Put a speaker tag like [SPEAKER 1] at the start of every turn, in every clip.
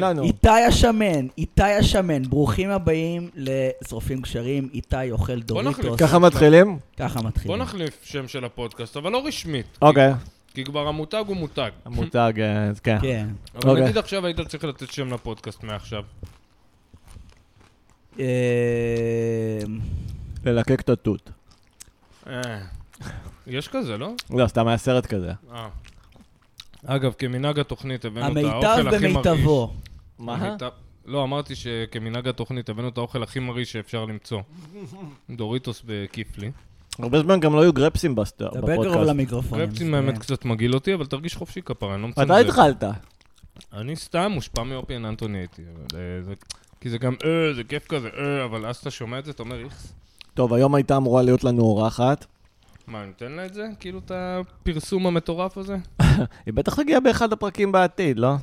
[SPEAKER 1] לנו.
[SPEAKER 2] איתי השמן, איתי השמן, ברוכים הבאים לשרופים קשרים, איתי אוכל דוריטוס.
[SPEAKER 1] ככה מתחילים?
[SPEAKER 2] ככה
[SPEAKER 3] בוא
[SPEAKER 2] מתחילים.
[SPEAKER 3] נחליף שם של הפודקאסט, אבל לא רשמית. כי-
[SPEAKER 1] אוקיי.
[SPEAKER 3] כי כבר המותג הוא מותג.
[SPEAKER 1] המותג, אה, אז כן.
[SPEAKER 2] כן.
[SPEAKER 3] אבל
[SPEAKER 1] אוקיי.
[SPEAKER 3] נגיד עכשיו היית צריך לתת שם לפודקאסט מעכשיו.
[SPEAKER 2] אה,
[SPEAKER 1] ללקק את התות.
[SPEAKER 3] אה, יש כזה, לא?
[SPEAKER 1] לא, סתם היה סרט כזה.
[SPEAKER 3] אה. אגב, כמנהג התוכנית הבאנו את
[SPEAKER 2] אמ, המיטב
[SPEAKER 3] האוכל הכי מרעיש.
[SPEAKER 2] במיטבו.
[SPEAKER 3] המיטב- לא, אמרתי שכמנהג התוכנית הבאנו את האוכל הכי מרעיש שאפשר למצוא. דוריטוס בכיפלי.
[SPEAKER 1] הרבה זמן גם לא היו גרפסים בסט-
[SPEAKER 2] דבר קרוב
[SPEAKER 1] בפודקאסט.
[SPEAKER 2] למיקרופון.
[SPEAKER 3] רפסים האמת קצת מגעיל אותי, אבל תרגיש חופשי כפרה, אני לא מצמצם.
[SPEAKER 1] מתי התחלת?
[SPEAKER 3] אני סתם מושפע מאופיין אנטוני הייתי. אבל, אה, זה- כי זה גם, אה, זה כיף כזה, אה, אבל אז אתה שומע את זה, אתה אומר, איכס.
[SPEAKER 1] טוב, היום הייתה אמורה להיות לנו אורחת.
[SPEAKER 3] מה, ניתן לה את זה? כאילו את הפרסום המטורף הזה?
[SPEAKER 1] היא בטח תגיע באחד הפרקים בעתיד, לא?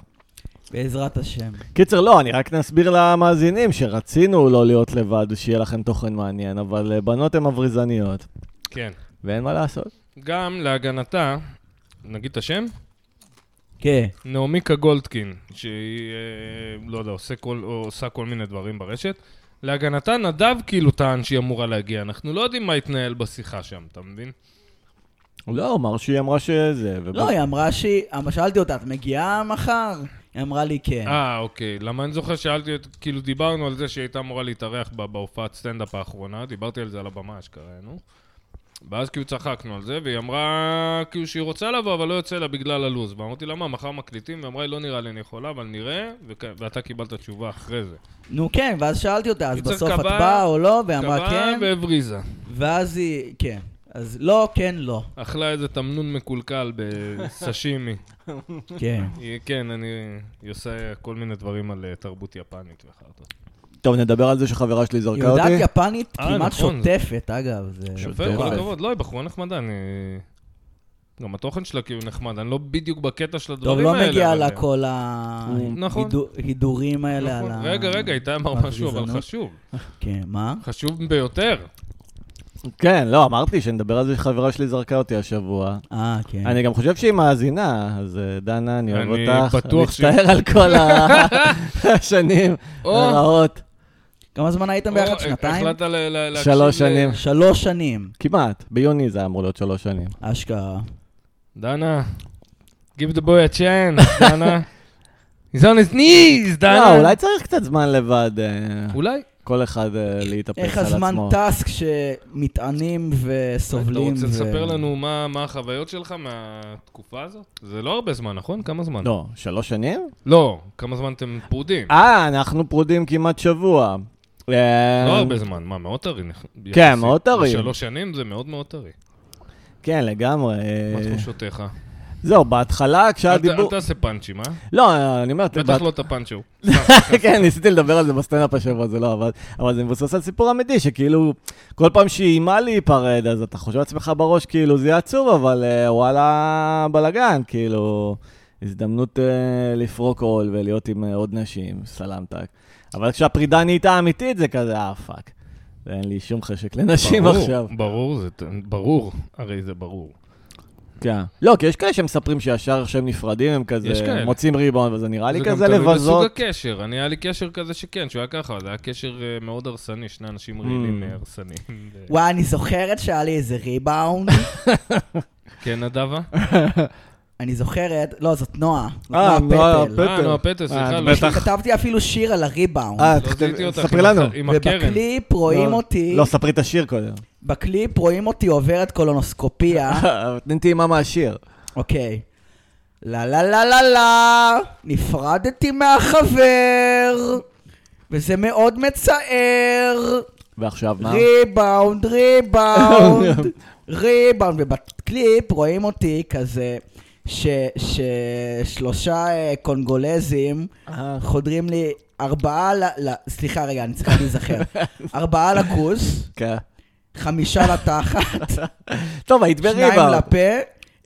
[SPEAKER 2] בעזרת השם.
[SPEAKER 1] קיצר, לא, אני רק נסביר למאזינים שרצינו לא להיות לבד, שיהיה לכם תוכן מעניין, אבל אה, בנות הן מבריזניות,
[SPEAKER 3] כן.
[SPEAKER 1] ואין מה לעשות.
[SPEAKER 3] גם להגנתה, נגיד את השם?
[SPEAKER 2] כן.
[SPEAKER 3] נעמיקה גולדקין, שהיא, אה, לא יודע, עושה כל, או עושה כל מיני דברים ברשת. להגנתה, נדב כאילו טען שהיא אמורה להגיע. אנחנו לא יודעים מה התנהל בשיחה שם, אתה מבין?
[SPEAKER 1] לא, הוא אמר שהיא אמרה שזה, וב-
[SPEAKER 2] לא, היא אמרה שהיא... אמא, שאלתי אותה, את מגיעה מחר? היא אמרה לי כן.
[SPEAKER 3] אה, אוקיי. למה אני זוכר שאלתי, את- כאילו דיברנו על זה שהיא הייתה אמורה להתארח בה- בהופעת סטנדאפ האחרונה, דיברתי על זה על הבמה אשכרה, נו. ואז כאילו צחקנו על זה, והיא אמרה כאילו שהיא רוצה לבוא, אבל לא יוצא לה בגלל הלו"ז. ואמרתי לה, מה, מחר מקליטים? והיא אמרה לי, לא נראה לי אני יכולה, אבל נראה, וכ- ואתה קיבלת תשובה אחרי זה.
[SPEAKER 2] נו כן, ואז שאלתי אותה, אז
[SPEAKER 3] יצר
[SPEAKER 2] בסוף את
[SPEAKER 3] קבע-
[SPEAKER 2] באה או לא? והיא אמרה כן,
[SPEAKER 3] קבעה והבריזה.
[SPEAKER 2] ואז היא... כן. אז לא, כן, לא.
[SPEAKER 3] אכלה איזה תמנון מקולקל בסשימי.
[SPEAKER 2] כן.
[SPEAKER 3] היא- כן, אני... היא עושה כל מיני דברים על אה, תרבות יפנית וחרטות.
[SPEAKER 1] טוב, נדבר על זה שחברה שלי זרקה אותי.
[SPEAKER 2] יהודת יפנית
[SPEAKER 3] אה,
[SPEAKER 2] כמעט
[SPEAKER 3] נכון.
[SPEAKER 2] שוטפת, אגב. זה-
[SPEAKER 3] יפה, כל הכבוד. לא, היא בחורה נחמדה, אני... גם התוכן שלה כאילו נחמד, אני לא בדיוק בקטע של
[SPEAKER 2] טוב,
[SPEAKER 3] הדברים
[SPEAKER 2] לא
[SPEAKER 3] האלה.
[SPEAKER 2] מגיע
[SPEAKER 3] אבל-
[SPEAKER 2] לה כל
[SPEAKER 3] נכון.
[SPEAKER 2] ההידורים האלה על
[SPEAKER 3] נכון.
[SPEAKER 2] ה...
[SPEAKER 3] רגע, רגע, איתי אמר משהו, אבל
[SPEAKER 2] הגזענות.
[SPEAKER 3] חשוב.
[SPEAKER 2] כן, מה?
[SPEAKER 3] חשוב ביותר.
[SPEAKER 1] כן, לא, אמרתי שנדבר על זה שחברה שלי זרקה אותי השבוע.
[SPEAKER 2] אה, כן.
[SPEAKER 1] אני גם חושב שהיא מאזינה, אז אה, דנה, אני אוהב
[SPEAKER 3] אני
[SPEAKER 1] אותך.
[SPEAKER 3] בטוח ש-
[SPEAKER 1] אני מצטער על כל ה- השנים
[SPEAKER 3] או.
[SPEAKER 1] הרעות.
[SPEAKER 2] כמה זמן הייתם
[SPEAKER 3] או,
[SPEAKER 2] ביחד? שנתיים?
[SPEAKER 3] החלטת ל- ל- להקשיב...
[SPEAKER 1] שלוש
[SPEAKER 3] ל-
[SPEAKER 1] שנים.
[SPEAKER 2] שלוש שנים,
[SPEAKER 1] כמעט, ביוני זה אמור להיות שלוש שנים.
[SPEAKER 2] אשכרה.
[SPEAKER 3] דנה, give the boy a chance, דנה. He's on his knees,
[SPEAKER 1] לא,
[SPEAKER 3] דנה.
[SPEAKER 1] אולי צריך קצת זמן לבד, אה,
[SPEAKER 3] אולי.
[SPEAKER 1] כל אחד אה, להתאפס על
[SPEAKER 2] איך
[SPEAKER 1] עצמו.
[SPEAKER 2] הזמן טס כשמטענים וסובלים?
[SPEAKER 3] אתה רוצה
[SPEAKER 2] ו-
[SPEAKER 3] לספר לנו מה מה החוויות שלך מהתקופה הזאת? זה לא הרבה זמן, נכון? כמה זמן?
[SPEAKER 1] לא, שלוש שנים?
[SPEAKER 3] לא, כמה זמן אתם פרודים?
[SPEAKER 1] אה, אנחנו פרודים כמעט שבוע. אה,
[SPEAKER 3] לא הרבה זמן, מה, מאוד טרי? נכ-
[SPEAKER 1] כן,
[SPEAKER 3] יחסית.
[SPEAKER 1] מאוד טרי.
[SPEAKER 3] שלוש שנים זה מאוד מאוד טרי.
[SPEAKER 1] כן, לגמרי.
[SPEAKER 3] מה
[SPEAKER 1] אה,
[SPEAKER 3] תחושותיך?
[SPEAKER 1] זהו, בהתחלה
[SPEAKER 3] אל
[SPEAKER 1] כשהיה
[SPEAKER 3] ת-
[SPEAKER 1] דיבור...
[SPEAKER 3] אל תעשה פאנצ'ים, אה?
[SPEAKER 1] לא, אני אומר...
[SPEAKER 3] בטח
[SPEAKER 1] בהת-
[SPEAKER 3] לא את הפאנצ'ו.
[SPEAKER 1] כן, ניסיתי לדבר על זה בסטנדאפ השבוע, זה לא עבד. אבל זה מבוסס על סיפור אמיתי, שכאילו, כל פעם שהיא איימה להיפרד, אז אתה חושב לעצמך בראש, כאילו, זה יהיה עצוב, אבל אה, וואלה, בלאגן, כאילו, הזדמנות אה, לפרוק עול ולהיות עם אה, עוד נשים, סלמתק. אבל כשהפרידה נהייתה אמיתית, זה כזה, אה, פאק. אין לי שום חשק לנשים
[SPEAKER 3] ברור,
[SPEAKER 1] עכשיו.
[SPEAKER 3] ברור, זה ת- ברור, הרי זה ברור.
[SPEAKER 1] כן. לא, כי יש כאלה שמספרים שישר כשהם נפרדים, הם כזה,
[SPEAKER 3] יש כאלה.
[SPEAKER 1] מוצאים ריבון, וזה נראה לי
[SPEAKER 3] זה גם
[SPEAKER 1] כזה
[SPEAKER 3] תלוי בסוג
[SPEAKER 1] לבזות.
[SPEAKER 3] הקשר, אני היה לי קשר כזה שכן, שהוא היה ככה, זה היה קשר אה, מאוד הרסני, שני
[SPEAKER 1] Hmm.
[SPEAKER 3] אנשים רעילים אה, הרסניים. ו-
[SPEAKER 2] וואי, אני זוכרת שהיה לי איזה ריבאונד.
[SPEAKER 3] כן, נדבה?
[SPEAKER 2] אני זוכרת, לא, זאת נועה. זאת
[SPEAKER 1] אה,
[SPEAKER 2] נועה
[SPEAKER 1] נועה
[SPEAKER 2] פטל.
[SPEAKER 1] פטל.
[SPEAKER 3] אה, נו, הפטס, סליחה,
[SPEAKER 1] את
[SPEAKER 3] לא
[SPEAKER 1] בטח.
[SPEAKER 2] כתבתי אפילו שיר על הריבאונד.
[SPEAKER 1] אה,
[SPEAKER 3] לא זיהיתי אותך
[SPEAKER 1] ספרי
[SPEAKER 3] עם
[SPEAKER 1] לנו.
[SPEAKER 3] הח- עם הקרן.
[SPEAKER 2] ובקליפ רואים
[SPEAKER 1] לא,
[SPEAKER 2] אותי,
[SPEAKER 1] לא, ספרי את השיר קודם.
[SPEAKER 2] בקליפ רואים אותי עוברת קולונוסקופיה,
[SPEAKER 1] נתן טעימה מהשיר.
[SPEAKER 2] אוקיי. לה לה לה לה לה, נפרדתי מהחבר, וזה מאוד מצער.
[SPEAKER 1] ועכשיו מה? אוקיי.
[SPEAKER 2] ריבאונד, ריבאונד, ריבאונד. ובקליפ רואים אותי כזה, ש- ששלושה אה, קונגולזים
[SPEAKER 1] אה. חודר.
[SPEAKER 2] חודרים לי ארבעה ל... ל... סליחה רגע, אני צריכה להיזכר. ארבעה לכוס,
[SPEAKER 1] כן.
[SPEAKER 2] חמישה לתחת,
[SPEAKER 1] טוב, היית
[SPEAKER 2] שניים
[SPEAKER 1] בריבאונד.
[SPEAKER 2] לפה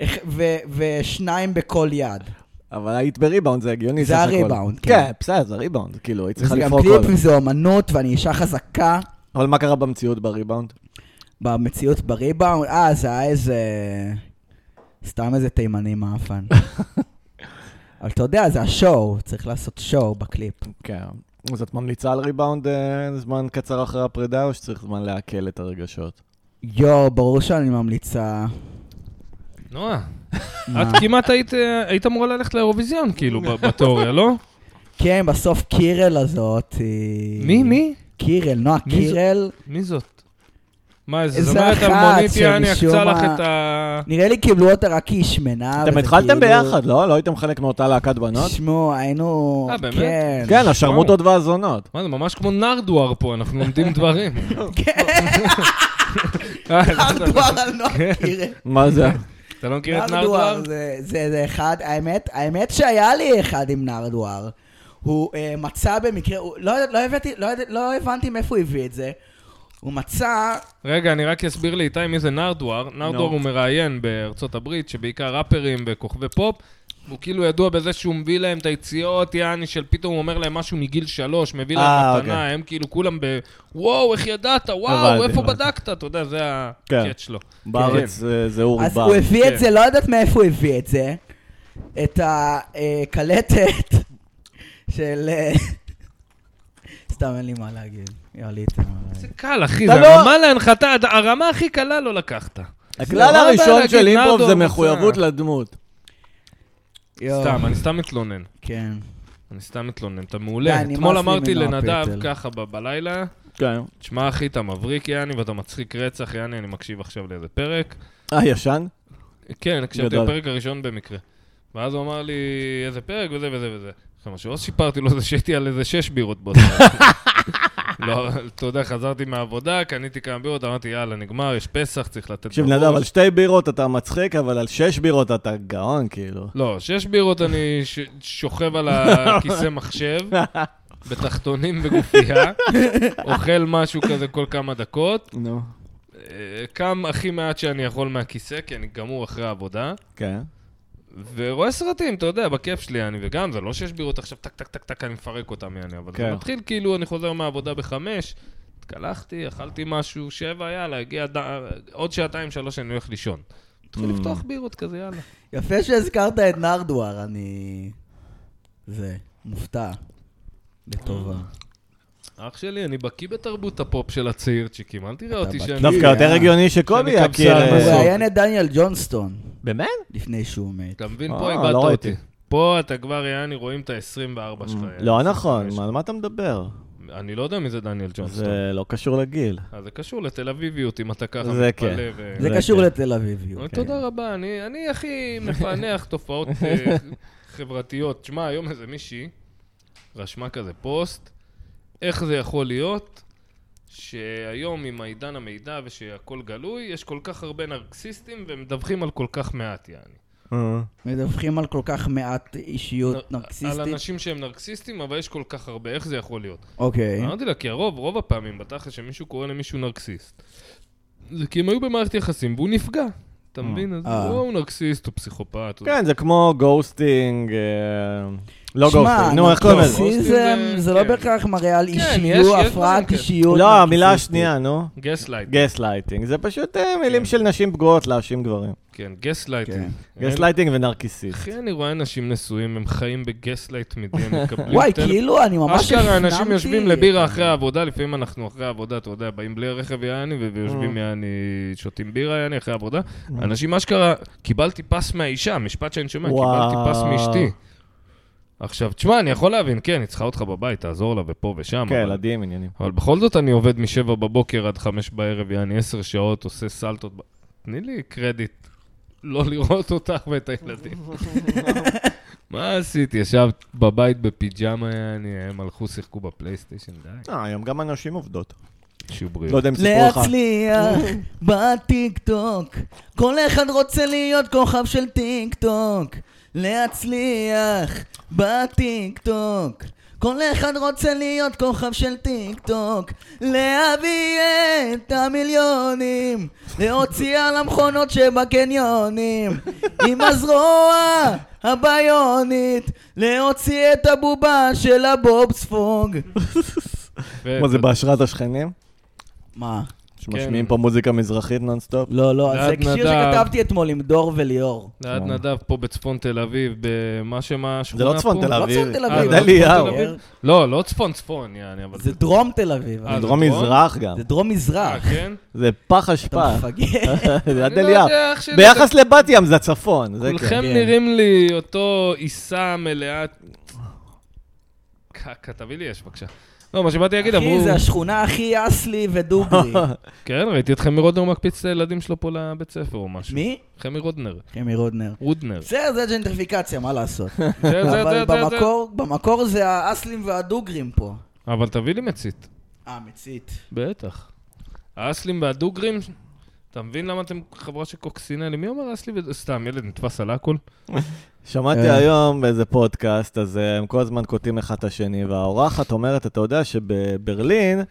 [SPEAKER 2] אח- ו- ושניים בכל יד.
[SPEAKER 1] אבל היית בריבאונד, זה הגיוני.
[SPEAKER 2] זה
[SPEAKER 1] סך הכל.
[SPEAKER 2] הריבאונד, כן.
[SPEAKER 1] כן, בסדר, זה ריבאונד. כאילו, היית צריכה
[SPEAKER 2] זה גם
[SPEAKER 1] לפרוק
[SPEAKER 2] קליפ
[SPEAKER 1] עול.
[SPEAKER 2] וזה אומנות ואני אישה חזקה
[SPEAKER 1] אבל מה קרה במציאות בריבאונד?
[SPEAKER 2] במציאות בריבאונד. אה, זה היה איזה... סתם איזה תימני מאפן. אבל אתה יודע, זה השואו, צריך לעשות שואו בקליפ.
[SPEAKER 1] כן. אז את ממליצה על ריבאונד אה, זמן קצר אחרי הפרידה, או שצריך זמן לעכל את הרגשות?
[SPEAKER 2] אה, יואו, ברור שאני ממליצה.
[SPEAKER 3] נועה,
[SPEAKER 2] מה?
[SPEAKER 3] את כמעט היית, אה, היית אמורה ללכת לאירוויזיון, כאילו, ב- בתיאוריה, לא?
[SPEAKER 2] כן, בסוף קירל הזאת היא...
[SPEAKER 3] מי? מי?
[SPEAKER 2] קירל, נועה
[SPEAKER 3] מי זו?
[SPEAKER 2] קירל.
[SPEAKER 3] מי זאת? מה, איזה
[SPEAKER 2] איזה
[SPEAKER 3] זמרת
[SPEAKER 2] אחת
[SPEAKER 3] אלמונית, יעני,
[SPEAKER 2] שמשום
[SPEAKER 3] אקצה לך
[SPEAKER 2] מה-
[SPEAKER 3] את ה...
[SPEAKER 2] נראה לי קיבלו אותה רק כי היא שמנה.
[SPEAKER 1] אתם
[SPEAKER 2] וזה
[SPEAKER 1] התחלתם
[SPEAKER 2] כאילו-
[SPEAKER 1] ביחד, לא? לא הייתם חלק מאותה להקת בנות?
[SPEAKER 2] תשמעו, היינו...
[SPEAKER 3] אה, באמת?
[SPEAKER 2] כן.
[SPEAKER 1] כן, השרמוטות והזונות.
[SPEAKER 3] מה, זה ממש כמו נרדואר פה, אנחנו לומדים דברים.
[SPEAKER 2] כן.
[SPEAKER 3] אה,
[SPEAKER 2] ארדואר על נועה קירל.
[SPEAKER 1] מה זה?
[SPEAKER 2] כן.
[SPEAKER 3] אתה לא כן. מכיר את נרדואר?
[SPEAKER 2] נרדואר זה, זה, זה אחד, האמת, האמת שהיה לי אחד עם נרדואר. הוא אה, מצא במקרה, הוא, לא, לא, הבאתי, לא, יודע- לא הבנתי מאיפה הוא הביא את זה. הוא מצא,
[SPEAKER 3] רגע, אני רק אסביר לאיתי מי זה נרדואר. נרדואר הוא מראיין בארצות הברית, שבעיקר ראפרים וכוכבי פופ. הוא כאילו ידוע בזה שהוא מביא להם את היציאות, יעני, של פתאום הוא אומר להם משהו מגיל שלוש, מביא
[SPEAKER 1] אה,
[SPEAKER 3] להם מתנה,
[SPEAKER 1] אוקיי.
[SPEAKER 3] הם כאילו כולם ב... וואו, איך ידעת? וואו,
[SPEAKER 1] הבנתי,
[SPEAKER 3] איפה
[SPEAKER 1] הבנתי.
[SPEAKER 3] בדקת? אתה יודע, זה
[SPEAKER 1] כן.
[SPEAKER 3] הקט שלו.
[SPEAKER 1] בארץ אה, זה- זה אור
[SPEAKER 2] אז
[SPEAKER 1] בר.
[SPEAKER 2] הוא הביא
[SPEAKER 3] כן.
[SPEAKER 2] את זה, לא יודעת מאיפה הוא הביא את זה. את הקלטת של... אה, סתם אין לי מה להגיד. יאללה, לי מה
[SPEAKER 3] זה
[SPEAKER 2] להגיד.
[SPEAKER 3] קל, אחי,
[SPEAKER 1] אתה
[SPEAKER 3] זה
[SPEAKER 1] לא-
[SPEAKER 3] רמה להנחתה, הד- הרמה הכי קלה לא לקחת.
[SPEAKER 1] הכלל
[SPEAKER 3] זה- מה
[SPEAKER 1] הראשון
[SPEAKER 3] הבעיה
[SPEAKER 1] של
[SPEAKER 3] להגיד
[SPEAKER 1] היפ-הופ
[SPEAKER 3] נרדו
[SPEAKER 1] זה
[SPEAKER 3] מצא?
[SPEAKER 1] מחויבות לדמות.
[SPEAKER 2] יואו,
[SPEAKER 3] סתם, אני סתם מתלונן.
[SPEAKER 2] כן.
[SPEAKER 3] אני סתם מתלונן, אתה
[SPEAKER 2] די,
[SPEAKER 3] מעולה.
[SPEAKER 2] נמאס
[SPEAKER 3] אתמול
[SPEAKER 2] לי
[SPEAKER 3] אמרתי
[SPEAKER 2] ממנו
[SPEAKER 3] לנדב
[SPEAKER 2] הפטל.
[SPEAKER 3] ככה ב- בלילה,
[SPEAKER 1] כן.
[SPEAKER 3] תשמע אחי, אתה מבריק יעני ואתה מצחיק רצח יעני, אני מקשיב עכשיו לאיזה פרק.
[SPEAKER 1] אה, ישן?
[SPEAKER 3] כן, הקשבתי
[SPEAKER 1] גדול.
[SPEAKER 3] לפרק הראשון במקרה. ואז הוא אמר לי איזה פרק וזה וזה וזה. עכשיו, מה שעוד סיפרתי לו זה שהייתי על איזה שש בירות באותו ערב. לא, אבל אתה יודע, חזרתי מהעבודה, קניתי כמה בירות, אמרתי, יאללה, נגמר, יש פסח, צריך לתת...
[SPEAKER 1] תקשיב,
[SPEAKER 3] בראש."
[SPEAKER 1] נדב, על שתי בירות אתה מצחיק, אבל על שש בירות אתה גאון, כאילו.
[SPEAKER 3] לא, שש בירות אני ש- שוכב על הכיסא מחשב, בתחתונים וגופייה, אוכל משהו כזה כל כמה דקות,
[SPEAKER 1] נו.
[SPEAKER 3] אה, קם הכי מעט שאני יכול מהכיסא, כי אני גמור אחרי העבודה,
[SPEAKER 1] כן.
[SPEAKER 3] ורואה סרטים, אתה יודע, בכיף שלי אני, וגם זה לא שש בירות עכשיו, טק, טק, טק, טק, אני מפרק אותם, יעני, אבל זה
[SPEAKER 1] כן.
[SPEAKER 3] מתחיל כאילו, אני חוזר מהעבודה בחמש, התקלחתי, אכלתי משהו, שבע, יאללה, הגיע ד- עוד שעתיים, שלוש, אני הולך לישון. מתחיל לפתוח בירות כזה, יאללה.
[SPEAKER 2] יפה שהזכרת את נרדואר, אני... זה, מופתע. לטובה.
[SPEAKER 3] אה, אח שלי, אני בקיא בתרבות הפופ של הצעירצ'יקים, אל תראה אותי
[SPEAKER 2] בקיא.
[SPEAKER 3] שאני...
[SPEAKER 1] דווקא יותר
[SPEAKER 2] אה.
[SPEAKER 1] הגיוני שקובי
[SPEAKER 3] שאני
[SPEAKER 1] יכיר...
[SPEAKER 3] קבצן.
[SPEAKER 2] הוא
[SPEAKER 1] אה,
[SPEAKER 3] בסוף.
[SPEAKER 2] ראיין את דניאל ג'ונסטון
[SPEAKER 1] באמת?
[SPEAKER 2] לפני שהוא מת.
[SPEAKER 3] אתה מבין,
[SPEAKER 1] אה,
[SPEAKER 3] פה איבדת
[SPEAKER 1] לא ראיתי.
[SPEAKER 3] אותי. פה אתה כבר, יעני, רואים את ה-24 שלך.
[SPEAKER 1] לא
[SPEAKER 3] 25.
[SPEAKER 1] נכון, מה- על מה אתה מדבר?
[SPEAKER 3] אני לא יודע מי זה דניאל ג'ונסטון.
[SPEAKER 1] זה לא קשור לגיל.
[SPEAKER 3] אז זה קשור לתל אביביות, אם אתה ככה
[SPEAKER 1] זה
[SPEAKER 3] מתפלא.
[SPEAKER 1] כן.
[SPEAKER 3] ו-
[SPEAKER 2] זה
[SPEAKER 1] זה
[SPEAKER 2] קשור
[SPEAKER 1] כן.
[SPEAKER 2] לתל אביביות.
[SPEAKER 3] אבל תודה רבה, אני אני הכי מפענח תופעות אה, חברתיות. תשמע, היום איזה מישהי רשמה כזה פוסט, איך זה יכול להיות שהיום עם העידן המידע ושהכול גלוי, יש כל כך הרבה נרקסיסטים ומדווחים על כל כך מעט, יעני.
[SPEAKER 1] אה.
[SPEAKER 2] מדווחים על כל כך מעט אישיות
[SPEAKER 3] אה, על
[SPEAKER 2] נרקסיסטית.
[SPEAKER 3] אנשים שהם נרקסיסטים, אבל יש כל כך הרבה, איך זה יכול להיות?
[SPEAKER 2] אוקיי.
[SPEAKER 3] אמרתי לה, כי הרוב, רוב הפעמים בתכל'ס שמישהו קורא למישהו נרקסיסט, זה כי הם היו במערכת יחסים והוא נפגע. אתה מבין? אז
[SPEAKER 2] אה.
[SPEAKER 3] הוא נרקסיסט, הוא פסיכופת. הוא-
[SPEAKER 1] כן, זה כמו גוסטינג, אה, לא
[SPEAKER 2] שמע,
[SPEAKER 1] גוסטינג, נו, איך קוראים לזה?
[SPEAKER 2] נרקסיזם
[SPEAKER 3] זה-
[SPEAKER 2] זה לא
[SPEAKER 3] כן.
[SPEAKER 2] בהכרח מראה על
[SPEAKER 3] כן, יש- יש
[SPEAKER 2] אישיות,
[SPEAKER 3] דברים
[SPEAKER 2] הפרעת
[SPEAKER 3] כאלה.
[SPEAKER 2] אישיות.
[SPEAKER 1] לא, המילה
[SPEAKER 2] נרקסיסטית.
[SPEAKER 1] השנייה, נו.
[SPEAKER 3] גסלייט.
[SPEAKER 1] גס לייטינג, זה פשוט אה, מילים של נשים פגועות להאשים גברים.
[SPEAKER 3] כן, גסלייטינג.
[SPEAKER 1] גס לייטינג ונרקיסיסט.
[SPEAKER 3] אחי, אני רואה אנשים נשואים, הם חיים בגסלייט מדי, הם מקבלים
[SPEAKER 2] וואי,
[SPEAKER 3] טלפון.
[SPEAKER 2] כאילו, אני ממש
[SPEAKER 3] אשכרה, אנשים
[SPEAKER 2] הפנמתי-
[SPEAKER 3] יושבים לבירה אחרי העבודה, לפעמים אנחנו אחרי העבודה, אתה יודע, באים בלי רכב יעני, ו- ויושבים יעני, שותים בירה יעני אחרי העבודה. אנשים אשכרה, קיבלתי פס מהאישה, משפט שאני שומע,
[SPEAKER 1] וואו.
[SPEAKER 3] קיבלתי פס מאשתי. עכשיו, תשמע, אני יכול להבין, כן, היא צריכה אותך בבית, תעזור לה ופה ושם.
[SPEAKER 1] כן,
[SPEAKER 3] אבל-
[SPEAKER 1] ילדים עניינים.
[SPEAKER 3] אבל בכל זאת אני עובד משבע בבוקר עד חמש בערב, יעני עשר שעות, עושה סלטות. ב- תני לי קרדיט לא לראות אותך ואת הילדים. מה עשית? ישבת בבית בפיג'מה, יעני, הם הלכו, שיחקו בפלייסטיישן, די.
[SPEAKER 1] אה, היום גם הנשים עובדות.
[SPEAKER 3] שיהיו
[SPEAKER 1] לא
[SPEAKER 3] בריאות.
[SPEAKER 1] יודע אם סיפרו לך.
[SPEAKER 2] להצליח בטיקטוק. כל אחד רוצה להיות כוכב של טיקטוק. להצליח בטיקטוק. כל אחד רוצה להיות כוכב של טיקטוק. להביא את המיליונים. להוציא על המכונות שבקניונים. עם הזרוע הביונית. להוציא את הבובה של הבובספוג.
[SPEAKER 3] ו- כן.
[SPEAKER 1] מה, זה בהשראת השכנים?
[SPEAKER 2] מה?
[SPEAKER 1] שמשמיעים פה מוזיקה מזרחית נונסטופ.
[SPEAKER 2] לא, לא,
[SPEAKER 3] ליד
[SPEAKER 2] זה שיר
[SPEAKER 3] נדב.
[SPEAKER 2] שכתבתי אתמול עם דור וליאור.
[SPEAKER 3] ליד
[SPEAKER 1] וואו.
[SPEAKER 3] נדב פה בצפון תל אביב, במה שמה השכונה
[SPEAKER 1] אה. זה
[SPEAKER 3] פה?
[SPEAKER 1] לא צפון תל
[SPEAKER 2] לא
[SPEAKER 1] אביב.
[SPEAKER 2] צפון תל
[SPEAKER 3] אה,
[SPEAKER 2] אביב.
[SPEAKER 3] זה לא צפון
[SPEAKER 1] גדליהו.
[SPEAKER 3] תל אביב? לא, לא צפון צפון, יעני, אבל...
[SPEAKER 2] זה דרום תל אביב.
[SPEAKER 3] אה,
[SPEAKER 1] דרום
[SPEAKER 2] אחי.
[SPEAKER 3] זה דרום?
[SPEAKER 1] מזרח גם.
[SPEAKER 2] זה דרום
[SPEAKER 3] אה,
[SPEAKER 2] מזרח.
[SPEAKER 3] כן?
[SPEAKER 1] זה פח
[SPEAKER 2] אתה
[SPEAKER 1] אשפה.
[SPEAKER 2] מפגר.
[SPEAKER 1] זה יד
[SPEAKER 3] אני לא
[SPEAKER 1] אליהו.
[SPEAKER 3] יודע, אח שלי,
[SPEAKER 1] ביחס לבת ים זה הצפון. זה כן.
[SPEAKER 3] כולכם
[SPEAKER 2] כן.
[SPEAKER 3] נראים לי אותו עיסה מלאה... קקה, תביא לי יש, בבקשה. לא, מה שבאתי להגיד, אמרו...
[SPEAKER 2] אחי, זה השכונה הכי אסלי ודוגרי.
[SPEAKER 1] אה.
[SPEAKER 3] כן, ראיתי את חמי רודנר מקפיץ את הילדים שלו פה לבית ספר או משהו.
[SPEAKER 2] מי?
[SPEAKER 3] חמי רודנר.
[SPEAKER 2] חמי רודנר.
[SPEAKER 3] רודנר.
[SPEAKER 2] בסדר, זה ג'נטריפיקציה, מה לעשות.
[SPEAKER 3] זה, זה, זה,
[SPEAKER 2] אבל
[SPEAKER 3] זה, זה.
[SPEAKER 2] במקור, במקור זה האסלים והדוגרים פה.
[SPEAKER 3] אבל תביא לי מצית.
[SPEAKER 2] אה, מצית.
[SPEAKER 3] בטח. האסלים והדוגרים, אתה מבין למה אתם חבורה של קוקסינלים? מי אומר אסלי ו... סתם, ילד נתפס על הכל?
[SPEAKER 1] שמעתי
[SPEAKER 2] אה.
[SPEAKER 1] היום באיזה פודקאסט, אז אה, הם כל הזמן קוטעים אחד את השני, והאורחת אומרת, אתה יודע שבברלין...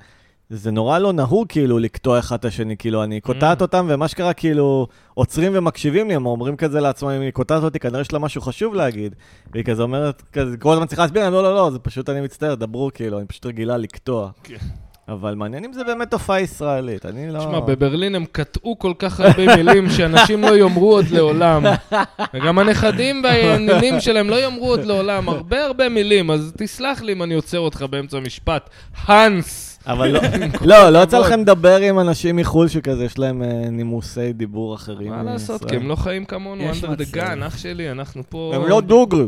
[SPEAKER 1] זה נורא לא נהוג כאילו לקטוע אחד את השני, כאילו אני קוטעת
[SPEAKER 3] Mm.
[SPEAKER 1] אותם, ומה שקרה כאילו עוצרים ומקשיבים לי, הם אומרים כזה לעצמם, אם היא קוטעת אותי, כנראה יש לה משהו חשוב להגיד. והיא כזה אומרת, כזה, כל הזמן צריכה להסביר, אני, לא, לא, לא, זה פשוט אני מצטער, דברו כאילו, אני פשוט רגילה לקטוע.
[SPEAKER 3] כן.
[SPEAKER 1] אבל מעניין אם זה באמת תופעה ישראלית, אני לא...
[SPEAKER 3] תשמע, בברלין הם קטעו כל כך הרבה מילים שאנשים לא יאמרו עוד לעולם. וגם הנכדים והנינים שלהם לא יאמרו עוד לעולם. הרבה הרבה מילים, אז תסלח לי אם אני עוצר אותך באמצע המשפט. האנס!
[SPEAKER 1] אבל לא, לא, לא יצא לכם לדבר עם אנשים מחו"ל שכזה, יש להם אה, נימוסי דיבור אחרים.
[SPEAKER 3] מה לעשות,
[SPEAKER 1] מישראל.
[SPEAKER 3] כי הם לא חיים כמונו,
[SPEAKER 2] יש
[SPEAKER 3] under the
[SPEAKER 2] מצב.
[SPEAKER 3] gun, אח שלי, אנחנו פה...
[SPEAKER 1] הם לא דוגרי.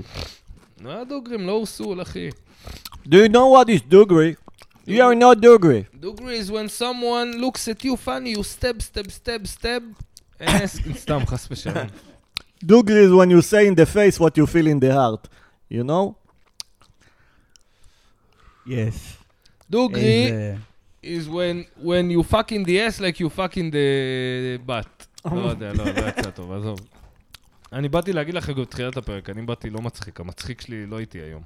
[SPEAKER 3] לא היה דוגרים, לא הורסול, אחי.
[SPEAKER 1] Do you know what is דוגרי? You are not דוגרי.
[SPEAKER 3] דוגרי is when someone looks at you funny, you stab, stab, stab, stab. אה, סתם, חס ושלום.
[SPEAKER 1] דוגרי is when you say in the face what you feel in the heart. You know?
[SPEAKER 2] יס.
[SPEAKER 3] דוגרי is when, when you fuck in the ass like you fuck in the butt. לא יודע, לא, לא יצא טוב, עזוב. אני באתי להגיד לכם גם בתחילת הפרק, אני באתי לא מצחיק, המצחיק שלי לא איתי היום.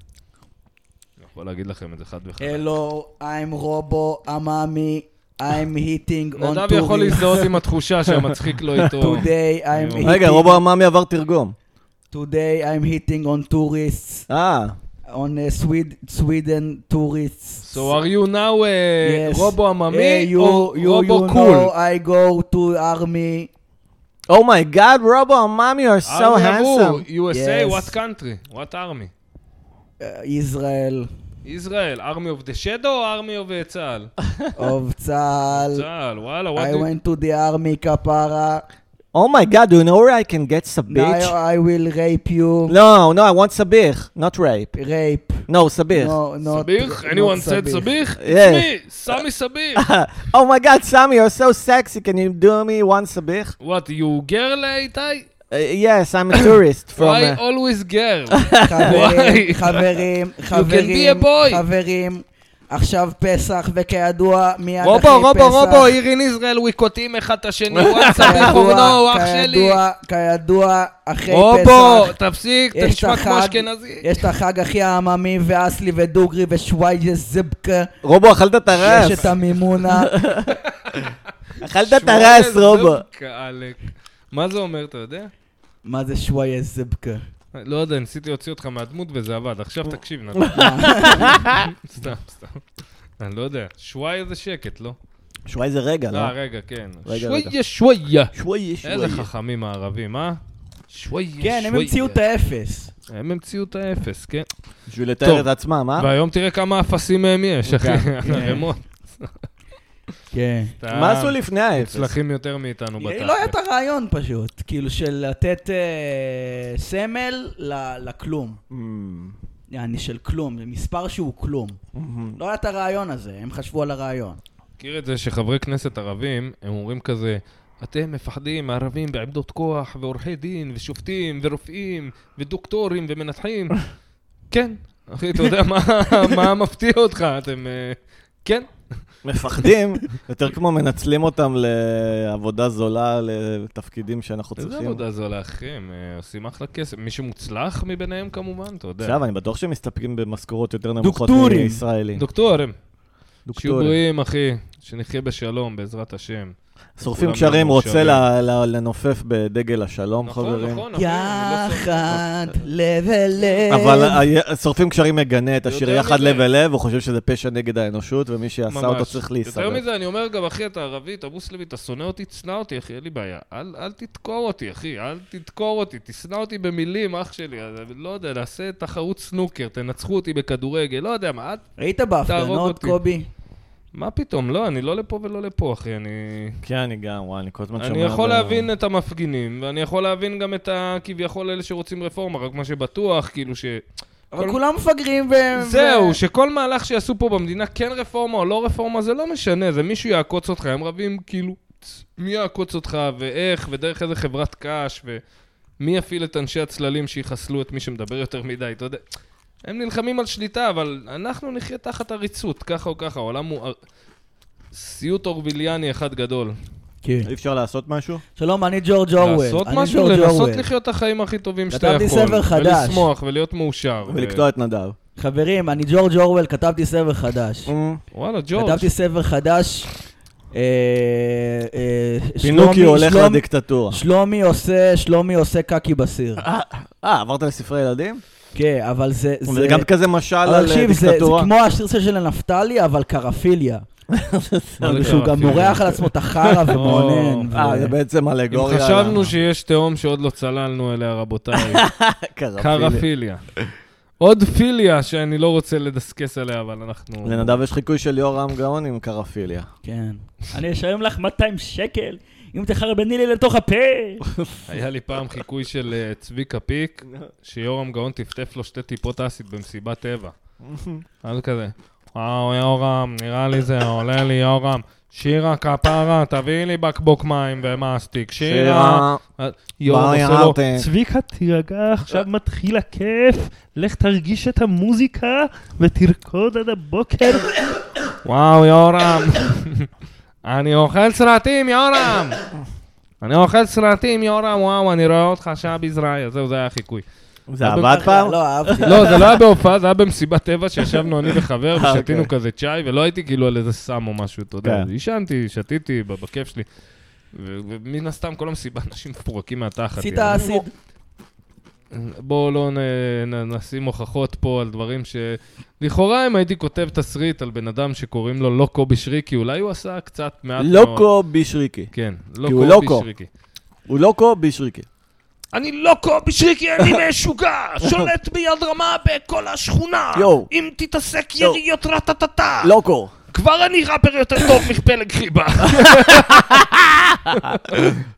[SPEAKER 3] אני יכול להגיד לכם את זה חד וחד.
[SPEAKER 2] הלו, I'm רובו, אמאמי, I'm hitting on
[SPEAKER 3] נדב יכול
[SPEAKER 2] touring.
[SPEAKER 3] להזדהות עם אה. התחושה שהמצחיק לא איתו.
[SPEAKER 2] Today I'm
[SPEAKER 3] רגע,
[SPEAKER 2] hitting...
[SPEAKER 1] רגע, רובו אמ- עממי עבר תרגום.
[SPEAKER 2] Today I'm hitting on tourists,
[SPEAKER 1] אה,
[SPEAKER 2] on uh, Swed- Sweden tourists.
[SPEAKER 3] So are you now uh,
[SPEAKER 2] Yes.
[SPEAKER 3] רובו
[SPEAKER 2] Hey,
[SPEAKER 3] עממי
[SPEAKER 2] you,
[SPEAKER 3] או
[SPEAKER 2] you,
[SPEAKER 3] רובו
[SPEAKER 2] you
[SPEAKER 3] קול?
[SPEAKER 2] know I go to army.
[SPEAKER 1] אומייגאד, Oh רובו עממי, you are
[SPEAKER 3] אה,
[SPEAKER 1] so handsome.
[SPEAKER 3] USA,
[SPEAKER 2] Yes.
[SPEAKER 3] what country? What army?
[SPEAKER 2] uh, Israel,
[SPEAKER 3] Israel, army of the shadow או army of uh, צה"ל?
[SPEAKER 2] of צה"ל.
[SPEAKER 3] צה"ל, וואלה, what
[SPEAKER 2] I
[SPEAKER 3] do you...
[SPEAKER 2] went to the army, כפרה.
[SPEAKER 1] אומייגאד, you know where I can get
[SPEAKER 2] Now
[SPEAKER 3] לא,
[SPEAKER 1] סביץ'?
[SPEAKER 2] I will rape you.
[SPEAKER 1] לא, no, I want סביך, not rape.
[SPEAKER 2] rape.
[SPEAKER 1] No, סביך.
[SPEAKER 3] לא.
[SPEAKER 2] No, not-
[SPEAKER 3] סביך?
[SPEAKER 2] not
[SPEAKER 3] anyone said סביך?
[SPEAKER 1] Yeah.
[SPEAKER 3] It's me, סמי סביך.
[SPEAKER 1] Oh my god, Sammy, you're so sexy. Can you do me one sabich?
[SPEAKER 3] What, you girl, איתי?
[SPEAKER 1] Uh, yes, I'm a tourist from.
[SPEAKER 3] Why
[SPEAKER 1] Uh,
[SPEAKER 3] always girl?
[SPEAKER 2] חברים, חברים,
[SPEAKER 3] Why? can be a
[SPEAKER 2] חברים,
[SPEAKER 3] boy.
[SPEAKER 2] חברים. עכשיו פסח, וכידוע, מיד אחרי פסח...
[SPEAKER 3] רובו, רובו, רובו, here in Israel, we קוטעים אחד את השני, וואטסאפ, פורנו, אח שלי.
[SPEAKER 2] כידוע, כידוע, אחרי
[SPEAKER 3] רובו,
[SPEAKER 2] פסח...
[SPEAKER 3] תפסיק, אתה
[SPEAKER 2] יש את
[SPEAKER 3] נשמע כמו
[SPEAKER 2] החג-
[SPEAKER 3] אשכנזי.
[SPEAKER 2] יש את החג הכי העממי, ואסלי ודוגרי ושווייג'ס זבקה.
[SPEAKER 1] רובו, אכלת את
[SPEAKER 2] יש את
[SPEAKER 1] הרס.
[SPEAKER 2] המימונה.
[SPEAKER 1] אכלת את הרס, רובו.
[SPEAKER 3] קאלק. מה זה אומר, אתה יודע?
[SPEAKER 2] מה זה שווייג'ס זבקה?
[SPEAKER 3] לא יודע, ניסיתי להוציא אותך מהדמות וזה עבד. עכשיו תקשיב, נתן.
[SPEAKER 2] לא.
[SPEAKER 3] סתם, סתם. אני לא יודע. שוואיה זה שקט, לא?
[SPEAKER 1] שוואי זה רגע, לא?
[SPEAKER 3] אה, רגע, כן.
[SPEAKER 1] רגע,
[SPEAKER 3] שוואיה, שוואיה.
[SPEAKER 1] שוואי,
[SPEAKER 3] איזה חכמים הערבים, אה? שוואיה, שוואיה.
[SPEAKER 2] כן, הם המציאו את האפס.
[SPEAKER 3] הם המציאו את האפס, כן.
[SPEAKER 1] בשביל
[SPEAKER 3] טוב.
[SPEAKER 1] לתאר את עצמם, אה?
[SPEAKER 3] והיום תראה כמה אפסים מהם יש, אחי.
[SPEAKER 2] כן.
[SPEAKER 3] הרמות.
[SPEAKER 2] כן.
[SPEAKER 1] מה
[SPEAKER 3] אה,
[SPEAKER 1] עשו לפני האפס?
[SPEAKER 3] מצלחים יותר מאיתנו בתחת.
[SPEAKER 2] לא היה את הרעיון פשוט, כאילו של לתת אה, סמל ל- לכלום.
[SPEAKER 1] Mm,
[SPEAKER 2] יעני של כלום, זה מספר שהוא כלום.
[SPEAKER 1] mhm.
[SPEAKER 2] לא היה את הרעיון הזה, הם חשבו על הרעיון.
[SPEAKER 3] מכיר את זה שחברי כנסת ערבים, הם אומרים כזה, אתם מפחדים מערבים בעמדות כוח, ועורכי דין, ושופטים, ורופאים, ודוקטורים, ומנתחים. כן, אחי, אתה יודע מה, מה מפתיע אותך? אתם... אה, כן,
[SPEAKER 1] מפחדים, יותר כמו מנצלים אותם לעבודה זולה, לתפקידים שאנחנו
[SPEAKER 3] איזה
[SPEAKER 1] צריכים.
[SPEAKER 3] עבודה זו לאחים, אה, עושים אחלה כסף. מי שמוצלח מביניהם כמובן, אתה יודע.
[SPEAKER 1] עכשיו, אני בטוח שהם מסתפקים במשכורות יותר נמוכות
[SPEAKER 2] דוקטורים.
[SPEAKER 1] מישראלים.
[SPEAKER 3] דוקטורים, שיהיו
[SPEAKER 1] דוקטורים.
[SPEAKER 3] בריאים, אחי, שנחיה בשלום, בעזרת השם.
[SPEAKER 1] שורפים
[SPEAKER 3] כולם
[SPEAKER 1] קשרים,
[SPEAKER 3] נעלמו
[SPEAKER 1] רוצה
[SPEAKER 3] שערים.
[SPEAKER 1] ל- ל- לנופף בדגל השלום,
[SPEAKER 3] נכון,
[SPEAKER 1] חברים.
[SPEAKER 3] נכון, אחי, אני לא סובל.
[SPEAKER 2] יחד, לב אל לב.
[SPEAKER 1] אבל ה- שורפים קשרים מגנה את השיר
[SPEAKER 3] יותר
[SPEAKER 1] יחד
[SPEAKER 3] מזה.
[SPEAKER 1] לב אל לב, הוא חושב שזה פשע נגד האנושות, ומי שעשה אותו
[SPEAKER 3] ממש.
[SPEAKER 1] צריך
[SPEAKER 3] יותר
[SPEAKER 1] להיסגר.
[SPEAKER 3] מזה, אני אומר גם, אחי, אתה ערבי, אתה מוסלמי, אתה שונא אותי, תשנא אותי, אחי, אין לי בעיה. אל, אל תדקור אותי, אחי, אל תדקור אותי, תשנא אותי במילים, אח שלי. אז, לא יודע, נעשה תחרות סנוקר, תנצחו אותי בכדורגל, לא יודע מה, את...
[SPEAKER 2] ראית בהפגנות,
[SPEAKER 3] אותי.
[SPEAKER 2] קובי?
[SPEAKER 3] מה פתאום, לא, אני לא לפה ולא לפה, אחי, אני...
[SPEAKER 1] כן, אני גם, וואי, אני כל הזמן שומע...
[SPEAKER 3] אני יכול
[SPEAKER 1] ב-
[SPEAKER 3] להבין את המפגינים, ואני יכול להבין גם את ה... כביכול אלה שרוצים רפורמה, רק מה שבטוח, כאילו ש...
[SPEAKER 2] אבל
[SPEAKER 3] כל-
[SPEAKER 2] כולם מפגרים ו... ו-
[SPEAKER 3] זהו, שכל מהלך שיעשו פה במדינה, כן רפורמה או לא רפורמה, זה לא משנה, זה מישהו יעקוץ אותך, הם רבים כאילו, "צ, מי יעקוץ אותך, ואיך, ודרך איזה חברת קש, ומי יפעיל את אנשי הצללים שיחסלו את מי שמדבר יותר מדי, אתה יודע. הם נלחמים על שליטה, אבל אנחנו נחיה תחת עריצות, ככה או ככה, העולם הוא... ער- סיוט אורוויליאני אחד גדול.
[SPEAKER 2] כן.
[SPEAKER 1] אי אפשר לעשות משהו?
[SPEAKER 2] שלום, אני ג'ורג' אורוול.
[SPEAKER 3] אה, לעשות
[SPEAKER 2] אני
[SPEAKER 3] משהו,
[SPEAKER 2] ג'ורג'
[SPEAKER 3] לנסות
[SPEAKER 2] אורוול.
[SPEAKER 3] לחיות את החיים הכי טובים שאתה יכול.
[SPEAKER 2] כתבתי ספר חדש.
[SPEAKER 3] ולשמוח, ולהיות מאושר. ו-
[SPEAKER 1] ולקטוע את נדב.
[SPEAKER 2] חברים, אני ג'ורג' אורוול, כתבתי ספר חדש.
[SPEAKER 3] וואלה, ג'ורג'.
[SPEAKER 2] כתבתי ספר חדש. אה, אה,
[SPEAKER 1] פינוקי
[SPEAKER 2] שלומי-
[SPEAKER 1] הולך
[SPEAKER 2] שלום-
[SPEAKER 1] לדיקטטורה.
[SPEAKER 2] שלומי עושה, שלומי עושה קקי בסיר.
[SPEAKER 1] אה, עברת לספרי ילדים?
[SPEAKER 2] כן, אבל זה...
[SPEAKER 1] זה גם כזה משל על אה,
[SPEAKER 2] אבל תקשיב, זה- זה
[SPEAKER 1] דיקטטורה.
[SPEAKER 2] כמו השיר של נפתלי, אבל קרפיליה.
[SPEAKER 3] מה זה
[SPEAKER 2] שהוא גם
[SPEAKER 3] קרפיליה?
[SPEAKER 2] מורח על עצמו את החרא ומעונן. ו-
[SPEAKER 1] אה, זה בעצם
[SPEAKER 3] אם
[SPEAKER 1] אלגוריה.
[SPEAKER 3] חשבנו שיש תהום שעוד לא צללנו אליה, רבותיי,
[SPEAKER 1] קרפילי.
[SPEAKER 3] קרפיליה. עוד פיליה שאני לא רוצה לדסקס עליה, אבל אנחנו...
[SPEAKER 1] לנדב יש חיקוי של יורם גאון עם קרפיליה.
[SPEAKER 2] כן.
[SPEAKER 4] אני אשלם לך 200 שקל, אם תחרבני לי לתוך הפה.
[SPEAKER 3] היה לי פעם חיקוי של אה, צביקה פיק, שיורם גאון טפטף לו שתי טיפות אסיד במסיבת טבע. אז כזה, וואו, יורם, נראה לי זה עולה לי, יורם. שירה כפרה, תביאי לי בקבוק מים ומאסטיק. שירה. אה, יורם
[SPEAKER 1] ביי,
[SPEAKER 3] עושה לו,
[SPEAKER 1] אהבתי.
[SPEAKER 4] צביקה, תירגע, עכשיו מתחיל הכיף, לך תרגיש את המוזיקה ותרקוד עד הבוקר.
[SPEAKER 3] וואו, יורם. אני אוכל סרטים, יורם! אני אוכל סרטים, יורם, וואו, אני רואה אותך שם בזרעיה. זהו, זה היה החיקוי.
[SPEAKER 1] זה עבד פעם?
[SPEAKER 2] לא, אהבתי.
[SPEAKER 3] לא, זה לא היה בהופעה, זה היה במסיבת טבע שישבנו אני וחבר
[SPEAKER 1] אה,
[SPEAKER 3] ושתינו
[SPEAKER 1] אוקיי.
[SPEAKER 3] כזה צ'אי, ולא הייתי כאילו על איזה סם או משהו, אתה יודע.
[SPEAKER 1] כן.
[SPEAKER 3] עישנתי, שתיתי, ב- בכיף שלי. ו- ומן הסתם, כל המסיבה, אנשים מפורקים מהתחת.
[SPEAKER 2] עשית
[SPEAKER 3] יעני.
[SPEAKER 2] אסיד.
[SPEAKER 3] בואו לא נ, נ, נשים הוכחות פה על דברים ש... לכאורה, אם הייתי כותב תסריט על בן אדם שקוראים לו לא קובי שריקי, אולי הוא עשה קצת מעט מאוד.
[SPEAKER 1] לוקו בישריקי.
[SPEAKER 3] כן, לא
[SPEAKER 1] כי הוא
[SPEAKER 3] קובי
[SPEAKER 1] לוקו.
[SPEAKER 3] שריקי.
[SPEAKER 1] הוא לוקו בישריקי.
[SPEAKER 3] אני לא קובי שריקי, אני משוגע! שולט ביד רמה בכל השכונה!
[SPEAKER 1] יואו.
[SPEAKER 3] אם תתעסק
[SPEAKER 1] יואו. לא.
[SPEAKER 3] יריות רטטטה!
[SPEAKER 1] לוקו.
[SPEAKER 3] כבר אני ראפר יותר טוב מפלג חיבה!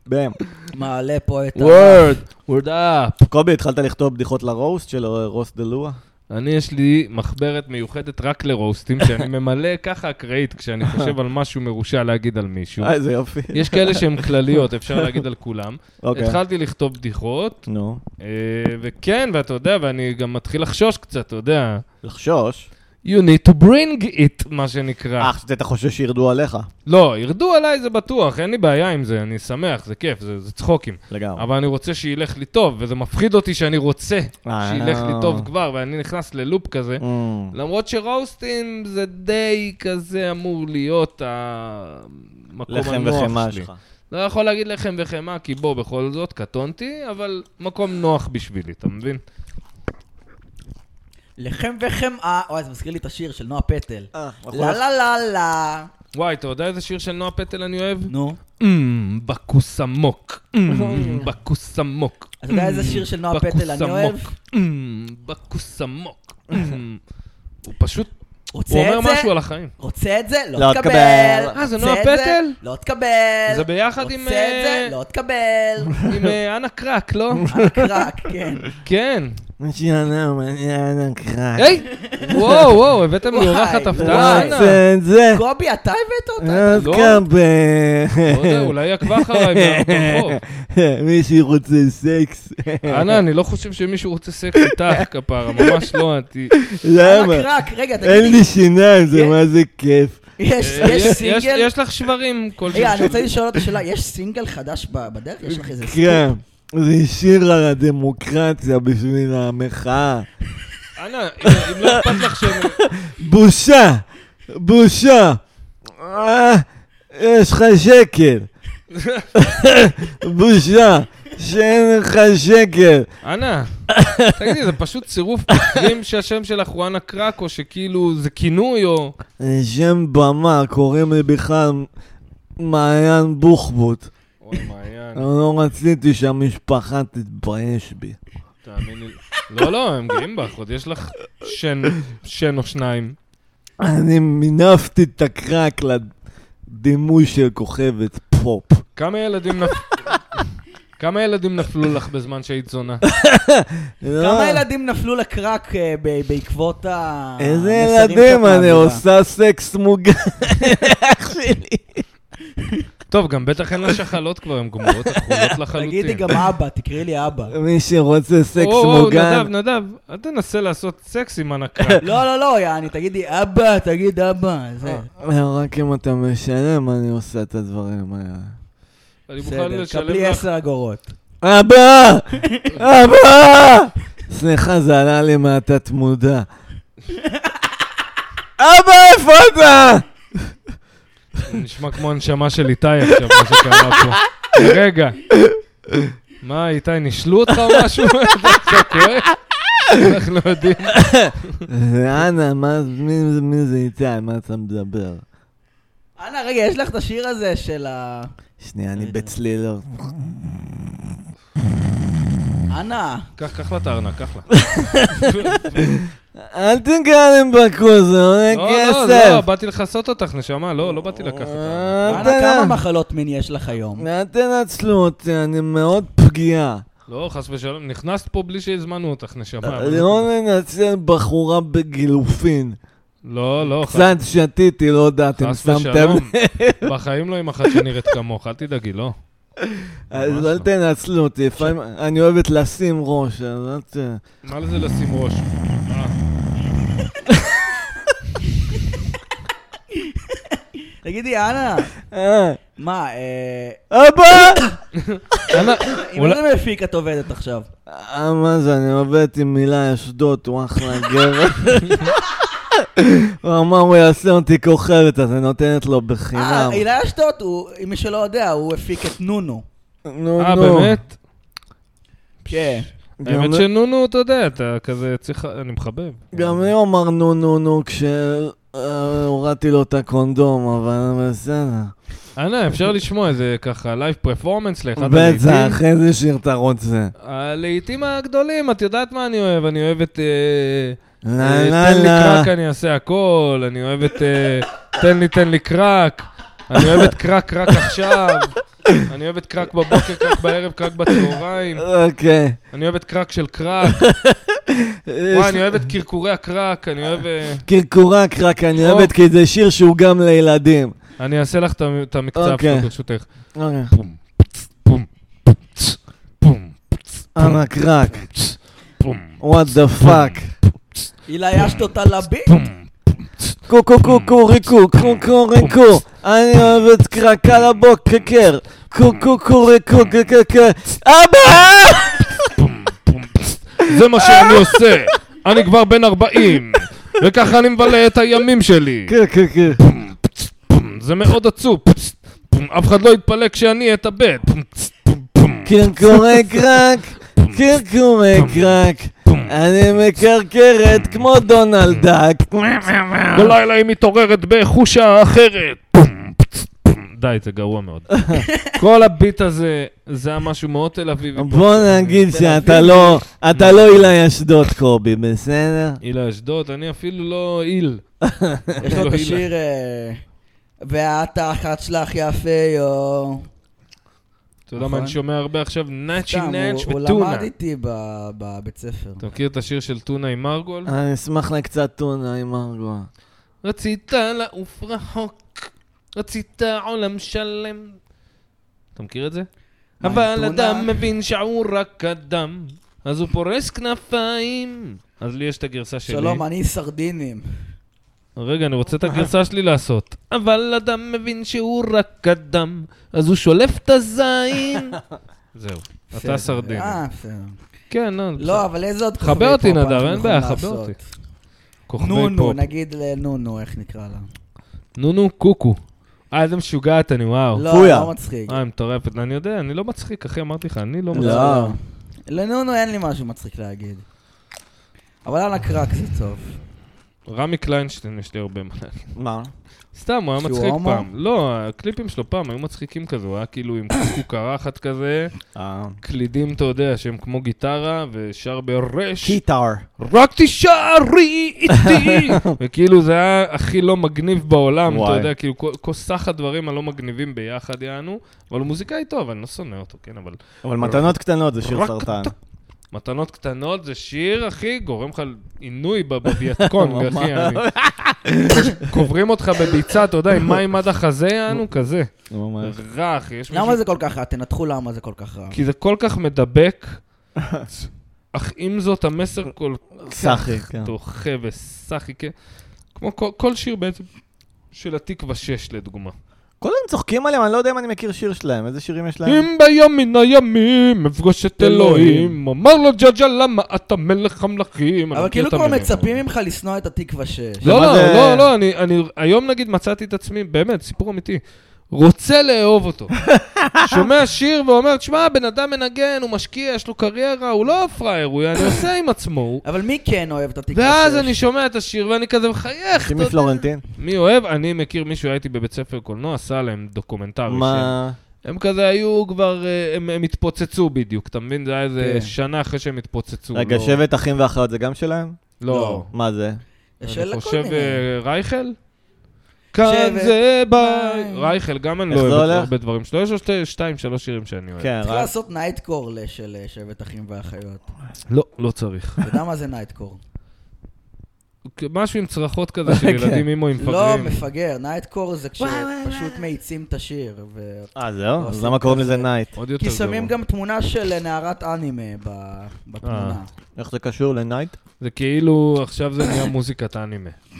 [SPEAKER 1] בהם.
[SPEAKER 2] מעלה פה את ה...
[SPEAKER 3] וורד! וורד אפ!
[SPEAKER 1] קובי, התחלת לכתוב בדיחות לרוסט של רוס דה לואה?
[SPEAKER 3] אני, יש לי מחברת מיוחדת רק לרוסטים, שאני ממלא ככה אקראית כשאני חושב על משהו מרושע להגיד על מישהו.
[SPEAKER 1] אה, איזה יופי.
[SPEAKER 3] יש כאלה שהן כלליות, אפשר להגיד על כולם.
[SPEAKER 1] אוקיי.
[SPEAKER 3] התחלתי לכתוב בדיחות,
[SPEAKER 1] נו.
[SPEAKER 3] אה, וכן, ואתה יודע, ואני גם מתחיל לחשוש קצת, אתה יודע.
[SPEAKER 1] לחשוש.
[SPEAKER 3] You need to bring it, מה שנקרא.
[SPEAKER 1] אה, חשבתי אתה חושש שירדו עליך.
[SPEAKER 3] לא, ירדו עליי זה בטוח, אין לי בעיה עם זה, אני שמח, זה כיף, זה, זה צחוקים.
[SPEAKER 1] לגמרי.
[SPEAKER 3] אבל אני רוצה שילך לי טוב, וזה מפחיד אותי שאני רוצה
[SPEAKER 1] אה.
[SPEAKER 3] שילך לי טוב כבר, ואני נכנס ללופ כזה.
[SPEAKER 1] אמ,
[SPEAKER 3] למרות שרוסטים זה די כזה אמור להיות המקום
[SPEAKER 1] לחם
[SPEAKER 3] הנוח
[SPEAKER 1] וחמאה
[SPEAKER 3] שלי.
[SPEAKER 1] שלך.
[SPEAKER 3] לא יכול להגיד לחם וחמאה, כי בוא, בכל זאת, קטונתי, אבל מקום נוח בשבילי, אתה מבין?
[SPEAKER 2] לחם וחמאה, אוי, אה, זה מזכיר לי את השיר של נועה פטל.
[SPEAKER 1] אה,
[SPEAKER 3] נכון.
[SPEAKER 1] אנחנו
[SPEAKER 2] לה לה לה לה.
[SPEAKER 3] וואי, אתה יודע איזה שיר של נועה פטל אני אוהב?
[SPEAKER 2] נו.
[SPEAKER 3] אמ, בכוס עמוק, אמ, בכוס עמוק.
[SPEAKER 2] אתה יודע איזה שיר של נועה פטל אני אוהב?
[SPEAKER 3] בכוס עמוק, אמ, בכוס עמוק. אמ. הוא פשוט,
[SPEAKER 2] רוצה
[SPEAKER 3] הוא אומר
[SPEAKER 2] את
[SPEAKER 3] משהו
[SPEAKER 2] זה?
[SPEAKER 3] על החיים.
[SPEAKER 2] רוצה את זה?
[SPEAKER 1] לא
[SPEAKER 2] לא
[SPEAKER 1] תקבל.
[SPEAKER 2] תקבל.
[SPEAKER 3] אה, זה
[SPEAKER 2] רוצה
[SPEAKER 3] נועה
[SPEAKER 2] את זה?
[SPEAKER 3] פטל?
[SPEAKER 2] לא תקבל.
[SPEAKER 3] זה ביחד עם,
[SPEAKER 2] רוצה את זה?
[SPEAKER 3] אה,
[SPEAKER 2] לא תקבל.
[SPEAKER 3] עם אה, אנה קרק, לא?
[SPEAKER 2] קרק, כן.
[SPEAKER 3] כן.
[SPEAKER 1] היי,
[SPEAKER 3] היי! וואו, וואו, הבאתם לי אורחת
[SPEAKER 2] וואי,
[SPEAKER 3] הפתעה, אנה.
[SPEAKER 1] את זה,
[SPEAKER 2] קובי, לא, אתה הבאת אותה?
[SPEAKER 1] אז
[SPEAKER 3] לא? לא יודע,
[SPEAKER 1] קבל.
[SPEAKER 3] אולי היא עקבה אחריי מהרחוב.
[SPEAKER 1] מישהו רוצה סקס.
[SPEAKER 3] אנה, אני לא חושב שמישהו רוצה סקס איתך, כפרה, ממש לא, את...
[SPEAKER 1] למה?
[SPEAKER 2] קרק, קרק, רגע,
[SPEAKER 1] אין
[SPEAKER 2] תגידי.
[SPEAKER 1] לי שיניים, זה
[SPEAKER 2] כן.
[SPEAKER 1] מה זה כיף.
[SPEAKER 2] יש
[SPEAKER 3] אה,
[SPEAKER 2] יש
[SPEAKER 3] יש-
[SPEAKER 2] סינגל?
[SPEAKER 3] יש לך שברים כלשהם.
[SPEAKER 2] רגע, אני רוצה לשאול אותה שאלה, יש סינגל חדש ב- בדרך? יש לך איזה
[SPEAKER 1] כן,
[SPEAKER 2] סינגל?
[SPEAKER 1] זה שיר על הדמוקרטיה בשביל המחאה.
[SPEAKER 3] אנה, אם- אם לא אכפת לך ש...
[SPEAKER 1] בושה! בושה! אה, יש לך שקל. בושה, שאין לך שקל.
[SPEAKER 3] אנא, תגידי, זה פשוט צירוף מקרים שהשם שלך הוא אנה קרקו, שכאילו זה כינוי או...
[SPEAKER 1] אני שם במה, קוראים לי בכלל מעיין בוחבוט.
[SPEAKER 3] אוי, מעיין,
[SPEAKER 1] אני לא רציתי שהמשפחה תתבייש בי.
[SPEAKER 3] תאמיני לי. לא, לא, הם גאים בך, עוד יש לך שן, שן או שניים.
[SPEAKER 1] אני מינפתי את הקרק לדימוי של כוכבת פופ.
[SPEAKER 3] כמה ילדים נפ... כמה ילדים נפלו לך בזמן שהיית זונה?
[SPEAKER 1] לא. אה,
[SPEAKER 2] כמה ילדים נפלו לקרק אה, ב- בעקבות ה...
[SPEAKER 1] איזה
[SPEAKER 2] מסרים
[SPEAKER 1] ילדים,
[SPEAKER 2] שאת
[SPEAKER 1] אני
[SPEAKER 2] מעבירה?
[SPEAKER 1] עושה סקס מוגן. אח שלי.
[SPEAKER 3] טוב, גם בטח אין לה שחלות כבר, הן גמורות הכחולות לחלוטין.
[SPEAKER 2] תגידי גם אבא, תקראי לי אבא.
[SPEAKER 1] מי שרוצה סקס
[SPEAKER 3] וואו,
[SPEAKER 1] מוגן,
[SPEAKER 3] נדב, נדב, אל תנסה לעשות סקס עם הנקה.
[SPEAKER 2] לא, לא, לא, יעני, תגידי אבא, תגיד אבא,
[SPEAKER 3] אה,
[SPEAKER 2] זה.
[SPEAKER 1] רק אם אתה משלם, אני עושה את הדברים האלה.
[SPEAKER 3] אני מוכן
[SPEAKER 2] בסדר,
[SPEAKER 3] לשלם
[SPEAKER 2] קבלי
[SPEAKER 3] לך...
[SPEAKER 2] 10 אגורות.
[SPEAKER 1] אבא! אבא! סליחה, זה עלה לי מהתת מודע. אבא, איפה אתה?
[SPEAKER 3] נשמע כמו הנשמה של איתי עכשיו, מה שקרה פה. רגע. מה, איתי, נישלו אותך או משהו? אתה כואב? אנחנו לא יודעים.
[SPEAKER 1] אנא, מה- מי- מי זה איתי? מה אתה מדבר?
[SPEAKER 2] אנא, רגע, יש לך את השיר הזה של ה...
[SPEAKER 1] שנייה,
[SPEAKER 3] לא
[SPEAKER 1] אני בצלילר.
[SPEAKER 2] אנא,
[SPEAKER 3] קח, קח לה את הארנק, קח לה.
[SPEAKER 1] אל תיגע להם בקוז, זה עולה
[SPEAKER 3] לא, לא, לא,
[SPEAKER 1] כסף.
[SPEAKER 3] באתי לכסות אותך, נשמה, לא, לא באתי לקחת אותך.
[SPEAKER 1] אל
[SPEAKER 2] אנא,
[SPEAKER 1] תנ-
[SPEAKER 2] כמה מחלות מין יש לך היום?
[SPEAKER 1] אל תנצלו אותי, אני מאוד פגיעה.
[SPEAKER 3] לא, חס ושלום, נכנסת פה בלי שהזמנו אותך, נשמה.
[SPEAKER 1] לא ננצל בחורה בגילופין.
[SPEAKER 3] לא, לא, חס-
[SPEAKER 1] קצת שתיתי, לא יודע, אתם
[SPEAKER 3] חס
[SPEAKER 1] שמתם
[SPEAKER 3] ושלום.
[SPEAKER 1] לב.
[SPEAKER 3] בחיים לא עם אחת שנראית כמוך, אל תדאגי, לא. ממש
[SPEAKER 1] אז
[SPEAKER 3] לא.
[SPEAKER 1] אל תנצלו אותי, לפעמים אני אוהבת לשים ראש, אז אל ת...
[SPEAKER 3] מה לזה לשים ראש? אה,
[SPEAKER 2] תגידי, אנא,
[SPEAKER 1] אה,
[SPEAKER 2] מה, אה...
[SPEAKER 1] אבא!
[SPEAKER 2] עם
[SPEAKER 3] אולי-
[SPEAKER 2] איזה מפיק את עובדת עכשיו?
[SPEAKER 1] אה, מה זה, אני עובדת עם מילה אשדוד, הוא אחלה גבר. הוא אמר, הוא יעשה אותי כוכבת, אז אני נותנת לו
[SPEAKER 2] אה,
[SPEAKER 1] בחינם.
[SPEAKER 2] הילה אשדוד, הוא- מי שלא יודע, הוא הפיק את נונו.
[SPEAKER 1] נו,
[SPEAKER 3] אה,
[SPEAKER 1] נו.
[SPEAKER 3] באמת?
[SPEAKER 2] כן.
[SPEAKER 1] גם- לא-
[SPEAKER 3] האמת שנונו, אתה יודע, אתה כזה צריך... אני מחבב.
[SPEAKER 1] גם לי הוא אמר נו נו נו כשהורדתי לו את הקונדום, אבל בסדר.
[SPEAKER 3] אנא, אפשר לשמוע איזה ככה לייב פרפורמנס לאחד
[SPEAKER 1] בטח, איזה שיר אתה רוצה.
[SPEAKER 3] הלעיתים הגדולים, את יודעת מה אני אוהב? אני אוהב את... אה,
[SPEAKER 1] לה
[SPEAKER 3] אה,
[SPEAKER 1] לה
[SPEAKER 3] תן לי
[SPEAKER 1] לה.
[SPEAKER 3] קרק, אני אעשה הכל. אני אוהב את... אה, תן לי, תן לי קרק. אני אוהב את קרק רק עכשיו. אני אוהב את קרק בבוקר, קרק בערב, קרק בצהריים.
[SPEAKER 1] אוקיי.
[SPEAKER 3] אני אוהב את קרק של קרק. וואי, אני אוהב את קרקורי הקרק. אני אוהב... אה,
[SPEAKER 1] קרקורה קרק, אני
[SPEAKER 3] או.
[SPEAKER 1] אוהבת כי זה שיר שהוא גם לילדים.
[SPEAKER 3] אני אעשה לך את המ- את המקצב
[SPEAKER 1] אוקיי.
[SPEAKER 3] שלו, ברשותך.
[SPEAKER 1] אוקיי.
[SPEAKER 3] פום, פצ, פום, פצ, פום, פצ,
[SPEAKER 1] אנא קרק,
[SPEAKER 3] פצ, פום,
[SPEAKER 1] what the fuck.
[SPEAKER 2] הילה אשדוד תלבי?
[SPEAKER 3] פום.
[SPEAKER 1] קו קו קו קו ריקו, קו קו ריקו, אני אוהב את קרק על הבוקר. קו קו קו ריקו, קו קו קו. אבא!
[SPEAKER 3] זה מה שאני
[SPEAKER 2] אה!
[SPEAKER 3] עושה. אני כבר בן 40, וככה אני מבלה את הימים שלי.
[SPEAKER 2] כן.
[SPEAKER 1] קו קו קו.
[SPEAKER 3] פום, פצ, פום. זה מאוד עצוב. פצ, פום. אף אחד לא יתפלא כשאני אתאבד. פום, פצ, פום, פום.
[SPEAKER 2] כן.
[SPEAKER 1] קרקורי קרק, קרקורי קרק, אני מקרקרת כמו דונלד דאק.
[SPEAKER 2] אה.
[SPEAKER 3] בלילה היא מתעוררת בחושה אחרת. פום, פצ, פום. די, זה גרוע מאוד. כל הביט הזה, זה היה משהו מאוד תל אביבי.
[SPEAKER 1] בוא נגיד שאתה לא, אתה לא אילי אשדוד קובי, בסדר?
[SPEAKER 3] הילה אשדוד, אני אפילו לא איל.
[SPEAKER 2] יש לו את
[SPEAKER 3] אלוהים.
[SPEAKER 2] השיר... אה, ואת האחת שלך יפה, יו.
[SPEAKER 3] אתה יודע מה
[SPEAKER 2] נכון.
[SPEAKER 3] אני שומע הרבה עכשיו? נאצ'י
[SPEAKER 2] סתם,
[SPEAKER 3] נאץ'
[SPEAKER 2] הוא- הוא
[SPEAKER 3] וטונה.
[SPEAKER 2] למד איתי ב- בבית ספר.
[SPEAKER 3] אתה מכיר את השיר של טונה עם מרגול?
[SPEAKER 1] אני אשמח לקצת טונה עם ארגואה.
[SPEAKER 3] רצית לעוף רחוק, רצית עולם שלם. אתה מכיר את זה?
[SPEAKER 2] מה,
[SPEAKER 3] אבל
[SPEAKER 2] טונה?
[SPEAKER 3] אדם מבין שעור רק אדם, אז הוא פורס כנפיים. אז לי יש את הגרסה שלי.
[SPEAKER 2] שלום, אני סרדינים.
[SPEAKER 3] רגע, אני רוצה את הגרסה שלי לעשות. אבל אדם מבין שהוא רק אדם, אז הוא שולף את הזין. זהו, אתה
[SPEAKER 2] בסדר.
[SPEAKER 3] סרדין.
[SPEAKER 2] אה, בסדר.
[SPEAKER 3] כן, לא,
[SPEAKER 2] לא, אבל איזה עוד
[SPEAKER 3] חבר
[SPEAKER 2] כוכבי
[SPEAKER 3] אותי,
[SPEAKER 2] פופ
[SPEAKER 3] נדב,
[SPEAKER 2] אנחנו
[SPEAKER 3] אין בעיה,
[SPEAKER 2] יכולים
[SPEAKER 3] חבר
[SPEAKER 2] לעשות?
[SPEAKER 3] אותי. כוכבי
[SPEAKER 2] נונו,
[SPEAKER 3] פופ.
[SPEAKER 2] נגיד לנונו, איך נקרא לה?
[SPEAKER 3] נונו קוקו. אה, איזה משוגעת אני, וואו.
[SPEAKER 2] לא,
[SPEAKER 1] פויה.
[SPEAKER 2] לא מצחיק.
[SPEAKER 3] אה, היא מטורפת. אני יודע, אני לא מצחיק, אחי, אמרתי לך, אני לא
[SPEAKER 1] לא.
[SPEAKER 3] מצחיק.
[SPEAKER 2] לא. לנונו אין לי משהו מצחיק להגיד. אבל על הקרק זה טוב.
[SPEAKER 3] רמי קליינשטיין, יש לי הרבה מה להגיד.
[SPEAKER 1] מה?
[SPEAKER 3] סתם, הוא היה
[SPEAKER 2] שהוא
[SPEAKER 3] מצחיק
[SPEAKER 2] הומו?
[SPEAKER 3] פעם. לא, הקליפים שלו פעם היו מצחיקים כזה, הוא היה כאילו עם קוקרחת כזה,
[SPEAKER 1] אה.
[SPEAKER 3] קלידים, אתה יודע, שהם כמו גיטרה, ושר ברש.
[SPEAKER 1] קיטר.
[SPEAKER 3] רק תישארי איתי! וכאילו זה היה הכי לא מגניב בעולם, אתה
[SPEAKER 1] וואי.
[SPEAKER 3] יודע, כאילו כל- כל סך הדברים הלא מגניבים ביחד יענו, אבל הוא מוזיקאי טוב, אני לא שונא אותו, כן, אבל
[SPEAKER 1] אבל מתנות קטנות זה שיר
[SPEAKER 3] רק
[SPEAKER 1] סרטן.
[SPEAKER 3] מתנות קטנות זה שיר, אחי, גורם לך עינוי ב- בווייטקונג, אחי, אני... קוברים אותך בביצה, אתה יודע, עם מים עד החזה יענו, כזה.
[SPEAKER 1] ממש.
[SPEAKER 3] רע, אחי, יש מישהו...
[SPEAKER 2] למה זה כל כך רע? תנתחו למה זה כל כך רע.
[SPEAKER 3] כי זה כל כך מדבק, אך עם זאת המסר כל
[SPEAKER 1] סחי, כן.
[SPEAKER 3] דוחה וסחי, כן. כמו כל, כל שיר בעצם של התקווה 6 לדוגמה.
[SPEAKER 1] כל היום צוחקים עליהם, אני לא יודע אם אני מכיר שיר שלהם, איזה שירים יש להם?
[SPEAKER 3] אם ביום מן הימים אפגוש את אלוהים, אמר לו ג'ג'ה למה אתה מלך המלכים. אני
[SPEAKER 2] אבל
[SPEAKER 3] מכיר
[SPEAKER 2] כאילו
[SPEAKER 3] את
[SPEAKER 2] כבר
[SPEAKER 3] המילים.
[SPEAKER 2] מצפים ממך לשנוא את התקווה 6.
[SPEAKER 3] לא,
[SPEAKER 1] ומה
[SPEAKER 3] לא,
[SPEAKER 1] זה-
[SPEAKER 3] לא, לא, אני, אני היום נגיד מצאתי את עצמי, באמת, סיפור אמיתי, רוצה לאהוב אותו. שומע שיר ואומר, תשמע, הבן אדם מנגן, הוא משקיע, יש לו קריירה, הוא לא פראייר, הוא אני עושה עם עצמו. הוא-
[SPEAKER 2] אבל מי כן אוהב את התקווה 6?
[SPEAKER 3] ואז אני שומע את השיר ואני כזה מחייך, אתה
[SPEAKER 1] שימי
[SPEAKER 3] יודע.
[SPEAKER 1] פלורנטין?
[SPEAKER 3] מי אוהב? אני מכיר מישהו, הייתי בבית ספר קולנוע, עשה עליהם דוקומנטרי.
[SPEAKER 1] מה?
[SPEAKER 3] שהם- הם כזה היו כבר, אה, הם הם התפוצצו בדיוק, אתה מבין? זה היה איזה
[SPEAKER 2] כן.
[SPEAKER 3] שנה אחרי שהם התפוצצו.
[SPEAKER 1] רגע,
[SPEAKER 3] לא-
[SPEAKER 1] שבט אחים ואחיות זה גם שלהם?
[SPEAKER 3] לא.
[SPEAKER 1] מה זה?
[SPEAKER 2] אני
[SPEAKER 3] אני חושב אה, רייכל? כאן
[SPEAKER 2] שבט,
[SPEAKER 3] זה ביי.
[SPEAKER 2] ביי.
[SPEAKER 3] רייכל, גם אני
[SPEAKER 1] איך
[SPEAKER 3] לא
[SPEAKER 1] זה
[SPEAKER 3] אוהב
[SPEAKER 1] הולך?
[SPEAKER 3] הרבה דברים שלו. יש לו שתי- שתיים, שלוש שירים שאני אוהב.
[SPEAKER 1] כן,
[SPEAKER 2] צריך
[SPEAKER 1] רק...
[SPEAKER 2] לעשות נייטקור של אה, שבט אחים ואחיות.
[SPEAKER 3] לא, לא צריך.
[SPEAKER 2] אתה יודע מה זה נייטקור?
[SPEAKER 3] משהו עם צרחות כזה
[SPEAKER 1] כן.
[SPEAKER 3] של ילדים אימו עם
[SPEAKER 2] לא,
[SPEAKER 3] פגרים.
[SPEAKER 2] מפגר, נייטקור זה כשפשוט מאיצים את השיר. ו-
[SPEAKER 1] אה, זהו? אז
[SPEAKER 2] עושים
[SPEAKER 1] למה קוראים לזה
[SPEAKER 2] כזה.
[SPEAKER 1] נייט?
[SPEAKER 3] עוד יותר
[SPEAKER 2] כי
[SPEAKER 3] גרוע.
[SPEAKER 2] שמים גם תמונה של אה, נערת אנימה ב-
[SPEAKER 3] אה,
[SPEAKER 2] בתמונה.
[SPEAKER 1] איך זה קשור לנייט?
[SPEAKER 3] זה כאילו, עכשיו זה נהיה מוזיקת האנימה.
[SPEAKER 1] אה,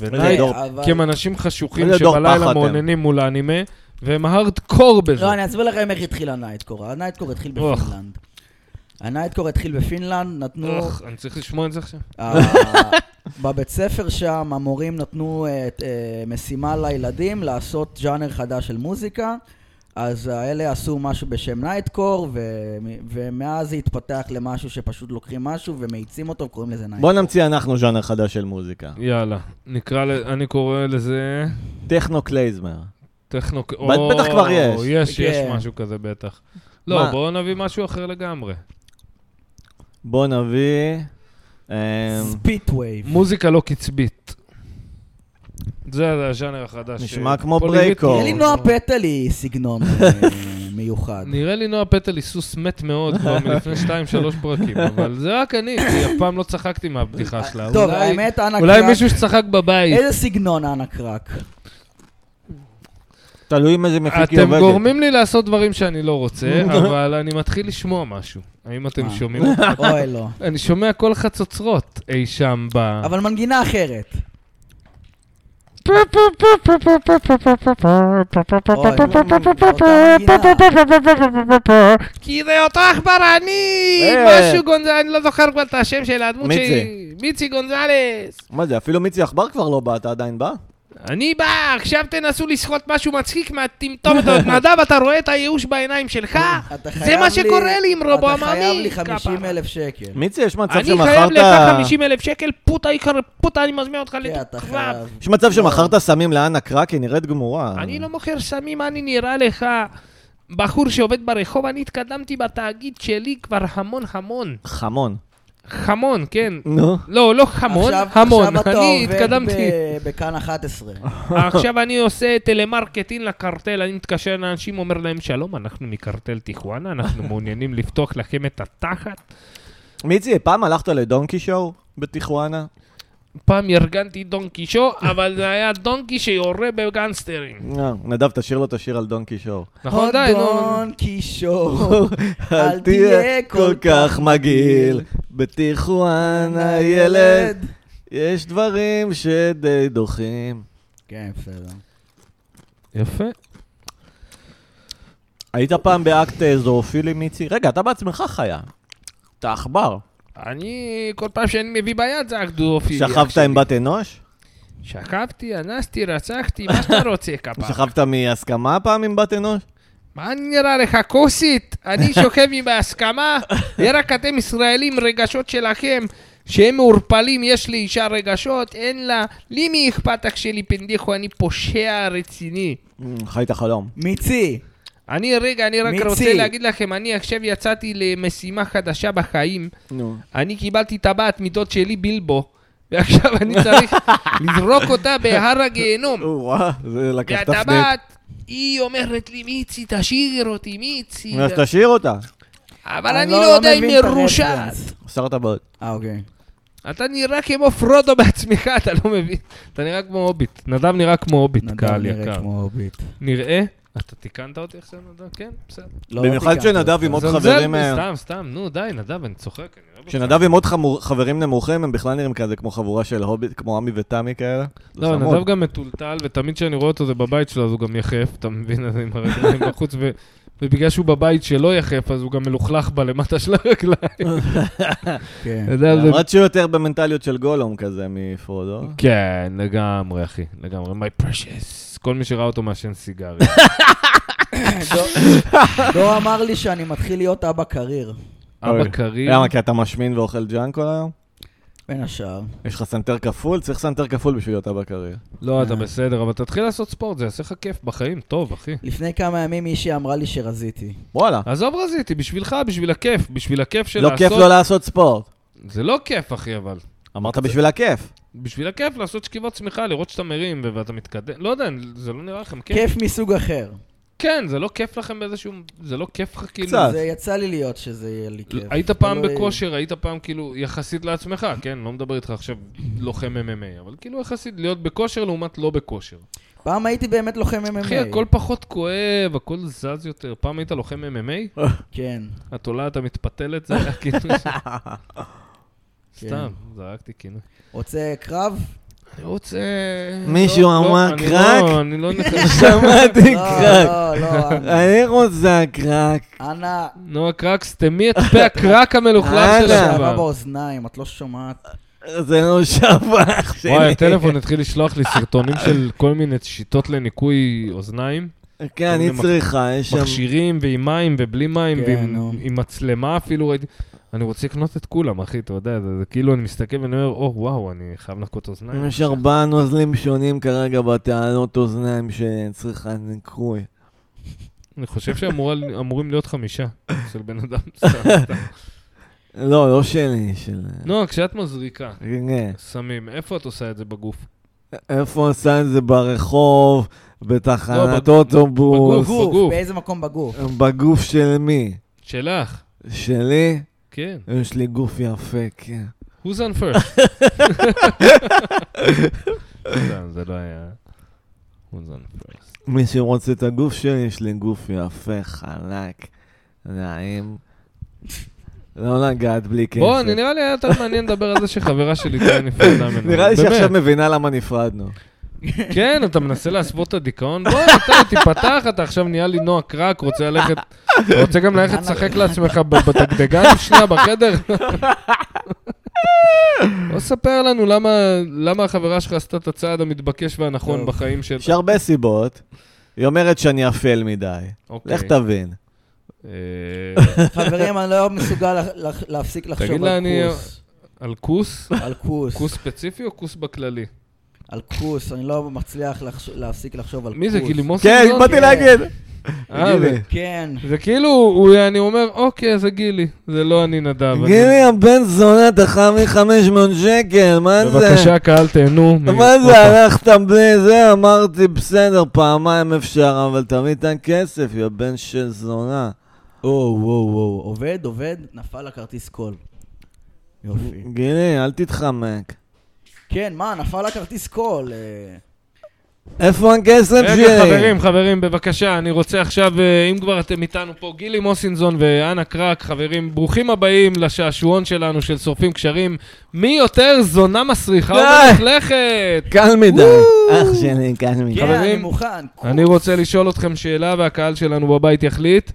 [SPEAKER 3] ונייט
[SPEAKER 2] כן,
[SPEAKER 1] דור.
[SPEAKER 2] אבל-
[SPEAKER 3] כי הם אנשים חשוכים
[SPEAKER 1] איזה דור פחד
[SPEAKER 3] שבלילה
[SPEAKER 1] הם.
[SPEAKER 3] מעוננים מול האנימה, והם הארדקור בזה.
[SPEAKER 2] לא, אני אסביר לכם איך התחיל הנייטקור. הנייטקור התחיל
[SPEAKER 3] אוח.
[SPEAKER 2] בפינלנד. הנייטקור התחיל בפינלנד, נתנו...
[SPEAKER 3] אוח, אני צריך לשמוע את זה עכשיו?
[SPEAKER 2] ה- בבית ספר שם המורים נתנו אה, ת- אה, משימה לילדים לעשות ז'אנר חדש של מוזיקה. אז האלה עשו משהו בשם נייטקור, ו- ומאז זה התפתח למשהו שפשוט לוקחים משהו ומאיצים אותו, וקוראים לזה נייטקור.
[SPEAKER 1] בוא נמציא אנחנו ז'אנר חדש של מוזיקה.
[SPEAKER 3] יאללה. נקרא, ל- אני קורא לזה...
[SPEAKER 1] טכנו קלייזמר.
[SPEAKER 3] טכנו...
[SPEAKER 1] בטח כבר יש.
[SPEAKER 3] יש, יש
[SPEAKER 2] כן.
[SPEAKER 3] משהו כזה בטח. לא,
[SPEAKER 1] מה?
[SPEAKER 3] בואו נביא משהו אחר לגמרי.
[SPEAKER 1] בוא נביא... אמ,
[SPEAKER 2] ספיטווייב.
[SPEAKER 3] מוזיקה לא קצבית. זה הז'אנר החדש.
[SPEAKER 1] נשמע כמו
[SPEAKER 3] פוליריתמי.
[SPEAKER 1] ברייקו.
[SPEAKER 2] נראה לי נועה פטל היא סגנון אה, מיוחד.
[SPEAKER 3] נראה לי נועה פטל היא סוס מת מאוד כבר מלפני שתיים, שלוש פרקים, אבל זה רק אני, כי אף פעם לא צחקתי מהבדיחה שלה.
[SPEAKER 2] אה, טוב,
[SPEAKER 3] אולי-
[SPEAKER 2] האמת, אנה
[SPEAKER 3] אולי
[SPEAKER 2] קרק,
[SPEAKER 3] מישהו שצחק בבית.
[SPEAKER 2] איזה סגנון אנה קרק?
[SPEAKER 1] תלוי עם איזה מפיק היא
[SPEAKER 3] אתם
[SPEAKER 1] עובדת.
[SPEAKER 3] גורמים לי לעשות דברים שאני לא רוצה, אבל אני מתחיל לשמוע משהו. האם אתם
[SPEAKER 2] אה.
[SPEAKER 3] שומעים?
[SPEAKER 2] אוי לא.
[SPEAKER 3] אני שומע קול חצוצרות אי שם ב...
[SPEAKER 2] אבל מנגינה אחרת. אוי, אותה מנגינה.
[SPEAKER 3] כי זה אותו עכבר אני!
[SPEAKER 1] אה.
[SPEAKER 3] משהו גונזלס, אני לא זוכר כבר את השם של הדמות
[SPEAKER 1] מיצי.
[SPEAKER 3] שלי. מיצי גונזלס.
[SPEAKER 1] מה זה, אפילו מיצי עכבר כבר לא בא, אתה עדיין בא?
[SPEAKER 3] אני בא, עכשיו תנסו לסחוט משהו מצחיק מהטמטומת עוד נדב, אתה רואה את הייאוש בעיניים שלך?
[SPEAKER 2] אתה
[SPEAKER 3] זה
[SPEAKER 2] חייב
[SPEAKER 3] מה שקורה לי עם רובו
[SPEAKER 2] אתה חייב
[SPEAKER 3] עממי.
[SPEAKER 2] לי 50 אלף שקל.
[SPEAKER 1] מיצי, יש מצב
[SPEAKER 3] אני
[SPEAKER 1] שמכרת...
[SPEAKER 3] חייב לך 50 אלף שקל, פוטה עיקר, פוטה אני מזמין אותך
[SPEAKER 2] כן, אתה
[SPEAKER 3] לדוקרב.
[SPEAKER 2] חייב.
[SPEAKER 1] יש מצב שמכרת סמים לאנה קרק, היא נראית גמורה.
[SPEAKER 3] אני לא מוכר סמים, אני נראה לך בחור שעובד ברחוב, אני התקדמתי בתאגיד שלי כבר המון המון.
[SPEAKER 1] חמון.
[SPEAKER 3] חמון, כן.
[SPEAKER 1] נו.
[SPEAKER 3] לא, לא חמון,
[SPEAKER 2] עכשיו-
[SPEAKER 3] המון.
[SPEAKER 2] עכשיו אתה
[SPEAKER 3] אני
[SPEAKER 2] עובד
[SPEAKER 3] התקדמתי.
[SPEAKER 2] ב- בכאן 11.
[SPEAKER 3] עכשיו אני עושה טלמרקטינג לקרטל, אני מתקשר לאנשים, אומר להם, שלום, אנחנו מקרטל טיחואנה, אנחנו מעוניינים לפתוח לכם את התחת.
[SPEAKER 1] מיצי, פעם הלכת לדונקי שואו בטיחואנה?
[SPEAKER 3] פעם ארגנתי דון קישו, אבל זה היה דונקי שיורה בגנסטרים.
[SPEAKER 1] אה, נדב, תשאיר לו את השיר על דונקי שואו.
[SPEAKER 3] נכון, די, נו.
[SPEAKER 2] דון קישור. אל תהיה כל כך
[SPEAKER 1] מגעיל, בטיחואנה ילד, יש דברים שדי דוחים.
[SPEAKER 2] כן, בסדר.
[SPEAKER 3] יפה.
[SPEAKER 1] היית פעם באקט אה, זואופילי מיצי? רגע, אתה בעצמך חיה. אתה עכבר.
[SPEAKER 3] אני, כל פעם שאני מביא ביד זה אקדופיליה.
[SPEAKER 1] שכבת עם בת אנוש?
[SPEAKER 3] שכבתי, אנסתי, רצחתי, מה שאתה רוצה כפר.
[SPEAKER 1] שכבת מהסכמה פעם עם בת אנוש?
[SPEAKER 3] מה נראה לך, כוסית? אני שוכב עם ההסכמה, ורק אתם ישראלים, רגשות שלכם, שהם מעורפלים, יש לאישה רגשות, אין לה. לי מי אכפת אח שלי, פנדיחו, אני פושע רציני.
[SPEAKER 1] אמ, חי את החלום.
[SPEAKER 2] מיצי,
[SPEAKER 3] אני, רגע, אני רק
[SPEAKER 2] מיצי.
[SPEAKER 3] רוצה להגיד לכם, אני עכשיו יצאתי למשימה חדשה בחיים.
[SPEAKER 1] נו.
[SPEAKER 3] אני קיבלתי טבעת מדוד שלי, בילבו, ועכשיו אני צריך לזרוק אותה בהר הגיהנום.
[SPEAKER 1] וואה, זה לקח תפנית.
[SPEAKER 3] והטבעת, היא אומרת לי, מיצי, תשאיר אותי, מיצי.
[SPEAKER 1] אז תשאיר אותה.
[SPEAKER 3] אבל
[SPEAKER 2] אני
[SPEAKER 3] אני
[SPEAKER 2] לא-
[SPEAKER 3] לא
[SPEAKER 2] לא
[SPEAKER 3] יודע אם
[SPEAKER 2] מבין
[SPEAKER 3] היא
[SPEAKER 2] את
[SPEAKER 3] מרושעת.
[SPEAKER 2] הרפרנס.
[SPEAKER 1] שר הטבעות.
[SPEAKER 2] אה, אוקיי.
[SPEAKER 3] אתה נראה כמו פרודו בעצמך, אתה לא מבין. אתה נראה כמו הוביט. נדב נראה כמו הוביט,
[SPEAKER 2] נדב
[SPEAKER 3] קהל
[SPEAKER 2] נראה
[SPEAKER 3] יקר.
[SPEAKER 2] כמו הוביט.
[SPEAKER 3] נראה? אתה תיקנת אותי עכשיו, נדב? כן, בסדר.
[SPEAKER 2] לא, לא
[SPEAKER 1] במיוחד
[SPEAKER 2] תיקנתי
[SPEAKER 1] כשנדב
[SPEAKER 2] אותך.
[SPEAKER 1] עם עוד
[SPEAKER 3] זלזל
[SPEAKER 1] חברים...
[SPEAKER 3] בי,
[SPEAKER 1] אה,
[SPEAKER 3] סתם, סתם, נו, די, נדב, אני צוחק. אני לא בטוח.
[SPEAKER 1] כשנדב עם עוד חמור- חברים נמוכים, הם בכלל נראים כזה כמו חבורה של הוביט, כמו עמי ותמי כאלה. זה
[SPEAKER 3] לא,
[SPEAKER 1] חמוד.
[SPEAKER 3] נדב גם מטולטל, ותמיד כשאני רואה אותו זה בבית שלו, אז הוא גם יחף, אתה מבין? אז עם הרגליים בחוץ, ו- ובגלל שהוא בבית שלא יחף, אז הוא גם מלוכלך בלמטה של הרגליים.
[SPEAKER 2] כן.
[SPEAKER 3] אתה יודע, זה-
[SPEAKER 1] למרות שהוא יותר במנטליות של גולום כזה מפרודו.
[SPEAKER 3] כן, לגמרי, אחי, לגמרי. My precious. כל מי שראה אותו מעשן סיגריה.
[SPEAKER 2] דור- דור אמר לי שאני מתחיל להיות אבא קריר,
[SPEAKER 3] אבא
[SPEAKER 1] אוי.
[SPEAKER 3] קריר.
[SPEAKER 1] למה? כי אתה משמין ואוכל ג'אנק כל היום?
[SPEAKER 2] בין השאר.
[SPEAKER 1] יש לך סנטר כפול? צריך סנטר כפול בשביל להיות אבא קריר.
[SPEAKER 3] לא, אתה בסדר, אבל תתחיל לעשות ספורט, זה יעשה לך כיף בחיים, טוב, אחי.
[SPEAKER 2] לפני כמה ימים מישהי אמרה לי שרזיתי.
[SPEAKER 1] וואלה.
[SPEAKER 3] עזוב רזיתי, בשבילך, בשביל הכיף, בשביל הכיף של
[SPEAKER 1] לא
[SPEAKER 3] לעשות...
[SPEAKER 1] כיף לא לעשות ספורט.
[SPEAKER 3] זה לא כיף, אחי, אבל.
[SPEAKER 1] אמרת בשביל הכיף.
[SPEAKER 3] בשביל הכיף לעשות שכיבות צמיחה, לראות שאתה מרים ו- ואתה מתקדם. לא יודע, זה לא נראה לכם כיף.
[SPEAKER 2] כיף מסוג אחר.
[SPEAKER 3] כן, זה לא כיף לכם באיזשהו... זה לא כיף לך, כאילו...
[SPEAKER 1] קצת.
[SPEAKER 2] זה יצא לי להיות שזה יהיה לי כיף.
[SPEAKER 3] היית פעם
[SPEAKER 2] תלוי.
[SPEAKER 3] בכושר, היית פעם כאילו יחסית לעצמך, כן? לא מדבר איתך עכשיו לוחם MMA, אבל כאילו יחסית להיות בכושר לעומת לא בכושר.
[SPEAKER 2] פעם הייתי באמת לוחם MMA.
[SPEAKER 3] אחי, הכל פחות כואב, הכל זז יותר. פעם היית לוחם MMA?
[SPEAKER 2] כן.
[SPEAKER 3] את עולה, אתה מתפתלת, זה היה כאילו... סתם, זרקתי כאילו.
[SPEAKER 2] רוצה קרב?
[SPEAKER 3] כן. אני רוצה...
[SPEAKER 1] מישהו
[SPEAKER 3] לא, לא,
[SPEAKER 1] אמר
[SPEAKER 3] אני
[SPEAKER 1] קרק?
[SPEAKER 3] לא, אני לא נכנס...
[SPEAKER 1] שמעתי
[SPEAKER 2] לא,
[SPEAKER 1] קרק.
[SPEAKER 2] לא, לא. אנא.
[SPEAKER 1] אני רוצה קרק.
[SPEAKER 2] אנא,
[SPEAKER 3] נועה קרק, סתמי את פה הקרק המלוכלך
[SPEAKER 1] אנא.
[SPEAKER 3] של
[SPEAKER 2] שעבה
[SPEAKER 3] השבב.
[SPEAKER 2] באוזניים, את לא שומעת.
[SPEAKER 1] זה לא שבח שלי.
[SPEAKER 3] וואי, הטלפון התחיל לשלוח לי סרטונים של כל מיני שיטות לניקוי אוזניים.
[SPEAKER 1] כן, אני צריכה, יש שם...
[SPEAKER 3] מכשירים ועם מים ובלי מים
[SPEAKER 2] כן,
[SPEAKER 3] ועם
[SPEAKER 2] נו.
[SPEAKER 3] עם מצלמה אפילו ראיתי. אני רוצה לקנות את כולם, אחי, אתה יודע, זה זה כאילו אני מסתכל ואני אומר, או, וואו, אני חייב לנקות אוזניים.
[SPEAKER 1] יש ארבעה נוזלים שונים כרגע בטענות אוזניים שצריכה ניקוי.
[SPEAKER 3] אני חושב שאמורים להיות חמישה של בן אדם. סתם, סתם.
[SPEAKER 1] לא, לא שלי, של...
[SPEAKER 3] נועה, כשאת מזריקה,
[SPEAKER 1] כן.
[SPEAKER 3] סמים, איפה את עושה את זה בגוף?
[SPEAKER 1] איפה עושה את זה ברחוב,
[SPEAKER 3] לא,
[SPEAKER 1] בתחנת
[SPEAKER 3] בג-
[SPEAKER 1] אוטובוס,
[SPEAKER 3] בגוף. בגוף.
[SPEAKER 2] באיזה מקום בגוף?
[SPEAKER 1] בגוף של מי?
[SPEAKER 3] שלך,
[SPEAKER 1] שלי?
[SPEAKER 3] כן.
[SPEAKER 1] יש לי גוף יפה, כן.
[SPEAKER 3] Who's on first? סתם, זה לא היה... Who's on first?
[SPEAKER 1] מי שרוצה את הגוף שלי, יש לי גוף יפה, חלק, נעים. לא לגעת בלי כסף.
[SPEAKER 3] בוא, אני- נראה לי היה יותר מעניין לדבר על זה שחברה שלי תהיה נפרדה ממנו.
[SPEAKER 1] נראה לי
[SPEAKER 3] באמת.
[SPEAKER 1] שעכשיו מבינה למה נפרדנו.
[SPEAKER 3] כן, אתה מנסה להסוות את הדיכאון? בוא, אתה תיפתח, אתה עכשיו נהיה לי נועה קרק, רוצה ללכת... אתה רוצה גם ללכת לשחק לעצמך ב- בדגדגן שנייה בחדר? בוא ספר לנו למה- למה החברה שלך עשתה את הצעד המתבקש והנכון
[SPEAKER 2] טוב.
[SPEAKER 3] בחיים שלה.
[SPEAKER 1] יש הרבה סיבות. היא אומרת שאני אפל מדי.
[SPEAKER 3] אוקיי.
[SPEAKER 1] לך תבין.
[SPEAKER 3] אה,
[SPEAKER 2] חברים, אני לא מסוגל לח- לח- להפסיק
[SPEAKER 3] תגיד
[SPEAKER 2] לחשוב
[SPEAKER 3] לה,
[SPEAKER 2] על
[SPEAKER 3] אני-
[SPEAKER 2] כוס.
[SPEAKER 3] על כוס?
[SPEAKER 2] על כוס.
[SPEAKER 3] כוס ספציפי או כוס בכללי?
[SPEAKER 2] על כוס, אני לא מצליח לחש- להפסיק לחשוב על כוס.
[SPEAKER 3] מי זה, גילי מוסי?
[SPEAKER 1] כן,
[SPEAKER 3] זאת?
[SPEAKER 1] באתי להגיד.
[SPEAKER 3] אה,
[SPEAKER 1] גילי.
[SPEAKER 2] כן.
[SPEAKER 3] זה כאילו, הוא- אני אומר, אוקיי, זה גילי, זה לא אני נדב. אני-
[SPEAKER 1] גילי הבן זונה, אתה חייב לי 500 שקל, מה זה?
[SPEAKER 3] בבקשה, קהל, תהנו. מ-
[SPEAKER 1] מה
[SPEAKER 3] עוד
[SPEAKER 1] זה, הלכת בלי זה? אמרתי, בסדר, פעמיים אפשר, אבל תביא את הכסף, יא בן של זונה.
[SPEAKER 2] או, וואו, וואו, עובד, עובד, נפל הכרטיס קול. יופי.
[SPEAKER 1] גילי, אל תתחמק.
[SPEAKER 2] כן, מה, נפל הכרטיס קול. אה,
[SPEAKER 1] איפה הכסף שלי?
[SPEAKER 3] רגע, חברים, חברים, בבקשה, אני רוצה עכשיו, אה, אם כבר אתם איתנו פה, גילי מוסינזון ואנה קרק, חברים, ברוכים הבאים לשעשועון שלנו של שורפים קשרים. מי יותר זונה מסריחה
[SPEAKER 1] די.
[SPEAKER 3] ומלכלכת?
[SPEAKER 1] קל מדי. אח שלי, קל מדי.
[SPEAKER 2] כן, אני
[SPEAKER 3] חברים,
[SPEAKER 2] מוכן.
[SPEAKER 3] אני רוצה לשאול אתכם שאלה, והקהל שלנו בבית יחליט.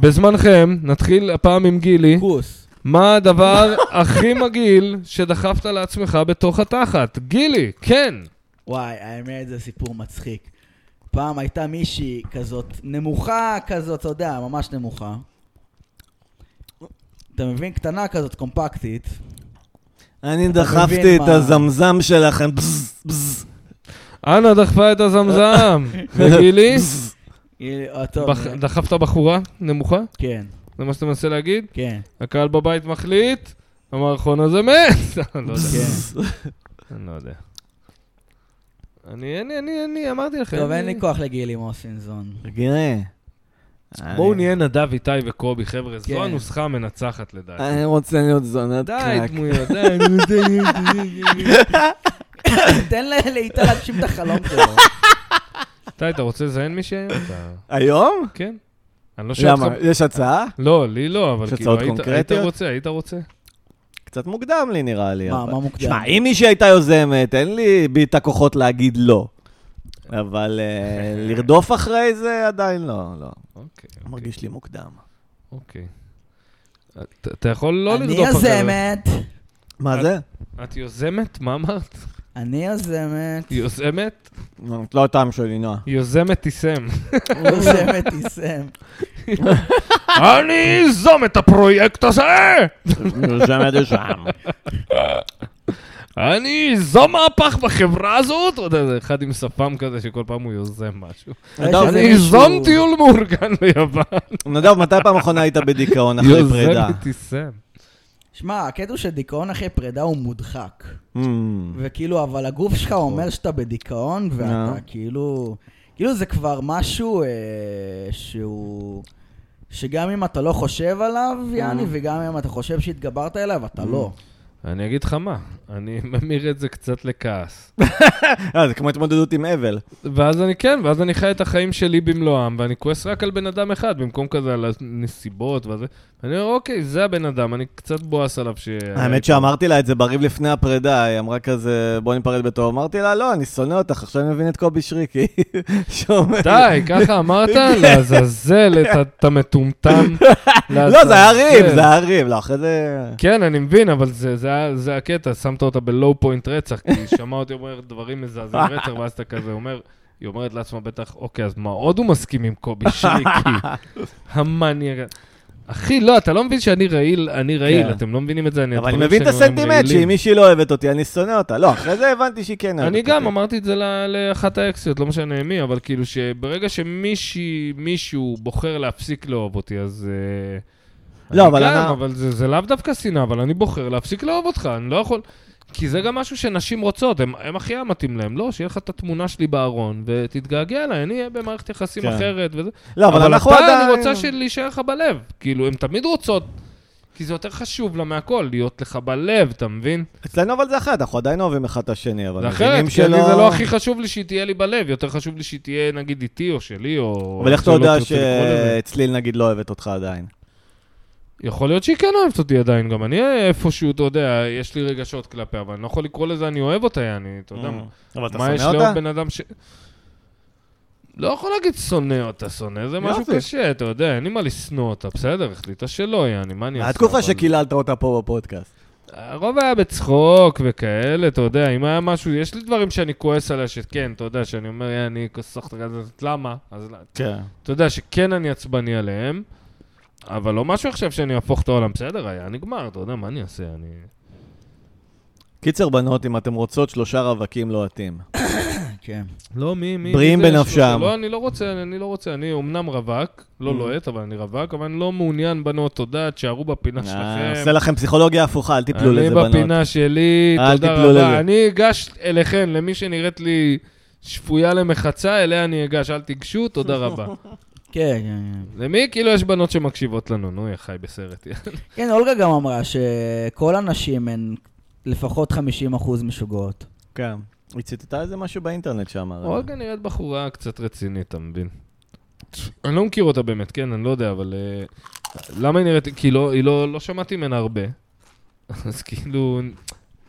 [SPEAKER 3] בזמנכם, נתחיל הפעם עם גילי.
[SPEAKER 2] כוס.
[SPEAKER 3] מה הדבר הכי מגעיל שדחפת לעצמך בתוך התחת? גילי, כן.
[SPEAKER 2] וואי, האמת זה סיפור מצחיק. פעם הייתה מישהי כזאת נמוכה כזאת, אתה יודע, ממש נמוכה. אתה מבין? קטנה כזאת, קומפקטית.
[SPEAKER 1] אני
[SPEAKER 2] אתה
[SPEAKER 1] דחפתי
[SPEAKER 2] מבין
[SPEAKER 1] את
[SPEAKER 2] מה-
[SPEAKER 1] הזמזם שלכם, בזז, בזז.
[SPEAKER 3] אנה דחפה את הזמזם, וגילי,
[SPEAKER 2] היא- אה, טוב,
[SPEAKER 3] בח-
[SPEAKER 2] אה,
[SPEAKER 3] דחפת בחורה נמוכה?
[SPEAKER 2] כן,
[SPEAKER 3] זה מה שאתה מנסה להגיד?
[SPEAKER 2] כן,
[SPEAKER 3] הקהל בבית מחליט, המערכון הזה מת! אני לא יודע.
[SPEAKER 2] כן.
[SPEAKER 3] אני לא יודע. אני, אני, אני, אני, אמרתי לכם.
[SPEAKER 2] טוב,
[SPEAKER 3] אני-
[SPEAKER 2] אין לי כוח לגילי מוסינזון.
[SPEAKER 1] תראה.
[SPEAKER 3] בואו
[SPEAKER 1] אני-
[SPEAKER 3] נהיה נדב, איתי וקובי, חבר'ה, זו
[SPEAKER 2] כן. אה,
[SPEAKER 3] הנוסחה המנצחת לדעתי.
[SPEAKER 1] אני רוצה להיות זונת
[SPEAKER 3] די,
[SPEAKER 1] קרק.
[SPEAKER 3] דמויות, די, נו, די, נו, די, די, די.
[SPEAKER 2] תן ל- לאיטה להגשים את החלום שלו.
[SPEAKER 3] איתי, אתה רוצה לזיין מישהי היום? אתה-
[SPEAKER 1] היום?
[SPEAKER 3] כן. אני לא שואל אותך...
[SPEAKER 1] למה? יש הצעה?
[SPEAKER 3] לא, לי לא, אבל
[SPEAKER 1] יש
[SPEAKER 3] כאילו,
[SPEAKER 1] הצעות
[SPEAKER 3] היית- היית
[SPEAKER 1] קונקרטיות?
[SPEAKER 3] רוצה, היית רוצה.
[SPEAKER 1] קצת מוקדם לי נראה לי.
[SPEAKER 2] מה,
[SPEAKER 1] אבל-
[SPEAKER 2] מה מוקדם?
[SPEAKER 1] שמע, אם מישהי הייתה יוזמת, אין לי בי את הכוחות להגיד לא. אבל אה, לרדוף אחרי זה עדיין לא, לא.
[SPEAKER 3] אוקיי,
[SPEAKER 1] מרגיש לי מוקדם.
[SPEAKER 3] אוקיי. אתה- אתה יכול לא
[SPEAKER 2] אני
[SPEAKER 3] לרדוף אחרי זה.
[SPEAKER 2] יוזמת,
[SPEAKER 1] מה זה?
[SPEAKER 3] את יוזמת? מה אמרת?
[SPEAKER 2] אני יוזמת,
[SPEAKER 3] יוזמת?
[SPEAKER 1] את לא הטעם שלי, נועה.
[SPEAKER 3] יוזמת תיסם.
[SPEAKER 2] יוזמת תיסם.
[SPEAKER 3] אני איזום את הפרויקט הזה!
[SPEAKER 1] יוזמת שם.
[SPEAKER 3] אני איזום מהפך בחברה הזאת! אתה יודע, זה אחד עם שפם כזה שכל פעם הוא יוזם משהו.
[SPEAKER 1] נדב,
[SPEAKER 2] זה
[SPEAKER 3] אני
[SPEAKER 2] מישהו-
[SPEAKER 3] איזום טיול מאורגן ביוון.
[SPEAKER 1] נדב, מתי פעם אחרונה היית בדיכאון אחרי פרידה?
[SPEAKER 3] יוזמת תיסם.
[SPEAKER 2] שמע, הקטע הוא שדיכאון אחרי פרידה הוא מודחק.
[SPEAKER 1] Mm.
[SPEAKER 2] וכאילו, אבל הגוף שלך אומר שאתה בדיכאון, ואתה
[SPEAKER 1] אה.
[SPEAKER 2] כאילו... כאילו זה כבר משהו אה, שהוא... שגם אם אתה לא חושב עליו, יעני, וגם אם אתה חושב שהתגברת אליו, אתה לא.
[SPEAKER 3] אני אגיד לך מה, אני ממיר את זה קצת לכעס.
[SPEAKER 1] אה, זה כמו התמודדות עם אבל.
[SPEAKER 3] ואז אני, כן, ואז אני חי את החיים שלי במלואם, ואני כועס רק על בן אדם אחד, במקום כזה על הנסיבות וזה. אני אומר, אוקיי, זה הבן אדם, אני קצת בואס עליו ש...
[SPEAKER 1] האמת שאמרתי לה את זה בריב לפני הפרידה, היא אמרה כזה, בוא ניפרד בטוב. אמרתי לה, לא, אני שונא אותך, עכשיו אני מבין את קובי שריקי. שאומר...
[SPEAKER 3] די, ככה אמרת? לעזאזל, אתה- אתה מטומטם.
[SPEAKER 1] לא, זה היה
[SPEAKER 3] לעזאזל.
[SPEAKER 1] ריב, זה היה ריב, לא, אחרי זה...
[SPEAKER 3] כן, אני מבין, אבל זה, זה, היה- זה הקטע, שמת אותה בלואו פוינט רצח, כי היא שמעה אותי אומר דברים מזעזעים רצח, ואז אתה כזה אומר, היא אומרת לעצמה בטח, אוקיי, אז מה עוד הוא מסכים עם קובי שריקי? המניאק. אחי, לא, אתה לא מבין שאני רעיל, אני רעיל,
[SPEAKER 1] כן.
[SPEAKER 3] אתם לא מבינים את זה,
[SPEAKER 1] אבל אני
[SPEAKER 3] הדברים
[SPEAKER 1] מבין את
[SPEAKER 3] שאני אומר הם
[SPEAKER 1] הסנטימנט, שאם
[SPEAKER 3] רעילים.
[SPEAKER 1] מישהי לא אוהבת אותי, אני שונא אותה. לא, אחרי זה הבנתי שהיא כן אוהבת
[SPEAKER 3] אני
[SPEAKER 1] אותי.
[SPEAKER 3] גם אמרתי את זה ל- לאחת האקסיות, לא משנה מי, אבל כאילו שברגע שמישהי, מישהו בוחר להפסיק לאהוב אותי, אז... אה,
[SPEAKER 1] לא, אבל
[SPEAKER 3] אני... גם,
[SPEAKER 1] אני-
[SPEAKER 3] אבל זה, זה לאו דווקא שנאה, אבל אני בוחר להפסיק לאהוב אותך, אני לא יכול... כי זה גם משהו שנשים רוצות, הם, הם הכי היה מתאים להם. לא, שיהיה לך את התמונה שלי בארון, ותתגעגע אליי, אני אהיה במערכת יחסים
[SPEAKER 1] כן.
[SPEAKER 3] אחרת וזה.
[SPEAKER 1] לא, אבל אנחנו עדיין...
[SPEAKER 3] אתה, אני רוצה להישאר לך בלב. כאילו, הן תמיד רוצות, כי זה יותר חשוב לה מהכל, להיות לך בלב, אתה מבין?
[SPEAKER 1] אצלנו אבל זה אחרת, אנחנו עדיין אוהבים אחד את השני, אבל...
[SPEAKER 3] זה אחרת,
[SPEAKER 1] מבינים
[SPEAKER 3] כי אני,
[SPEAKER 1] שלא-
[SPEAKER 3] זה לא הכי חשוב לי שהיא תהיה לי בלב, יותר חשוב לי שהיא תהיה נגיד איתי או שלי, או... לא
[SPEAKER 1] אבל איך אתה
[SPEAKER 3] שלא
[SPEAKER 1] יודע
[SPEAKER 3] תרצה לקרוא לזה.
[SPEAKER 1] שצליל נגיד לא אוהבת אותך עדיין?
[SPEAKER 3] יכול להיות שהיא כן אוהבת אותי עדיין, גם אני איפשהו, אתה יודע, יש לי רגשות כלפיה, אבל אני לא יכול לקרוא לזה אני אוהב אותה, יעני, אתה יודע.
[SPEAKER 1] אבל אה, אתה
[SPEAKER 3] מה יש
[SPEAKER 1] שונא אותה?
[SPEAKER 3] לאהוב בן אדם ש... לא יכול להגיד שונא אותה, שונא, זה משהו
[SPEAKER 1] יופי.
[SPEAKER 3] קשה, אתה יודע, אין לי מה לשנוא אותה, בסדר, החליטה שלא, יעני, מה אני אעשה?
[SPEAKER 1] התקופה
[SPEAKER 3] אבל-
[SPEAKER 1] שקיללת אותה פה בפודקאסט.
[SPEAKER 3] הרוב היה בצחוק וכאלה, אתה יודע, אם היה משהו, יש לי דברים שאני כועס עליה, שכן, אתה יודע, שאני אומר, "יא, אני כוסח את הגזת, למה? אז לא-
[SPEAKER 1] כן.
[SPEAKER 3] אתה יודע שכן אני עצבני עליהם, אבל לא משהו עכשיו שאני אהפוך את העולם. בסדר, היה נגמר, אתה יודע, מה אני אעשה? אני...
[SPEAKER 1] קיצר, בנות, אם אתם רוצות, שלושה רווקים לא לוהטים.
[SPEAKER 2] כן.
[SPEAKER 3] לא, מי, מי...
[SPEAKER 1] בריאים
[SPEAKER 3] מי זה?
[SPEAKER 1] בנפשם.
[SPEAKER 3] שלושה. לא, אני לא רוצה, אני לא רוצה. אני אומנם רווק, לא לוהט, אבל אני רווק, אבל אני לא מעוניין, בנות, תודה, תשארו בפינה
[SPEAKER 1] אה,
[SPEAKER 3] לא שלכם.
[SPEAKER 1] עושה לכם פסיכולוגיה הפוכה, אל תיפלו לזה,
[SPEAKER 3] אני
[SPEAKER 1] בנות.
[SPEAKER 3] בפינה שלי,
[SPEAKER 1] אל
[SPEAKER 3] תודה
[SPEAKER 1] תיפלו לזה.
[SPEAKER 3] רבה. אני אגש אליכן, למי שנראית לי שפויה למחצה, אליה אני אגש, אל תיגשו, תודה רבה.
[SPEAKER 2] כן, כן, כן.
[SPEAKER 3] למי? כאילו יש בנות שמקשיבות לנו, נו, יא חי בסרט. יא.
[SPEAKER 2] כן, אולגה גם אמרה שכל הנשים הן לפחות 50% משוגעות.
[SPEAKER 1] כן. היא ציטטה איזה משהו באינטרנט שם. הרי.
[SPEAKER 3] אולגה נראית בחורה קצת רצינית, אתה מבין? אני לא מכיר אותה באמת, כן, אני לא יודע, אבל... אה, למה היא נראית... כי לא, היא לא, לא שמעתי ממנה הרבה. אז כאילו...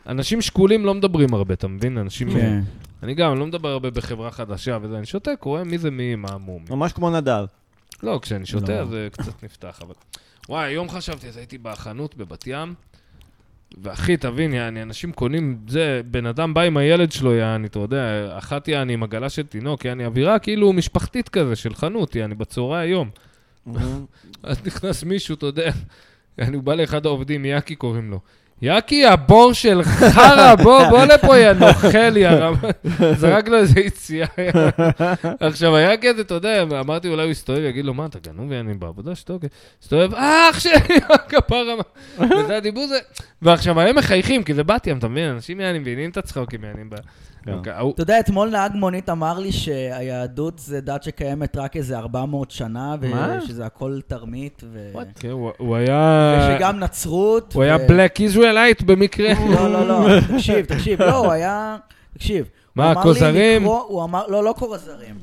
[SPEAKER 3] אנשים שקולים לא מדברים הרבה, אתה מבין? אנשים...
[SPEAKER 2] כן.
[SPEAKER 3] אני גם, אני לא מדבר הרבה בחברה חדשה וזה, אני שותק, רואה מי זה מי, מה המום.
[SPEAKER 1] ממש כמו נדב.
[SPEAKER 3] לא, כשאני
[SPEAKER 2] לא.
[SPEAKER 3] שותה אז זה קצת נפתח, אבל... וואי, היום חשבתי, אז הייתי בחנות בבת ים, ואחי, תבין, יעני, אנשים קונים, זה, בן אדם בא עם הילד שלו, יעני, אתה יודע, אחת יעני עם עגלה של תינוק, יעני, אווירה כאילו משפחתית כזה, של חנות, יעני, בצהרי היום. אז נכנס מישהו, אתה יודע, יעני, הוא בא לאחד העובדים, יאקי קוראים לו. יאקי, הבור של חרא, בוא, בוא לפה, יא נוכל, יא רם. זרק לו לא איזה יציאה. עכשיו, היה כזה, אתה יודע, אמרתי, אולי הוא יסתובב, יגיד לו, מה, אתה גנוב, יעני, בעבודה שתוק. הסתובב, אה, אח שלי, כפרה. וזה הדיבור זה. ועכשיו, הם מחייכים, כי זה בת ים, אתה מבין? אנשים יעני מבינים את הצחוקים, יעני. ב- אוקיי,
[SPEAKER 1] כן.
[SPEAKER 3] ההוא-
[SPEAKER 2] אתה יודע, אתמול נהג מונית אמר לי שהיהדות זה דת שקיימת רק איזה 400 שנה,
[SPEAKER 1] מה?
[SPEAKER 2] ושזה הכל תרמית, ו...
[SPEAKER 3] כן, הוא- הוא היה...
[SPEAKER 2] ושגם נצרות.
[SPEAKER 3] הוא
[SPEAKER 2] ו-
[SPEAKER 3] היה בלק איזואלייט במקרה.
[SPEAKER 2] לא, לא, לא, תקשיב, תקשיב, לא, הוא היה... תקשיב.
[SPEAKER 3] מה,
[SPEAKER 2] הוא אמר לי
[SPEAKER 3] כוזרים?
[SPEAKER 2] לקרוא- הוא אמר, לא, לא כוזרים.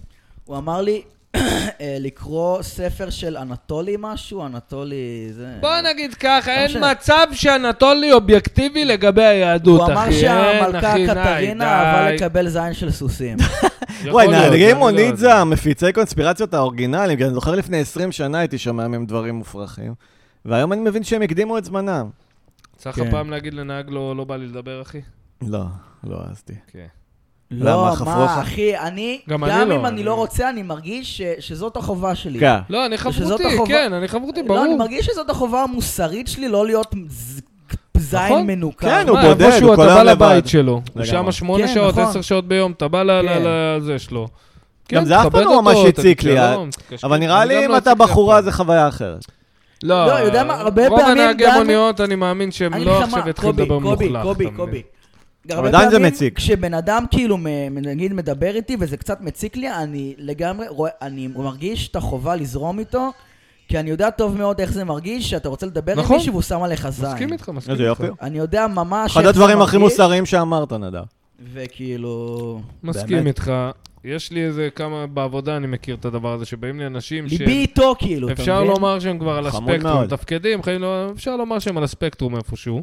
[SPEAKER 2] הוא אמר לי אה, לקרוא ספר של אנטולי משהו, אנטולי זה...
[SPEAKER 3] בוא נגיד ככה, אין
[SPEAKER 2] משנה.
[SPEAKER 3] מצב שאנטולי אובייקטיבי לגבי היהדות,
[SPEAKER 2] הוא
[SPEAKER 3] אחי.
[SPEAKER 2] אמר
[SPEAKER 3] אין,
[SPEAKER 2] שהמלכה
[SPEAKER 3] אחי, די,
[SPEAKER 2] קטרינה
[SPEAKER 3] די.
[SPEAKER 2] אהבה לקבל זין של סוסים.
[SPEAKER 3] יכול
[SPEAKER 1] וואי,
[SPEAKER 3] להיות,
[SPEAKER 1] נהגי
[SPEAKER 3] אני לא
[SPEAKER 1] מונית
[SPEAKER 3] יודע.
[SPEAKER 1] זה המפיצי קונספירציות האורגינליים, כי אני זוכר לפני 20 שנה הייתי שומע מהם דברים מופרכים, והיום אני מבין שהם הקדימו את זמנם.
[SPEAKER 3] צריך
[SPEAKER 2] כן.
[SPEAKER 3] הפעם להגיד לנהג לא לא בא לי לדבר, אחי?
[SPEAKER 1] לא, לא העזתי.
[SPEAKER 3] כן.
[SPEAKER 1] למה,
[SPEAKER 2] לא,
[SPEAKER 1] חפרוכה?
[SPEAKER 2] מה, אחי, אני,
[SPEAKER 3] גם
[SPEAKER 2] גם
[SPEAKER 3] אני לא,
[SPEAKER 2] אם
[SPEAKER 3] אני-
[SPEAKER 2] אני לא רוצה, אני מרגיש ש- שזאת החובה שלי.
[SPEAKER 1] כן.
[SPEAKER 3] לא, אני
[SPEAKER 2] שזאת
[SPEAKER 3] חברותי,
[SPEAKER 2] החובה-
[SPEAKER 3] כן, אני חברותי,
[SPEAKER 2] לא, אני
[SPEAKER 3] ברור.
[SPEAKER 2] מרגיש שזאת החובה המוסרית שלי, לא להיות ז-
[SPEAKER 3] נכון.
[SPEAKER 2] זין מנוכר.
[SPEAKER 1] כן, הוא
[SPEAKER 3] מה,
[SPEAKER 1] בודד,
[SPEAKER 3] איפשהו
[SPEAKER 1] הוא
[SPEAKER 3] אתה
[SPEAKER 1] כל
[SPEAKER 3] בא
[SPEAKER 1] היום
[SPEAKER 3] לבית
[SPEAKER 1] לבד.
[SPEAKER 3] שלו, הוא
[SPEAKER 1] לגמרי.
[SPEAKER 3] שם שמונה
[SPEAKER 2] כן,
[SPEAKER 3] שעות,
[SPEAKER 2] נכון.
[SPEAKER 3] עשר שעות ביום, אתה בא ל-
[SPEAKER 2] כן.
[SPEAKER 3] ל- לזה שלו.
[SPEAKER 1] גם
[SPEAKER 3] כן,
[SPEAKER 1] זה אף פעם
[SPEAKER 3] תכבד
[SPEAKER 1] לא ממש
[SPEAKER 3] אותו,
[SPEAKER 1] הציק
[SPEAKER 3] תגיד
[SPEAKER 1] לי,
[SPEAKER 3] שלום, תקשקש.
[SPEAKER 1] אבל נראה
[SPEAKER 3] אני גם
[SPEAKER 1] לי אם
[SPEAKER 3] לא
[SPEAKER 1] אתה
[SPEAKER 3] הציק לי אף
[SPEAKER 1] בחורה
[SPEAKER 3] פעם.
[SPEAKER 1] זה חוויה אחרת.
[SPEAKER 3] לא,
[SPEAKER 2] לא, יודע מה, הרבה
[SPEAKER 3] רוב
[SPEAKER 2] פעמים
[SPEAKER 3] הנהגי
[SPEAKER 2] גם-
[SPEAKER 3] מוניות, אני מאמין שהם
[SPEAKER 2] אני
[SPEAKER 3] לא
[SPEAKER 2] אגיד לך מה,
[SPEAKER 3] עכשיו יתחילו
[SPEAKER 2] קובי,
[SPEAKER 3] לדבר מוחלט.
[SPEAKER 2] קובי,
[SPEAKER 3] אתה
[SPEAKER 2] קובי,
[SPEAKER 3] מבין?
[SPEAKER 2] קובי.
[SPEAKER 1] אבל עדיין זה
[SPEAKER 2] הרבה פעמים
[SPEAKER 1] מציק.
[SPEAKER 2] כשבן אדם כאילו, מ- נגיד, מדבר איתי וזה קצת מציק לי, אני לגמרי, רואה- אני מרגיש את החובה לזרום איתו, כי אני יודע טוב מאוד איך זה מרגיש, שאתה רוצה לדבר עם
[SPEAKER 3] נכון.
[SPEAKER 2] מישהו והוא שם עליך זין.
[SPEAKER 3] מסכים איתך, מסכים
[SPEAKER 1] איזה
[SPEAKER 3] איתך.
[SPEAKER 1] יופי.
[SPEAKER 2] אני יודע ממש
[SPEAKER 1] אחד
[SPEAKER 2] איך זה
[SPEAKER 1] הדברים הכי
[SPEAKER 2] מרגיש,
[SPEAKER 1] מוסריים שאמרת, נדב.
[SPEAKER 2] וכאילו...
[SPEAKER 3] מסכים
[SPEAKER 1] באמת.
[SPEAKER 3] איתך. יש לי איזה כמה, בעבודה אני מכיר את הדבר הזה, שבאים לי אנשים
[SPEAKER 2] ליבי איתו, כאילו, אתה
[SPEAKER 3] אפשר
[SPEAKER 2] מבין?
[SPEAKER 3] לומר שהם כבר על
[SPEAKER 1] חמוד
[SPEAKER 3] הספקטרום,
[SPEAKER 1] מאוד.
[SPEAKER 3] מתפקדים, חיים לא... אפשר לומר שהם על הספקטרום איפשהו.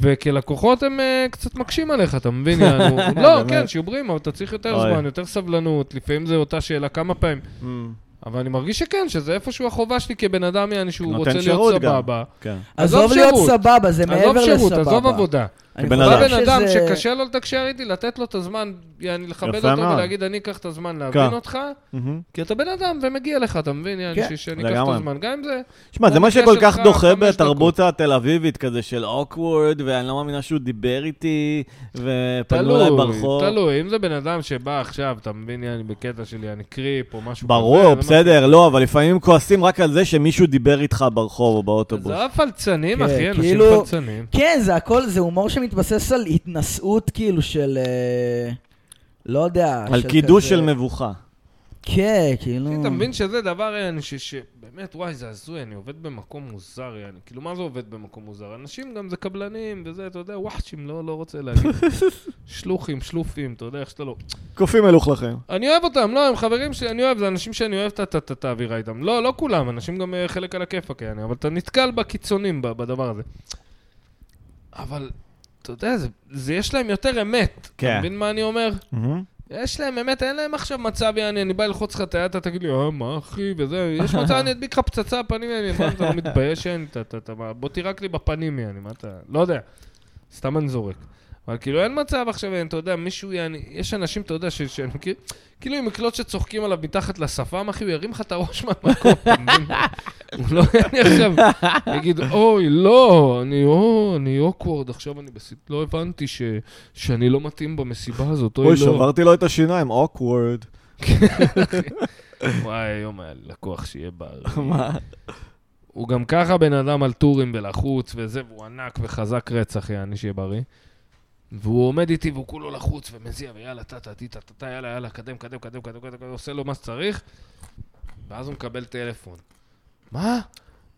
[SPEAKER 3] וכלקוחות הם אה, קצת מקשים עליך, אתה מבין? יענו, לא,
[SPEAKER 1] באמת.
[SPEAKER 3] כן, שיעוברים, אבל אתה צריך יותר
[SPEAKER 1] אוי.
[SPEAKER 3] זמן, יותר סבלנות, לפעמים זו אותה שאלה כמה פעמים.
[SPEAKER 2] Mm.
[SPEAKER 3] אבל אני מרגיש שכן, שזה איפשהו החובה שלי כבן אדם, יעני, שהוא
[SPEAKER 1] נותן
[SPEAKER 3] רוצה להיות
[SPEAKER 1] שירות גם.
[SPEAKER 3] סבבה.
[SPEAKER 1] כן.
[SPEAKER 2] עזוב
[SPEAKER 3] עזוב
[SPEAKER 2] להיות
[SPEAKER 3] שירות.
[SPEAKER 2] סבבה, זה מעבר
[SPEAKER 3] עזוב
[SPEAKER 2] לסבבה.
[SPEAKER 3] שירות, עזוב עבודה.
[SPEAKER 2] אני
[SPEAKER 1] בן
[SPEAKER 2] חושב
[SPEAKER 1] אדם.
[SPEAKER 3] בא בן אדם
[SPEAKER 2] שזה-
[SPEAKER 3] שקשה לו לתקשר איתי, לתת לו את הזמן, יעני, לכבד
[SPEAKER 1] יפה
[SPEAKER 3] אותו
[SPEAKER 1] מאוד.
[SPEAKER 3] ולהגיד, אני אקח את הזמן להבין
[SPEAKER 1] כן.
[SPEAKER 3] אותך,
[SPEAKER 2] Mm-hmm.
[SPEAKER 1] מהמם.
[SPEAKER 3] כי אתה בן אדם ומגיע לך, אתה מבין? יעני,
[SPEAKER 2] כן.
[SPEAKER 3] ש- שאני אקח את
[SPEAKER 1] לגמרי.
[SPEAKER 3] הזמן. גם אם זה...
[SPEAKER 1] שמע, זה מה
[SPEAKER 3] במקרה
[SPEAKER 1] שכל כך
[SPEAKER 3] שלך,
[SPEAKER 1] דוחה
[SPEAKER 3] חמש
[SPEAKER 1] בתרבות התל אביבית, כזה של אוקוורד, ואני לא מאמינה שהוא דיבר איתי, ופנו
[SPEAKER 3] תלוי,
[SPEAKER 1] אליי ברחוב.
[SPEAKER 3] תלוי, אם זה בן אדם שבא עכשיו, אתה מבין, יעני, בקטע שלי, יעני קריפ או משהו
[SPEAKER 1] ברור,
[SPEAKER 3] כזה, נכון. אני
[SPEAKER 1] בסדר, לא, אבל לפעמים כועסים רק על זה שמישהו דיבר איתך ברחוב או
[SPEAKER 3] לא-
[SPEAKER 1] באוטובוס.
[SPEAKER 3] זה הפלצנים,
[SPEAKER 2] כן,
[SPEAKER 3] אחי, אנשים
[SPEAKER 2] כאילו-
[SPEAKER 3] פלצנים.
[SPEAKER 2] כן, זה הכל, זה הומור שמתבסס על התנשאות, כאילו, של... אה, לא יודע.
[SPEAKER 1] על
[SPEAKER 2] של
[SPEAKER 1] קידוש
[SPEAKER 2] כזה-
[SPEAKER 1] של מבוכה.
[SPEAKER 2] כן, כאילו...
[SPEAKER 1] Mm.
[SPEAKER 3] אתה מבין שזה דבר, יעני, ש- שבאמת, וואי, זה הזוי, אני עובד במקום מוזר, יעני. כאילו, מה זה עובד במקום מוזר? אנשים גם זה קבלנים, וזה, אתה יודע, וואחצ'ים, לא לא רוצה להגיד. שלוחים, שלופים, אתה יודע, איך שאתה לא...
[SPEAKER 1] קופים מלוכלכים.
[SPEAKER 3] אני אוהב אותם, לא, הם חברים שאני אוהב, זה אנשים שאני אוהב את- את- את- את האווירה איתם. לא, לא כולם, אנשים גם אה, חלק על הכיפאק, יעני, אבל אתה נתקל בקיצונים ב- בדבר הזה. אבל, אתה יודע, זה- זה יש להם יותר אמת.
[SPEAKER 1] כן.
[SPEAKER 3] אתה מבין מה אני אומר? יש להם אמת, אין להם עכשיו מצב, יעני, אני בא ללחוץ לך את היד, אתה תגיד לי, אה, מה אחי, וזה, יש מצב, אני אדביק לך פצצה בפנים, יעני, מה, אתה לא מתבייש, יעני, אתה- אתה- אתה- מה, בוא תירק לי בפנים, יעני, מה אתה, לא יודע, סתם אני זורק. אבל כאילו, אין מצב עכשיו, יעני, אתה יודע, מישהו, יעני, יש אנשים, אתה יודע, ש- שאני מכיר, כאילו, עם מקלות שצוחקים עליו מתחת לשפם, אחי, הוא ירים לך את הראש מהמקום, אתה מבין? הוא לא יעני עכשיו, יגיד, אוי, לא, אני, או, אני אוקוורד, עכשיו אני בסיט, לא הבנתי ש- שאני לא מתאים במסיבה הזאת, אוי, לא.
[SPEAKER 1] אוי, שברתי לו את השיניים, אוקוורד.
[SPEAKER 3] וואי, היום היה לי לקוח שיהיה בר.
[SPEAKER 1] מה?
[SPEAKER 3] הוא גם ככה בן אדם על טורים ולחוץ וזה, והוא ענק וחזק רצח, יעני, שיהיה בריא. והוא עומד איתי והוא כולו לחוץ ומזיע, ויאללה, טה, טה, טי, טה, טה, טה, יאללה, יאללה, קדם, קדם, קדם, קדם, קדם, קדם, עושה לו מה שצריך, ואז הוא מקבל טלפון. מה?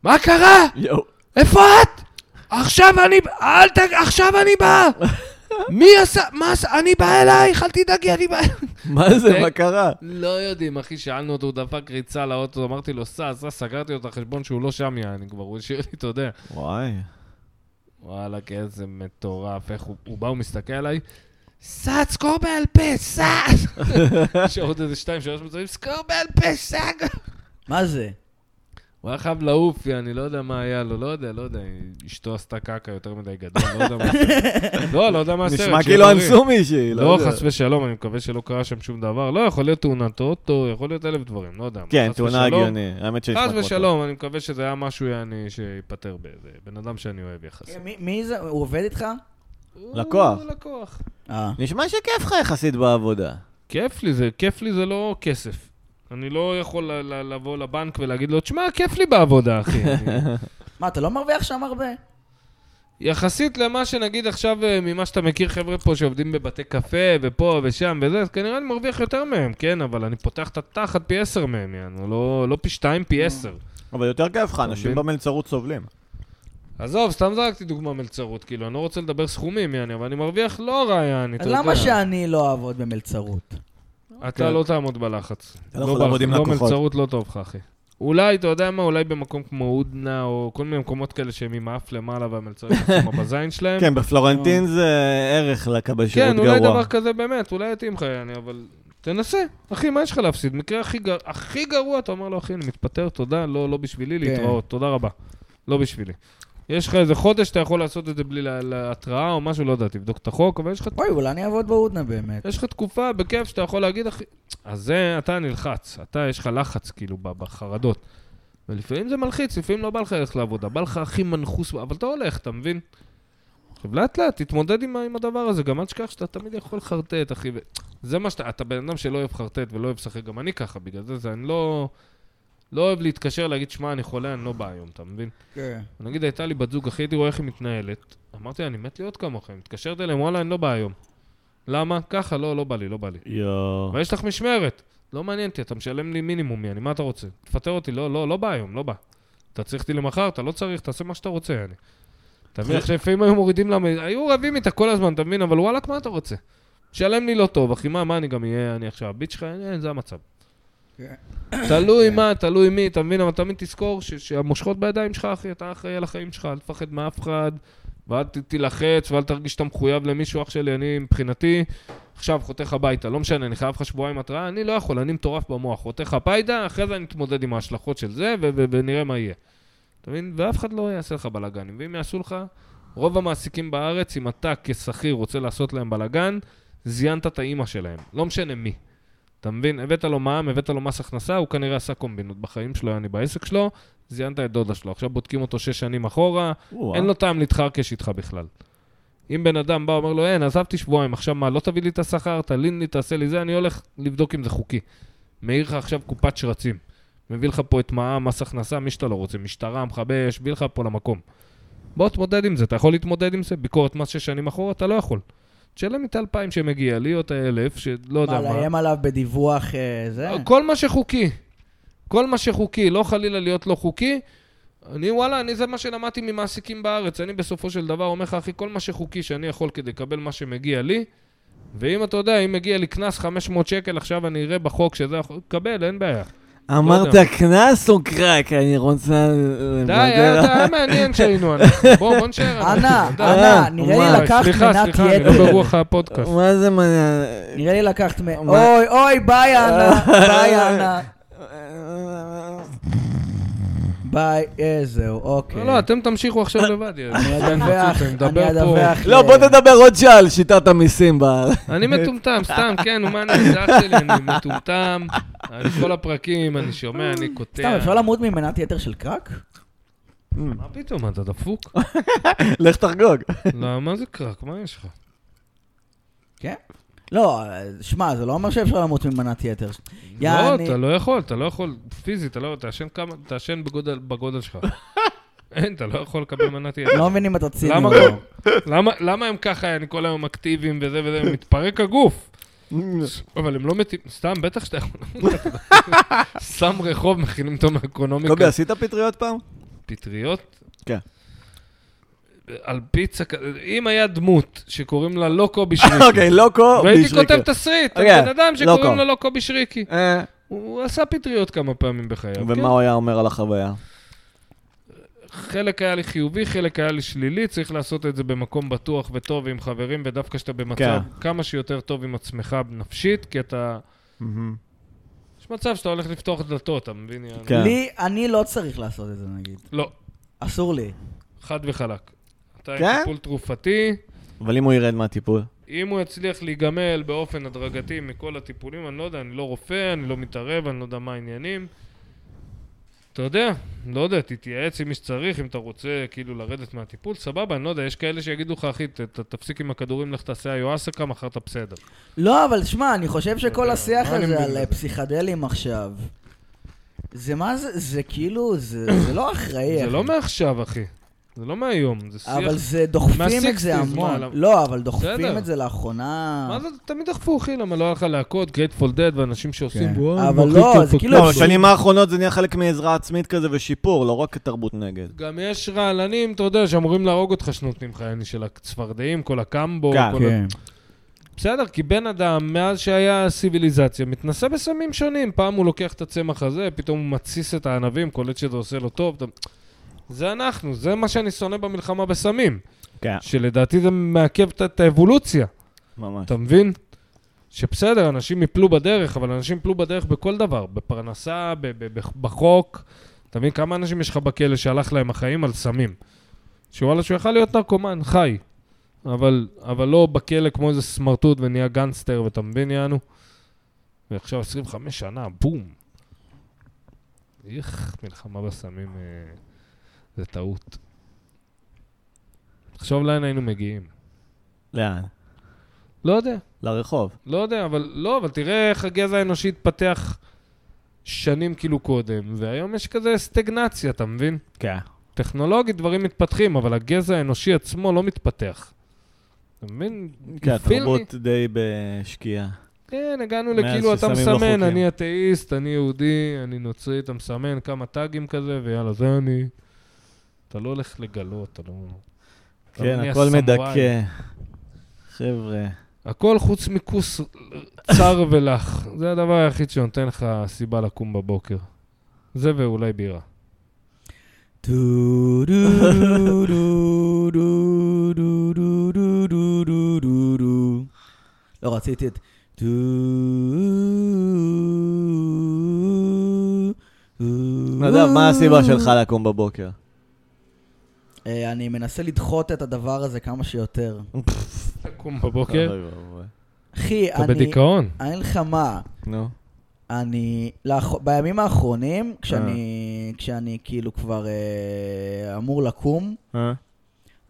[SPEAKER 3] מה קרה?
[SPEAKER 1] יואו.
[SPEAKER 3] איפה את? עכשיו אני... אל ת... עכשיו אני בא! מי עשה... מה עשה? אני בא אלייך, אל תדאגי, אני בא...
[SPEAKER 1] מה זה,
[SPEAKER 3] זה-
[SPEAKER 1] מה קרה?
[SPEAKER 3] לא יודעים, אחי, שאלנו אותו, הוא דפק ריצה לאוטו, אמרתי לו, סע, סע, סגרתי לו את החשבון שהוא לא שם, יעני כבר, הוא השאיר לי, אתה יודע.
[SPEAKER 1] וואי.
[SPEAKER 3] וואלה, כן, זה מטורף, איך הוא, הוא בא, הוא מסתכל עליי, סע, סקור בעל פה, סע! יש עוד איזה שתיים, שלוש מצבים, סקור בעל פה, סע!
[SPEAKER 2] מה זה?
[SPEAKER 3] הוא היה חייב לעוף, אני לא יודע מה היה לו, לא יודע, לא יודע, אשתו עשתה קקה יותר מדי גדול, לא יודע מה הסרט. לא, לא יודע מה הסרט.
[SPEAKER 1] נשמע
[SPEAKER 3] שיהיה
[SPEAKER 1] כאילו
[SPEAKER 3] בריא.
[SPEAKER 1] אנסו מישהי, לא
[SPEAKER 3] לא,
[SPEAKER 1] יודע.
[SPEAKER 3] חס ושלום, אני מקווה שלא קרה שם שום דבר. לא, יכול להיות תאונת אוטו, יכול להיות אלף דברים, לא יודע. מה,
[SPEAKER 1] כן,
[SPEAKER 3] חס
[SPEAKER 1] תאונה
[SPEAKER 3] ושלום.
[SPEAKER 1] הגיוני, האמת שנשמע
[SPEAKER 3] חס
[SPEAKER 1] כמו...
[SPEAKER 3] ושלום, אני מקווה שזה היה משהו יעני שייפטר באיזה בן אדם שאני אוהב יחסית.
[SPEAKER 2] מי- מי זה? הוא עובד איתך?
[SPEAKER 1] לקוח.
[SPEAKER 3] הוא לקוח.
[SPEAKER 2] אה.
[SPEAKER 1] נשמע שכיף לך יחסית בעבודה.
[SPEAKER 3] כיף לי, זה כיף לי זה לא כסף. אני לא יכול ל- ל- לבוא לבנק ולהגיד לו, תשמע, כיף לי בעבודה, אחי. אני-
[SPEAKER 2] מה, אתה לא מרוויח שם הרבה?
[SPEAKER 3] יחסית למה שנגיד עכשיו, אה, ממה שאתה מכיר חבר'ה פה שעובדים בבתי קפה ופה ושם וזה, אז כנראה אני מרוויח יותר מהם, כן, אבל אני פותח את התחת פי עשר מהם, יענו, לא, לא פי שתיים,
[SPEAKER 2] אה.
[SPEAKER 3] פי עשר.
[SPEAKER 1] אבל יותר כיף לך, אנשים
[SPEAKER 3] מבין?
[SPEAKER 1] במלצרות סובלים.
[SPEAKER 3] עזוב, סתם זרקתי דוגמה מלצרות, כאילו, אני לא רוצה לדבר סכומים, יעני, אבל אני מרוויח לא רע, יעני, אתה
[SPEAKER 2] אז
[SPEAKER 3] יודע.
[SPEAKER 2] למה שאני לא אעבוד במלצרות?
[SPEAKER 3] אתה לא תעמוד בלחץ.
[SPEAKER 1] אתה לא יכול לעבוד עם
[SPEAKER 3] בלחץ,
[SPEAKER 1] לקוחות.
[SPEAKER 3] לא מלצרות לא טוב לך, אחי. אולי, אתה יודע מה, אולי במקום כמו הודנה, או כל מיני מקומות כאלה שהם עם האף למעלה והמלצרים עושים בזין שלהם.
[SPEAKER 1] כן, בפלורנטין זה ערך לקבשרות גרוע.
[SPEAKER 3] כן, אולי דבר כזה באמת, אולי יתאים לך, יעני, אבל תנסה. אחי, מה יש לך להפסיד? מקרה הכי גר- הכי גרוע, אתה אומר לו, אחי, אני מתפטר, תודה, לא לא בשבילי,
[SPEAKER 2] כן.
[SPEAKER 3] להתראות, תודה רבה. לא בשבילי. יש לך איזה חודש שאתה יכול לעשות את זה בלי לה- להתראה או משהו, לא יודע, תבדוק את החוק, אבל יש לך
[SPEAKER 2] אוי, אולי אני אעבוד בהודנה באמת.
[SPEAKER 3] יש לך תקופה בכיף שאתה יכול להגיד, אחי... אז זה, אתה נלחץ, אתה, יש לך לחץ, כאילו, ב- בחרדות. ולפעמים זה מלחיץ, לפעמים לא בא לך ללכת לעבודה, בא לך הכי מנחוס, אבל אתה הולך, אתה מבין? עכשיו, לאט לאט, תתמודד עם, ה- עם הדבר הזה, גם אל תשכח שאתה תמיד יכול לחרטט, אחי. ו... זה מה שאתה, אתה בן אדם שלא אוהב חרטט ולא אוהב לשחק, גם אני ככה, בגלל זה, זה אני לא... לא אוהב להתקשר, להגיד, שמע, אני חולה, אני לא בא היום, אתה מבין?
[SPEAKER 2] כן.
[SPEAKER 3] נגיד הייתה לי בת זוג, אחי, הייתי רואה איך היא מתנהלת. אמרתי לה, אני מת להיות כמוכם. התקשרת אליהם, וואלה, אני לא בא היום. למה? ככה, לא, לא בא לי, לא בא לי.
[SPEAKER 1] יואו.
[SPEAKER 3] אבל יש לך משמרת. לא מעניין אותי, אתה משלם לי מינימום, יעני, מה אתה רוצה? תפטר אותי, לא, לא, לא בא היום, לא בא. אתה צריך אותי למחר, אתה לא צריך, תעשה מה שאתה רוצה, יעני. אתה מבין, עכשיו לפעמים היו מורידים למה, היו רבים איתה כל הזמן, אתה מבין, אבל וואלכ, מה אתה רוצה? שלם לי לא טוב, אחי, מה, מה אני גם אהיה, אני עכשיו הביט שלך, אין, אין, זה המצב.
[SPEAKER 2] כן.
[SPEAKER 3] תלוי מה, תלוי מי, אתה מבין, אבל תמיד תזכור ש- שהמושכות בידיים שלך, אחי, אתה אחראי על החיים שלך, אל תפחד מאף אחד, ואל ת- תילחץ, ואל תרגיש שאתה מחויב למישהו, אח שלי, אני מבחינתי, עכשיו חותך הביתה, לא משנה, אני חייב לך שבועיים התראה, אני לא יכול, אני מטורף במוח, חותך הביתה, אחרי זה אני אתמודד עם ההשלכות של זה, ו- ו- ונראה מה יהיה. אתה מבין? ואף אחד לא יעשה לך בלאגנים, ואם יעשו לך, רוב המעסיקים בארץ, אם אתה כשכיר רוצה לעשות להם בלאגן, זיינת את האימא שלהם, לא משנה מי. אתה מבין? הבאת לו מע"מ, הבאת לו מס הכנסה, הוא כנראה עשה קומבינות בחיים שלו, אני בעסק שלו, זיינת את דודה שלו. עכשיו בודקים אותו שש שנים אחורה,
[SPEAKER 1] וואו.
[SPEAKER 3] אין לו טעם להתחרקש איתך בכלל. אם בן אדם בא, אומר לו, אין, עזבתי שבועיים, עכשיו מה, לא תביא לי את השכר, תלין לי, תעשה לי זה, אני הולך לבדוק אם זה חוקי. מעיר לך עכשיו קופת שרצים. מביא לך פה את מע"מ, מס הכנסה, מי שאתה לא רוצה, משטרה, מכבי אש, מביא לך פה למקום. בוא תתמודד עם זה, אתה יכול להתמודד עם זה? ביקורת מס שש שנים אחורה, אתה לא יכול. תשלם את האלפיים שמגיע לי, או את האלף, שלא יודע
[SPEAKER 2] מה,
[SPEAKER 3] מה.
[SPEAKER 2] לאיים עליו בדיווח אה, זה?
[SPEAKER 3] כל מה שחוקי. כל מה שחוקי, לא חלילה להיות לא חוקי. אני, וואלה, אני, זה מה שלמדתי ממעסיקים בארץ. אני בסופו של דבר אומר לך, אחי, כל מה שחוקי שאני יכול כדי לקבל מה שמגיע לי, ואם אתה יודע, אם מגיע לי קנס 500 שקל, עכשיו אני אראה בחוק שזה, יכול- קבל, אין בעיה.
[SPEAKER 1] אמרת
[SPEAKER 3] לא
[SPEAKER 1] קנס או קרק? אני רוצה...
[SPEAKER 3] די, אה, היה היה מעניין שהיינו אנחנו. בוא, בוא נשאר. אנחנו.
[SPEAKER 2] אנה,
[SPEAKER 3] די.
[SPEAKER 2] אנה, נראה
[SPEAKER 1] מה,
[SPEAKER 2] לי לקחת
[SPEAKER 3] אה, סליחה,
[SPEAKER 2] מנת
[SPEAKER 3] סליחה, אני לא
[SPEAKER 2] יתר.
[SPEAKER 3] ברוח הפודקאסט.
[SPEAKER 1] מה זה מ...
[SPEAKER 2] נראה לי לקחת מ...
[SPEAKER 1] אה, מה?
[SPEAKER 2] אוי, אוי, ביי, אנה, ביי, אנה. ביי, אה, זהו, אוקיי.
[SPEAKER 3] לא, לא, אתם תמשיכו עכשיו לבד. יא.
[SPEAKER 2] אני אדווח,
[SPEAKER 3] אתם, דבר
[SPEAKER 2] אני
[SPEAKER 3] פה.
[SPEAKER 2] אדווח.
[SPEAKER 1] לא,
[SPEAKER 2] ל-
[SPEAKER 3] כן.
[SPEAKER 1] בוא תדבר עוד שעה על שיטת המיסים בארץ.
[SPEAKER 3] אני מטומטם, סתם, כן, הוא מעניין, זה אח שלי, אני מטומטם. אני כל הפרקים, אני שומע, אני קוטע.
[SPEAKER 2] סתם, אפשר למות ממנת יתר של קרק?
[SPEAKER 3] מה פתאום, אתה דפוק?
[SPEAKER 1] לך תחגוג.
[SPEAKER 3] לא, מה זה קרק? מה יש לך?
[SPEAKER 2] כן. לא, שמע, זה לא אומר שאפשר למות ממנת יתר.
[SPEAKER 3] לא,
[SPEAKER 2] יעני.
[SPEAKER 3] אתה לא יכול, אתה לא יכול, פיזית, אתה לא, תעשן כמה, תעשן בגודל- בגודל שלך. אין, אתה לא יכול לקבל מנת יתר.
[SPEAKER 2] לא מבין אם אתה ציני
[SPEAKER 3] למה
[SPEAKER 2] או לא.
[SPEAKER 3] גם? למה- למה הם ככה, אני כל היום אקטיביים וזה וזה, מתפרק הגוף. אבל הם לא מתים, סתם, בטח שאתה יכול. סתם רחוב, מכינים אותו
[SPEAKER 1] קובי,
[SPEAKER 3] מאקונומיקה.
[SPEAKER 1] עשית פטריות פעם?
[SPEAKER 3] פטריות?
[SPEAKER 1] כן.
[SPEAKER 3] על פיצה, כ- אם היה דמות שקוראים לה לא קובי שריקי,
[SPEAKER 1] אוקיי, לוקו
[SPEAKER 3] והייתי
[SPEAKER 1] בשריקה.
[SPEAKER 3] כותב תסריט, על
[SPEAKER 1] אוקיי,
[SPEAKER 3] בן אדם
[SPEAKER 1] לא
[SPEAKER 3] שקוראים
[SPEAKER 1] קו.
[SPEAKER 3] לו לא קובי שריקי.
[SPEAKER 1] אה,
[SPEAKER 3] הוא הוא עשה פטריות כמה פעמים בחייו.
[SPEAKER 1] ומה הוא היה אומר על החוויה?
[SPEAKER 3] כן? חלק היה לי חיובי, חלק היה לי שלילי, צריך לעשות את זה במקום בטוח וטוב עם חברים, ודווקא שאתה במצב
[SPEAKER 1] כן.
[SPEAKER 3] כמה שיותר טוב עם עצמך נפשית, כי אתה... יש מצב שאתה הולך לפתוח דלתות, אתה מבין? יעני?
[SPEAKER 1] כן.
[SPEAKER 2] לי, אני לא צריך לעשות את זה נגיד.
[SPEAKER 3] לא,
[SPEAKER 2] אסור לי.
[SPEAKER 3] חד וחלק. אתה
[SPEAKER 1] כן?
[SPEAKER 3] עם טיפול תרופתי,
[SPEAKER 1] אבל אם הוא ירד מהטיפול?
[SPEAKER 3] אם הוא יצליח להיגמל באופן הדרגתי מכל הטיפולים, אני לא יודע, אני לא רופא, אני לא מתערב, אני לא יודע מה העניינים. אתה יודע, לא יודע, תתייעץ עם מי שצריך, אם אתה רוצה כאילו לרדת מהטיפול, סבבה, אני לא יודע, יש כאלה שיגידו לך, אחי, ת- ת- תפסיק עם הכדורים, לך תעשה היואסקה, מחר אתה בסדר.
[SPEAKER 2] לא, אבל שמע, אני חושב שכל
[SPEAKER 3] יודע,
[SPEAKER 2] השיח
[SPEAKER 3] מה לא, אני
[SPEAKER 2] הזה
[SPEAKER 3] מבין
[SPEAKER 2] על
[SPEAKER 3] בזה?
[SPEAKER 2] פסיכדלים עכשיו, זה מה זה, זה כאילו, זה זה לא אחראי.
[SPEAKER 3] זה
[SPEAKER 2] אחי.
[SPEAKER 3] לא מעכשיו, אחי. זה לא מהיום, זה שיח.
[SPEAKER 2] אבל זה, דוחפים את
[SPEAKER 3] מה-sixties,
[SPEAKER 2] זה המון.
[SPEAKER 3] מה, למ-
[SPEAKER 2] לא, אבל דוחפים
[SPEAKER 3] בסדר.
[SPEAKER 2] את זה לאחרונה.
[SPEAKER 3] מה זה, תמיד דחפו, אחי, למה לא היה לך להקות, גרייטפול דד, ואנשים שעושים
[SPEAKER 2] כן.
[SPEAKER 3] וואו,
[SPEAKER 2] אבל
[SPEAKER 3] אחי,
[SPEAKER 2] לא,
[SPEAKER 3] כן,
[SPEAKER 2] זה
[SPEAKER 3] פה-
[SPEAKER 2] כאילו-
[SPEAKER 1] לא, בשנים האחרונות זה נהיה חלק מעזרה עצמית כזה ושיפור, לא רק תרבות נגד.
[SPEAKER 3] גם יש רעלנים, אתה יודע, שאמורים להרוג אותך שנותנים לך, יעני, של הצפרדעים, כל הקמבו,
[SPEAKER 1] כן.
[SPEAKER 3] כל ה... בסדר, כי בן אדם, מאז שהיה סיביליזציה, מתנסה בסמים שונים. פעם הוא לוקח את הצמח הזה, פתאום הוא מתסיס את הענבים, קולט שזה עושה לו טוב. אתה- זה אנחנו, זה מה שאני שונא במלחמה בסמים.
[SPEAKER 1] כן.
[SPEAKER 3] שלדעתי זה מעכב את- את האבולוציה,
[SPEAKER 1] ממש.
[SPEAKER 3] אתה מבין? שבסדר, אנשים יפלו בדרך, אבל אנשים יפלו בדרך בכל דבר, בפרנסה, ב- ב- ב- בחוק. אתה מבין כמה אנשים יש לך בכלא שהלך להם החיים על סמים? שוואלה, שהוא יכל להיות נרקומן, חי. אבל, אבל לא בכלא כמו איזה סמרטוט ונהיה גנגסטר, ואתה מבין, יענו? ועכשיו 25 שנה, בום. איך, מלחמה בסמים אה, זה טעות. תחשוב לאן היינו מגיעים.
[SPEAKER 1] לאן?
[SPEAKER 3] לא יודע.
[SPEAKER 1] לרחוב.
[SPEAKER 3] לא יודע, אבל לא, אבל תראה איך הגזע האנושי התפתח שנים כאילו קודם, והיום יש כזה סטגנציה, אתה מבין?
[SPEAKER 1] כן.
[SPEAKER 3] טכנולוגית דברים מתפתחים, אבל הגזע האנושי עצמו לא מתפתח. אתה מבין?
[SPEAKER 1] כן,
[SPEAKER 3] You feel me?
[SPEAKER 1] התרבות די בשקיעה.
[SPEAKER 3] כן, הגענו
[SPEAKER 1] מאז
[SPEAKER 3] לכאילו, אתה
[SPEAKER 1] ששמים לא חוקים.
[SPEAKER 3] מסמן, אני אתאיסט, אני יהודי, אני נוצרי, אתה מסמן כמה טאגים כזה, ויאללה, זה אני. אתה לא הולך לגלות, אתה לא... אתה לא
[SPEAKER 1] כן,
[SPEAKER 3] נהיה
[SPEAKER 1] הכל
[SPEAKER 3] סמוראי.
[SPEAKER 1] מדכא. חבר'ה.
[SPEAKER 3] הכל חוץ מכוס צר ולח. זה הדבר היחיד שנותן לך סיבה לקום בבוקר. זה ואולי בירה.
[SPEAKER 2] דו, דו, דו, דו, דו, דו, דו, דו, דו, דו, דו, דו. לא, רציתי את... דו, דו.
[SPEAKER 1] נדב, לא מה הסיבה שלך לקום בבוקר?
[SPEAKER 2] אה, אני מנסה לדחות את הדבר הזה כמה שיותר.
[SPEAKER 3] לקום בבוקר,
[SPEAKER 1] אוי ואבוי.
[SPEAKER 2] אחי,
[SPEAKER 3] אתה
[SPEAKER 2] אני...
[SPEAKER 3] בדיכאון.
[SPEAKER 2] אני אין לך מה.
[SPEAKER 1] נו.
[SPEAKER 2] אני, לאח... בימים
[SPEAKER 1] אה.
[SPEAKER 2] האחרונים, כשאני, כשאני כאילו כבר אה, אמור לקום,
[SPEAKER 1] אה?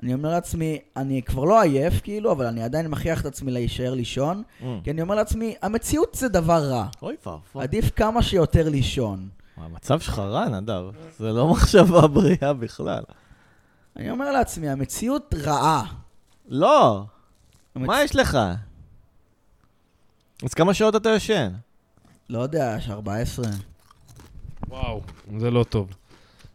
[SPEAKER 2] אני אומר לעצמי, אני כבר לא עייף כאילו, אבל אני עדיין מכריח את עצמי להישאר לישון, כי אני אומר לעצמי, המציאות זה דבר רע.
[SPEAKER 1] Mm. אוי ואבוי.
[SPEAKER 2] עדיף כמה שיותר לישון.
[SPEAKER 1] המצב שלך רע, נדב. זה לא מחשבה בריאה בכלל.
[SPEAKER 2] אני אומר לעצמי, המציאות רעה.
[SPEAKER 1] לא!
[SPEAKER 2] המצ...
[SPEAKER 1] מה יש לך? אז כמה שעות אתה ישן?
[SPEAKER 2] לא יודע, יש 14.
[SPEAKER 3] וואו, זה לא טוב.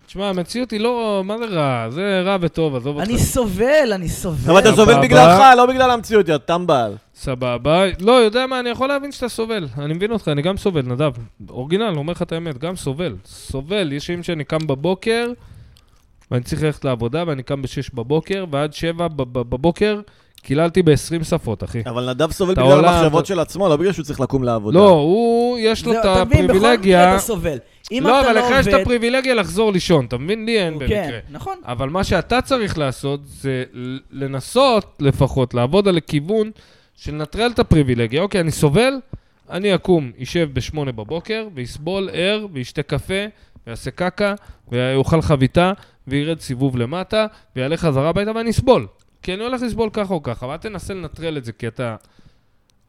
[SPEAKER 3] תשמע, המציאות היא לא... מה זה רע? זה רע וטוב, עזוב אותך.
[SPEAKER 2] אני סובל, אני סובל.
[SPEAKER 1] אבל אתה
[SPEAKER 3] סבבה.
[SPEAKER 1] סובל בגללך, לא בגלל המציאות, יא טמבל.
[SPEAKER 3] סבבה. לא, יודע מה, אני יכול להבין שאתה סובל. אני מבין אותך, אני גם סובל, נדב. אורגינל, אומר לך את האמת, גם סובל. סובל. יש ימים שאני קם בבוקר, ואני צריך ללכת לעבודה, ואני קם ב-6 בבוקר, ועד 7 בבוקר קיללתי ב-20 שפות, אחי.
[SPEAKER 1] אבל נדב סובל
[SPEAKER 3] כן. אתה
[SPEAKER 1] בגלל
[SPEAKER 3] עולה,
[SPEAKER 1] המחשבות
[SPEAKER 3] אתה-
[SPEAKER 1] של עצמו, לא בגלל שהוא צריך לקום לעבודה.
[SPEAKER 3] לא, הוא, יש לו
[SPEAKER 2] זהו,
[SPEAKER 3] את
[SPEAKER 2] אתה מבין, בכל מקרה
[SPEAKER 3] הפריבילגיה.
[SPEAKER 2] אתה סובל. אם
[SPEAKER 3] לא,
[SPEAKER 2] אתה
[SPEAKER 3] אבל
[SPEAKER 2] לא
[SPEAKER 3] לך יש את
[SPEAKER 2] עובד-
[SPEAKER 3] הפריבילגיה לחזור לישון, אתה מבין? לי אין במקרה.
[SPEAKER 2] כן, נכון.
[SPEAKER 3] אבל מה שאתה צריך לעשות זה ל- לנסות לפחות לעבוד על הכיוון של לנטרל את הפריבילגיה. אוקיי, אני סובל, אני אקום, אשב בשמונה בבוקר, ויסבול ער, וישתה קפה, ויעשה קקה, ויאכל חביתה, וירד סיבוב למטה, ויעלה חזרה הביתה, ואני אסבול. כי אני הולך לסבול ככה או ככה, ואל תנסה לנטרל את זה, כי אתה...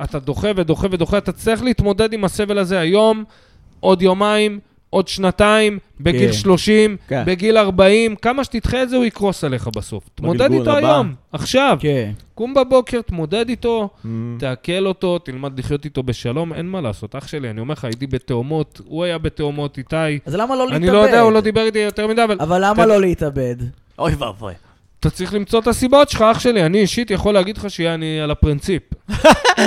[SPEAKER 3] אתה דוחה ודוחה ודוחה, אתה צריך להתמודד עם הסבל הזה היום, עוד יומיים, עוד שנתיים, בגיל
[SPEAKER 2] כן.
[SPEAKER 3] 30,
[SPEAKER 1] כן.
[SPEAKER 3] בגיל 40, כמה שתדחה את זה הוא יקרוס עליך בסוף. תמודד
[SPEAKER 1] בגלגול
[SPEAKER 3] איתו
[SPEAKER 1] הבא.
[SPEAKER 3] היום, עכשיו.
[SPEAKER 2] כן. Mm.
[SPEAKER 3] קום בבוקר, תמודד איתו,
[SPEAKER 1] אמ,
[SPEAKER 3] תעכל אותו, תלמד לחיות איתו בשלום, אין מה לעשות. אח שלי, אני אומר לך, הייתי בתאומות, הוא היה בתאומות, איתי.
[SPEAKER 2] אז למה לא להתאבד?
[SPEAKER 3] אני לא יודע, הוא לא דיבר איתי יותר מדי, אבל
[SPEAKER 2] אבל למה
[SPEAKER 3] אתה-
[SPEAKER 2] לא להתאבד?
[SPEAKER 1] אוי ואבוי.
[SPEAKER 3] אתה צריך למצוא את הסיבות שלך, אח שלי. אני אישית יכול להגיד לך שאני על הפרינציפ.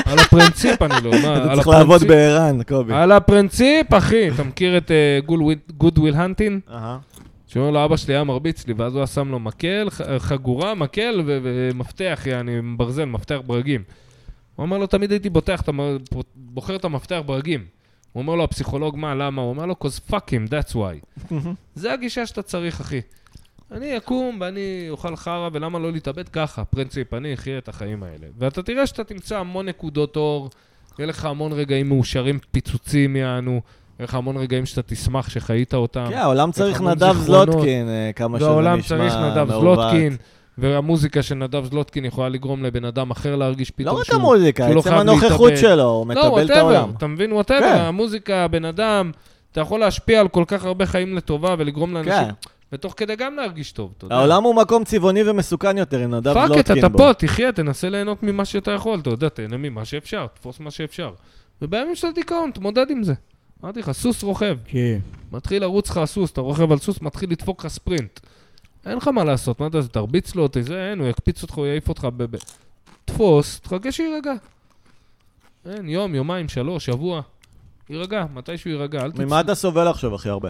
[SPEAKER 3] על הפרינציפ אני לא, מה, על
[SPEAKER 1] אתה צריך
[SPEAKER 3] הפרינציפ.
[SPEAKER 1] לעבוד בערן, קובי.
[SPEAKER 3] על הפרינציפ, אחי. אתה מכיר את אה, גוד וויל הנטין?
[SPEAKER 1] אהה.
[SPEAKER 3] שאומר לו, אבא שלי היה מרביץ לי, ואז הוא היה שם לו מקל, ח- חגורה, מקל ו- ומפתח, יעני, ברזל, מפתח ברגים. הוא אמר לו, תמיד הייתי בוטח, את המ- בוחר את המפתח ברגים. הוא אומר לו, הפסיכולוג, מה, למה? הוא אומר לו, cause fuck him, that's why. זה הגישה שאתה צריך, אחי. אני אקום ואני אוכל חרא, ולמה לא להתאבד ככה? פרינציפ, אני אחיה את החיים האלה. ואתה תראה שאתה תמצא המון נקודות אור, יהיה לך המון רגעים מאושרים, פיצוצים יענו, יהיה לך המון רגעים שאתה תשמח שחיית אותם.
[SPEAKER 1] כן, העולם צריך
[SPEAKER 3] אה. המון
[SPEAKER 1] נדב
[SPEAKER 3] זיכרונות.
[SPEAKER 1] זלוטקין, אה, כמה שזה נשמע מעוות.
[SPEAKER 3] והעולם צריך נדב זלוטקין, והמוזיקה של נדב זלוטקין יכולה לגרום לבן אדם אחר להרגיש
[SPEAKER 1] לא
[SPEAKER 3] פתאום
[SPEAKER 1] רק
[SPEAKER 3] שהוא...
[SPEAKER 1] המוזיקה,
[SPEAKER 3] שהוא לא
[SPEAKER 1] עצם
[SPEAKER 3] חייב
[SPEAKER 1] הנוכחות
[SPEAKER 3] להתאבד. לא,
[SPEAKER 1] שלו, הוא מטבל את
[SPEAKER 3] whatever,
[SPEAKER 1] העולם.
[SPEAKER 3] אתה מבין, ווטאבר,
[SPEAKER 1] כן.
[SPEAKER 3] המוזיקה, הבן אדם, אתה יכול להשפיע על כל כך הרבה חיים לטובה ולגרום לאנשים,
[SPEAKER 1] כן.
[SPEAKER 3] ותוך כדי גם להרגיש טוב, אתה יודע.
[SPEAKER 1] העולם הוא מקום צבעוני ומסוכן יותר, עם נדב
[SPEAKER 3] פאק את,
[SPEAKER 1] זלוטקין
[SPEAKER 3] אתה
[SPEAKER 1] בו.
[SPEAKER 3] פה, תחיה, תנסה ליהנות ממה שאתה יכול, אתה יודע, תהנה ממה שאפשר, תפוס מה שאפשר. ובימים של דיכאון, תמודד עם זה. אמרתי לך, סוס רוכב,
[SPEAKER 2] כן.
[SPEAKER 3] מתחיל לרוץ לך הסוס, אתה רוכב על סוס, מתחיל לדפוק לך ספרינט. אין לך מה לעשות, מה אתה, תרביץ לו, תזה, אין, הוא יקפיץ אותך, הוא יעיף אותך ב... ב- תפוס, תחכה שיירגע. אין, יום, יומיים, שלוש, שבוע. יירגע, מתישהו יירגע, אל
[SPEAKER 1] ממה
[SPEAKER 3] תצא.
[SPEAKER 1] אתה סובל עכשיו הכי הרבה?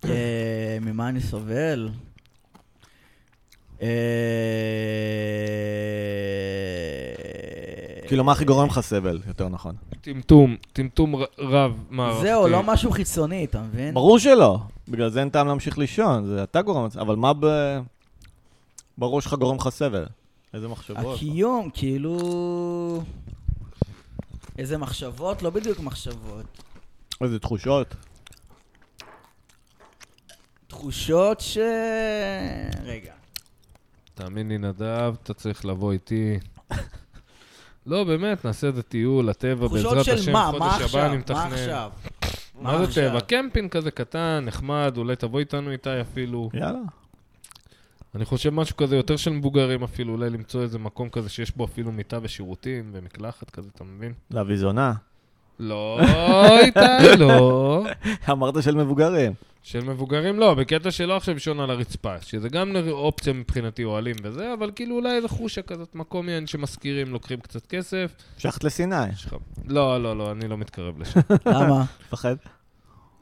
[SPEAKER 1] כן.
[SPEAKER 2] אה, ממה אני סובל? אה,
[SPEAKER 1] כאילו, מה הכי גורם לך סבל, יותר נכון?
[SPEAKER 3] טמטום, טמטום ר- רב מערכתי.
[SPEAKER 2] זהו, לא משהו חיצוני, אתה מבין?
[SPEAKER 1] אוקיי. ברור שלא. בגלל זה אין טעם להמשיך לישון, זה אתה גורם לזה, אבל מה ב... בראש שלך גורם לך סבל? איזה מחשבות?
[SPEAKER 2] הקיום, כאילו... איזה מחשבות? לא בדיוק מחשבות.
[SPEAKER 1] איזה תחושות?
[SPEAKER 2] תחושות ש... רגע.
[SPEAKER 3] תאמין לי, נדב, אתה צריך לבוא איתי. לא, באמת, נעשה איזה טיול לטבע,
[SPEAKER 2] תחושות
[SPEAKER 3] בעזרת
[SPEAKER 2] של
[SPEAKER 3] השם,
[SPEAKER 2] מה? מה
[SPEAKER 3] חודש הבא
[SPEAKER 2] עכשיו?
[SPEAKER 3] אני
[SPEAKER 2] מה
[SPEAKER 3] מתכנן.
[SPEAKER 2] עכשיו?
[SPEAKER 3] מה זה
[SPEAKER 2] עכשיו?
[SPEAKER 3] טבע? קמפינג כזה קטן, נחמד, אולי תבוא איתנו איתי אפילו.
[SPEAKER 1] יאללה.
[SPEAKER 3] אני חושב משהו כזה יותר של מבוגרים אפילו, אולי למצוא איזה מקום כזה שיש בו אפילו מיטה ושירותים ומקלחת כזה, אתה מבין?
[SPEAKER 1] להביא זונה.
[SPEAKER 3] לא, איתי, לא.
[SPEAKER 1] אמרת של מבוגרים.
[SPEAKER 3] של מבוגרים לא, בקטע שלא עכשיו לישון על הרצפה, שזה גם נר- אופציה מבחינתי אוהלים וזה, אבל כאילו אולי איזה חושה כזאת, מקום יען שמשכירים, לוקחים קצת כסף.
[SPEAKER 1] שחט לסיני.
[SPEAKER 3] יש לך- לא, לא, לא, אני לא מתקרב לשם.
[SPEAKER 2] למה?
[SPEAKER 1] מפחד.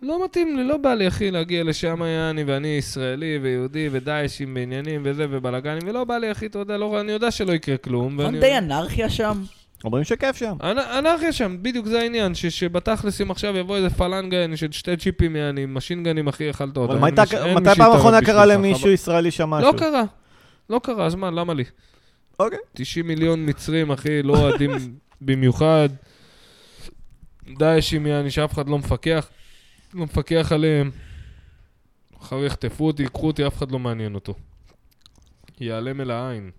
[SPEAKER 3] לא מתאים לי, לא בא לי, אחי, להגיע לשם, יעני, ואני ישראלי ויהודי ודאעשים בעניינים וזה ובלאגנים, ולא בא לי, אחי, אתה יודע, לא, אני יודע שלא יקרה
[SPEAKER 2] אין
[SPEAKER 3] כלום. ואני-
[SPEAKER 2] די אנרכיה שם?
[SPEAKER 1] אומרים שכיף שם.
[SPEAKER 3] אנ- אנרכיה שם, בדיוק זה העניין, ש- שבתכלס אם עכשיו יבוא איזה פלנגה יעני, של שתי צ'יפים יעני, משינגנים אחי אכלת אותם.
[SPEAKER 1] אבל
[SPEAKER 3] אין
[SPEAKER 1] מה הייתה-
[SPEAKER 3] מי ש- אין מי
[SPEAKER 1] מתי פעם
[SPEAKER 3] שיתערב
[SPEAKER 1] אחרונה
[SPEAKER 3] בשבילך,
[SPEAKER 1] קרה
[SPEAKER 3] חבל.
[SPEAKER 1] למישהו ישראלי שם משהו?
[SPEAKER 3] לא קרה, לא קרה, אז מה, למה לי?
[SPEAKER 1] אוקיי.
[SPEAKER 3] 90 מיליון מצרים, אחי, לא אוהדים במיוחד. דאעשים יעני, שאף אחד לא מפקח, לא מפקח עליהם. אחר יחטפו אותי, ייקחו אותי, אף אחד לא מעניין אותו. ייעלם אל העין.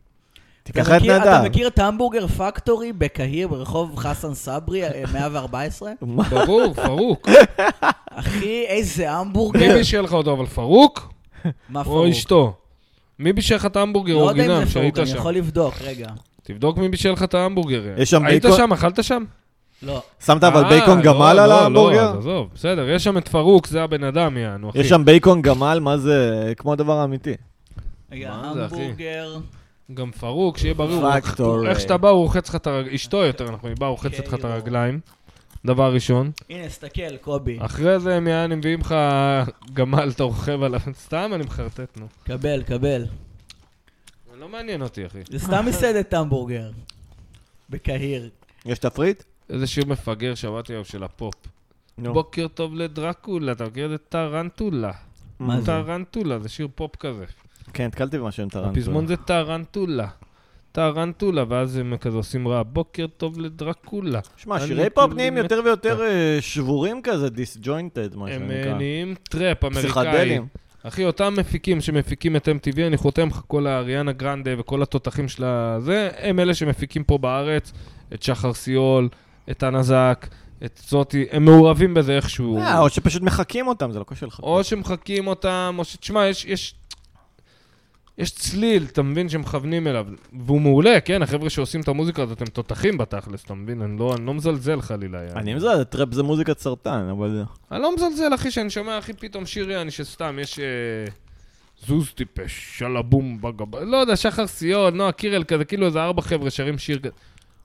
[SPEAKER 1] תיקח
[SPEAKER 2] אתה
[SPEAKER 1] את
[SPEAKER 2] מכיר- אתה
[SPEAKER 1] נדב.
[SPEAKER 2] מכיר את המבורגר פקטורי בקהיר ברחוב חסן סברי, אה, 114?
[SPEAKER 3] ברור, פרוק.
[SPEAKER 2] אחי, איזה
[SPEAKER 3] מי
[SPEAKER 2] המבורגר.
[SPEAKER 3] בישל לך אותו, אבל פרוק?
[SPEAKER 2] מה
[SPEAKER 3] או
[SPEAKER 2] פרוק?
[SPEAKER 3] אשתו. מי בישל לך את ההמבורגר
[SPEAKER 2] לא יודע אם
[SPEAKER 3] אורגינל
[SPEAKER 2] זה
[SPEAKER 3] שהיית
[SPEAKER 2] פרוק, אני
[SPEAKER 3] שם?
[SPEAKER 2] יכול לבדוק, רגע.
[SPEAKER 3] תבדוק מי בישל לך את ההמבורגר.
[SPEAKER 1] יש שם
[SPEAKER 3] היית
[SPEAKER 1] בייקון-
[SPEAKER 3] שם? אכלת שם?
[SPEAKER 2] לא.
[SPEAKER 1] שמת אבל
[SPEAKER 3] אה,
[SPEAKER 1] בייקון
[SPEAKER 3] לא,
[SPEAKER 1] גמל
[SPEAKER 3] לא,
[SPEAKER 1] על
[SPEAKER 3] לא,
[SPEAKER 1] ההמבורגר?
[SPEAKER 3] אז עזוב, בסדר, יש שם את פרוק, זה הבן אדם, יענו, אחי.
[SPEAKER 1] יש שם בייקון גמל, מה זה? כמו הדבר האמיתי.
[SPEAKER 2] רגע,
[SPEAKER 3] מה זה, אחי?
[SPEAKER 2] המבורגר.
[SPEAKER 3] גם פרוק, שיהיה ברור. הוא-
[SPEAKER 1] פקטורי.
[SPEAKER 3] איך שאתה בא, הוא רוחץ לך את הרגליים, אשתו יותר נכון, היא באה, רוחצת לך את
[SPEAKER 2] אוקיי, לא.
[SPEAKER 3] הרגליים. דבר ראשון.
[SPEAKER 2] הנה, סתכל, קובי.
[SPEAKER 3] אחרי זה הם יענו, מביאים לך גמל, אתה רוכב עליו. סתם אני מחרטט, נו.
[SPEAKER 2] קבל, קבל.
[SPEAKER 3] זה לא מעניין אותי, אחי.
[SPEAKER 2] זה סתם מסעדת המבורגר. בקהיר.
[SPEAKER 1] יש תפריט?
[SPEAKER 3] איזה שיר מפגר שמעתי היום של הפופ.
[SPEAKER 1] נו.
[SPEAKER 3] בוקר טוב לדרקולה, אתה מכיר את טרנטולה?
[SPEAKER 2] מה זה?
[SPEAKER 3] טרנטולה, זה שיר פופ כזה.
[SPEAKER 1] כן, נתקלתי במשהו עם טרנטולה.
[SPEAKER 3] הפזמון זה טרנטולה. טרנטולה, ואז הם כזה עושים רע, בוקר טוב לדרקולה.
[SPEAKER 1] שמע,
[SPEAKER 3] אני כאילו
[SPEAKER 1] שירי פופ
[SPEAKER 3] כולי
[SPEAKER 1] נהיים יותר ויותר אה, שבורים כזה, דיסג'וינטד, מה
[SPEAKER 3] הם
[SPEAKER 1] שנקרא.
[SPEAKER 3] אה, נהיים טראפ אמריקאי.
[SPEAKER 1] פסיכדלים.
[SPEAKER 3] אחי, אותם מפיקים שמפיקים את MTV, אני חותם לך, כל האריאנה גרנדה וכל התותחים של הזה, הם אלה שמפיקים פה בארץ את שחר סיול, את הנזק, את זאתי, הם מעורבים בזה איכשהו.
[SPEAKER 1] אה, או שפשוט מחקים אותם, זה לא קשה לך.
[SPEAKER 3] או שמחקים אותם, או ש... תשמע, יש, יש... יש צליל, אתה מבין, שמכוונים אליו. והוא מעולה, כן? החבר'ה שעושים את המוזיקה הזאת הם תותחים בתכלס, אתה מבין? אני לא, אני לא מזלזל חלילה. יעני.
[SPEAKER 1] אני מזלזל, טראפ זה מוזיקת סרטן, אבל...
[SPEAKER 3] אני לא מזלזל, אחי, שאני שומע, אחי, פתאום שיר יעני שסתם, יש... אה, זוז טיפש, שלא בום בגב... לא יודע, שחר סיון, נועה קירל כזה, כאילו איזה ארבע חבר'ה שרים שיר כזה.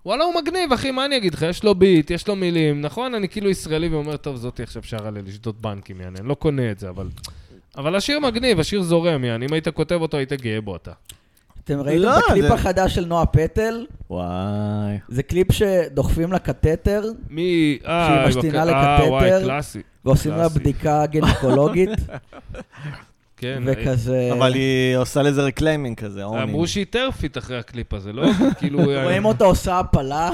[SPEAKER 3] וואלה, הוא מגניב, אחי, מה אני אגיד לך? יש לו ביט, יש לו מילים, נכון? אני כאילו ישראלי ואומר, טוב, זאתי עכשיו שרה לי לשדוד בנקים, יעני, אני לא קונה את זה, אבל... אבל השיר מגניב, השיר זורם, יעני, אם היית כותב אותו, היית גאה בו אתה.
[SPEAKER 2] אתם ראיתם
[SPEAKER 1] לא,
[SPEAKER 2] את הקליפ
[SPEAKER 1] זה-
[SPEAKER 2] החדש של נועה פטל?
[SPEAKER 1] וואי.
[SPEAKER 2] זה קליפ שדוחפים לה קטטר
[SPEAKER 3] מי... אה,
[SPEAKER 2] שהיא משתינה
[SPEAKER 3] בק- אה, וואי,
[SPEAKER 2] לקטטר.
[SPEAKER 3] קלאסי.
[SPEAKER 2] ועושים לה
[SPEAKER 3] קלאסי.
[SPEAKER 2] בדיקה גינקולוגית,
[SPEAKER 3] כן, אה,
[SPEAKER 2] וכזה...
[SPEAKER 1] אבל היא עושה לזה רקליימינג כזה, אונינג.
[SPEAKER 3] אמרו שהיא טרפית אחרי הקליפ הזה, לא? כאילו...
[SPEAKER 2] רואים אותה עושה הפלה,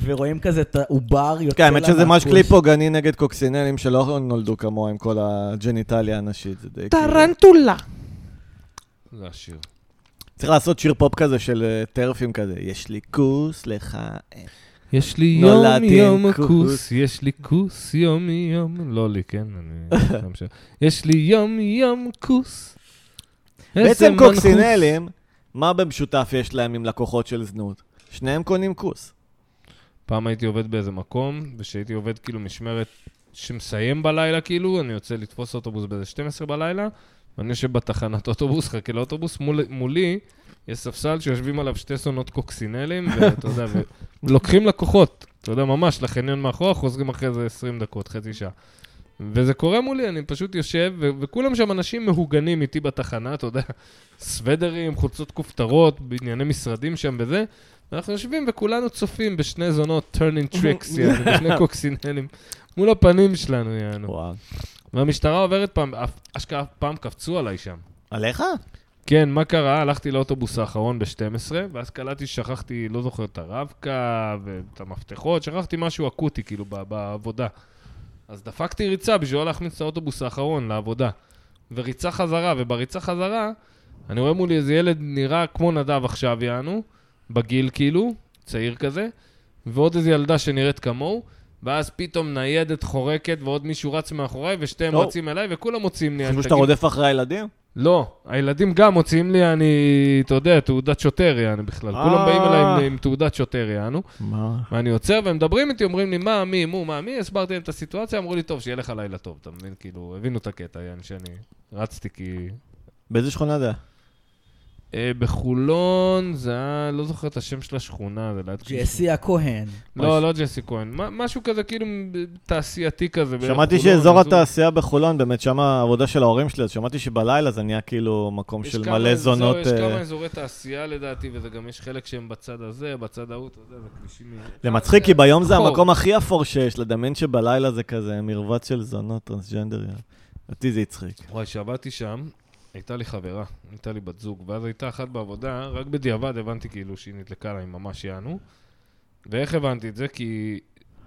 [SPEAKER 2] ורואים כזה את העובר יוצא
[SPEAKER 1] כן,
[SPEAKER 2] לה
[SPEAKER 1] האמת שזה ממש
[SPEAKER 2] מהכוס.
[SPEAKER 1] קליפ פוגעני נגד קוקסינלים שלא נולדו כמוה עם כל הג'ניטליה הנשית. זה די כאילו-
[SPEAKER 4] טרנטולה.
[SPEAKER 3] זה השיר.
[SPEAKER 1] צריך לעשות שיר פופ כזה של אה, טרפים כזה. יש לי כוס, לך... אין."
[SPEAKER 3] יש לי יום
[SPEAKER 1] נולדתי עם
[SPEAKER 3] יום הכוס,
[SPEAKER 1] כוס.
[SPEAKER 3] יש לי כוס יום יום, לא לי, כן, אני... לא משנה. יש לי יום יום כוס. איזה
[SPEAKER 1] בעצם
[SPEAKER 3] מנחוס.
[SPEAKER 1] קוקסינלים, מה במשותף יש להם עם לקוחות של זנות? שניהם קונים כוס.
[SPEAKER 3] פעם הייתי עובד באיזה מקום, וכשהייתי עובד כאילו משמרת שמסיים בלילה כאילו, אני יוצא לתפוס אוטובוס באיזה 12 בלילה, ואני יושב בתחנת אוטובוס, חכה לאוטובוס, מול, מולי יש ספסל שיושבים עליו שתי סונות קוקסינלים, ואתה יודע, ולוקחים לקוחות, אתה יודע, ממש, לחניון מאחורה, חוזרים אחרי זה 20 דקות, חצי שעה. וזה קורה מולי, אני פשוט יושב, ו- וכולם שם אנשים מהוגנים איתי בתחנה, אתה יודע, סוודרים, חולצות כופתרות, בענייני משרדים שם וזה. ואנחנו יושבים וכולנו צופים בשני זונות turning tricks, יענו, בשני קוקסינלים, מול הפנים שלנו, יענו.
[SPEAKER 1] וואו.
[SPEAKER 3] והמשטרה עוברת פעם, אף- אשכרה אף פעם קפצו עליי שם.
[SPEAKER 1] עליך?
[SPEAKER 3] כן, מה קרה? הלכתי לאוטובוס האחרון ב-12, ואז קלטתי ששכחתי, לא זוכר את הרב-קו ואת המפתחות, שכחתי משהו אקוטי, כאילו, ב- בעבודה. אז דפקתי ריצה בשביל לא להחמיץ את האוטובוס האחרון לעבודה. וריצה חזרה, ובריצה חזרה, אני רואה מולי איזה ילד נראה כמו נדב עכשיו, יענו, בגיל כאילו, צעיר כזה, ועוד איזו ילדה שנראית כמוהו, ואז פתאום ניידת חורקת, ועוד מישהו רץ מאחוריי, ושתיהם
[SPEAKER 1] או.
[SPEAKER 3] רצים אליי, וכולם מוצאים לי... אני
[SPEAKER 1] חשבו שאתה
[SPEAKER 3] תגיד,
[SPEAKER 1] רודף אחרי הילדים?
[SPEAKER 3] לא, הילדים גם מוציאים לי, אני, אתה יודע, תעודת שוטר, יענו בכלל.
[SPEAKER 1] אה.
[SPEAKER 3] כולם באים אליי עם- עם תעודת שוטר, יענו.
[SPEAKER 1] מה?
[SPEAKER 3] ואני עוצר, והם מדברים איתי, אומרים לי, מה, מי, מו, מה, מי, הסברתי להם את הסיטואציה, אמרו לי, טוב, שיהיה לך לילה טוב, אתה מבין? כאילו, הבינו את הקטע, יעני, שאני רצתי כי...
[SPEAKER 1] באיזה שכונה זה? היה?
[SPEAKER 3] אה, בחולון, זה היה, לא זוכר את השם של השכונה, זה ליד...
[SPEAKER 2] ג'סי הכהן.
[SPEAKER 3] לא, לא ג'סי כהן. מה- משהו כזה, כאילו, תעשייתי כזה. בערך
[SPEAKER 1] שמעתי
[SPEAKER 3] חולון,
[SPEAKER 1] שאזור
[SPEAKER 3] אז הוא-
[SPEAKER 1] התעשייה בחולון, באמת שם העבודה של ההורים שלי, אז שמעתי שבלילה זה נהיה כאילו מקום
[SPEAKER 3] יש
[SPEAKER 1] של
[SPEAKER 3] כמה-
[SPEAKER 1] מלא
[SPEAKER 3] זהו,
[SPEAKER 1] זונות.
[SPEAKER 3] יש
[SPEAKER 1] אה,
[SPEAKER 3] כמה אזורי תעשייה לדעתי, וזה גם יש חלק שהם בצד הזה, בצד ההוא, אתה יודע, זה כבישים...
[SPEAKER 1] זה מצחיק, כי ביום זה
[SPEAKER 3] חור.
[SPEAKER 1] המקום הכי אפור שיש, לדמיין שבלילה זה כזה מרבץ של זונות טרנסג'נדריות. אותי זה הצחיק.
[SPEAKER 3] וואי, כשעבדתי שם, הייתה לי חברה, הייתה לי בת זוג, ואז הייתה אחת בעבודה, רק בדיעבד הבנתי כאילו שהיא נדלקה לה, היא ממש יענו. ואיך הבנתי את זה? כי...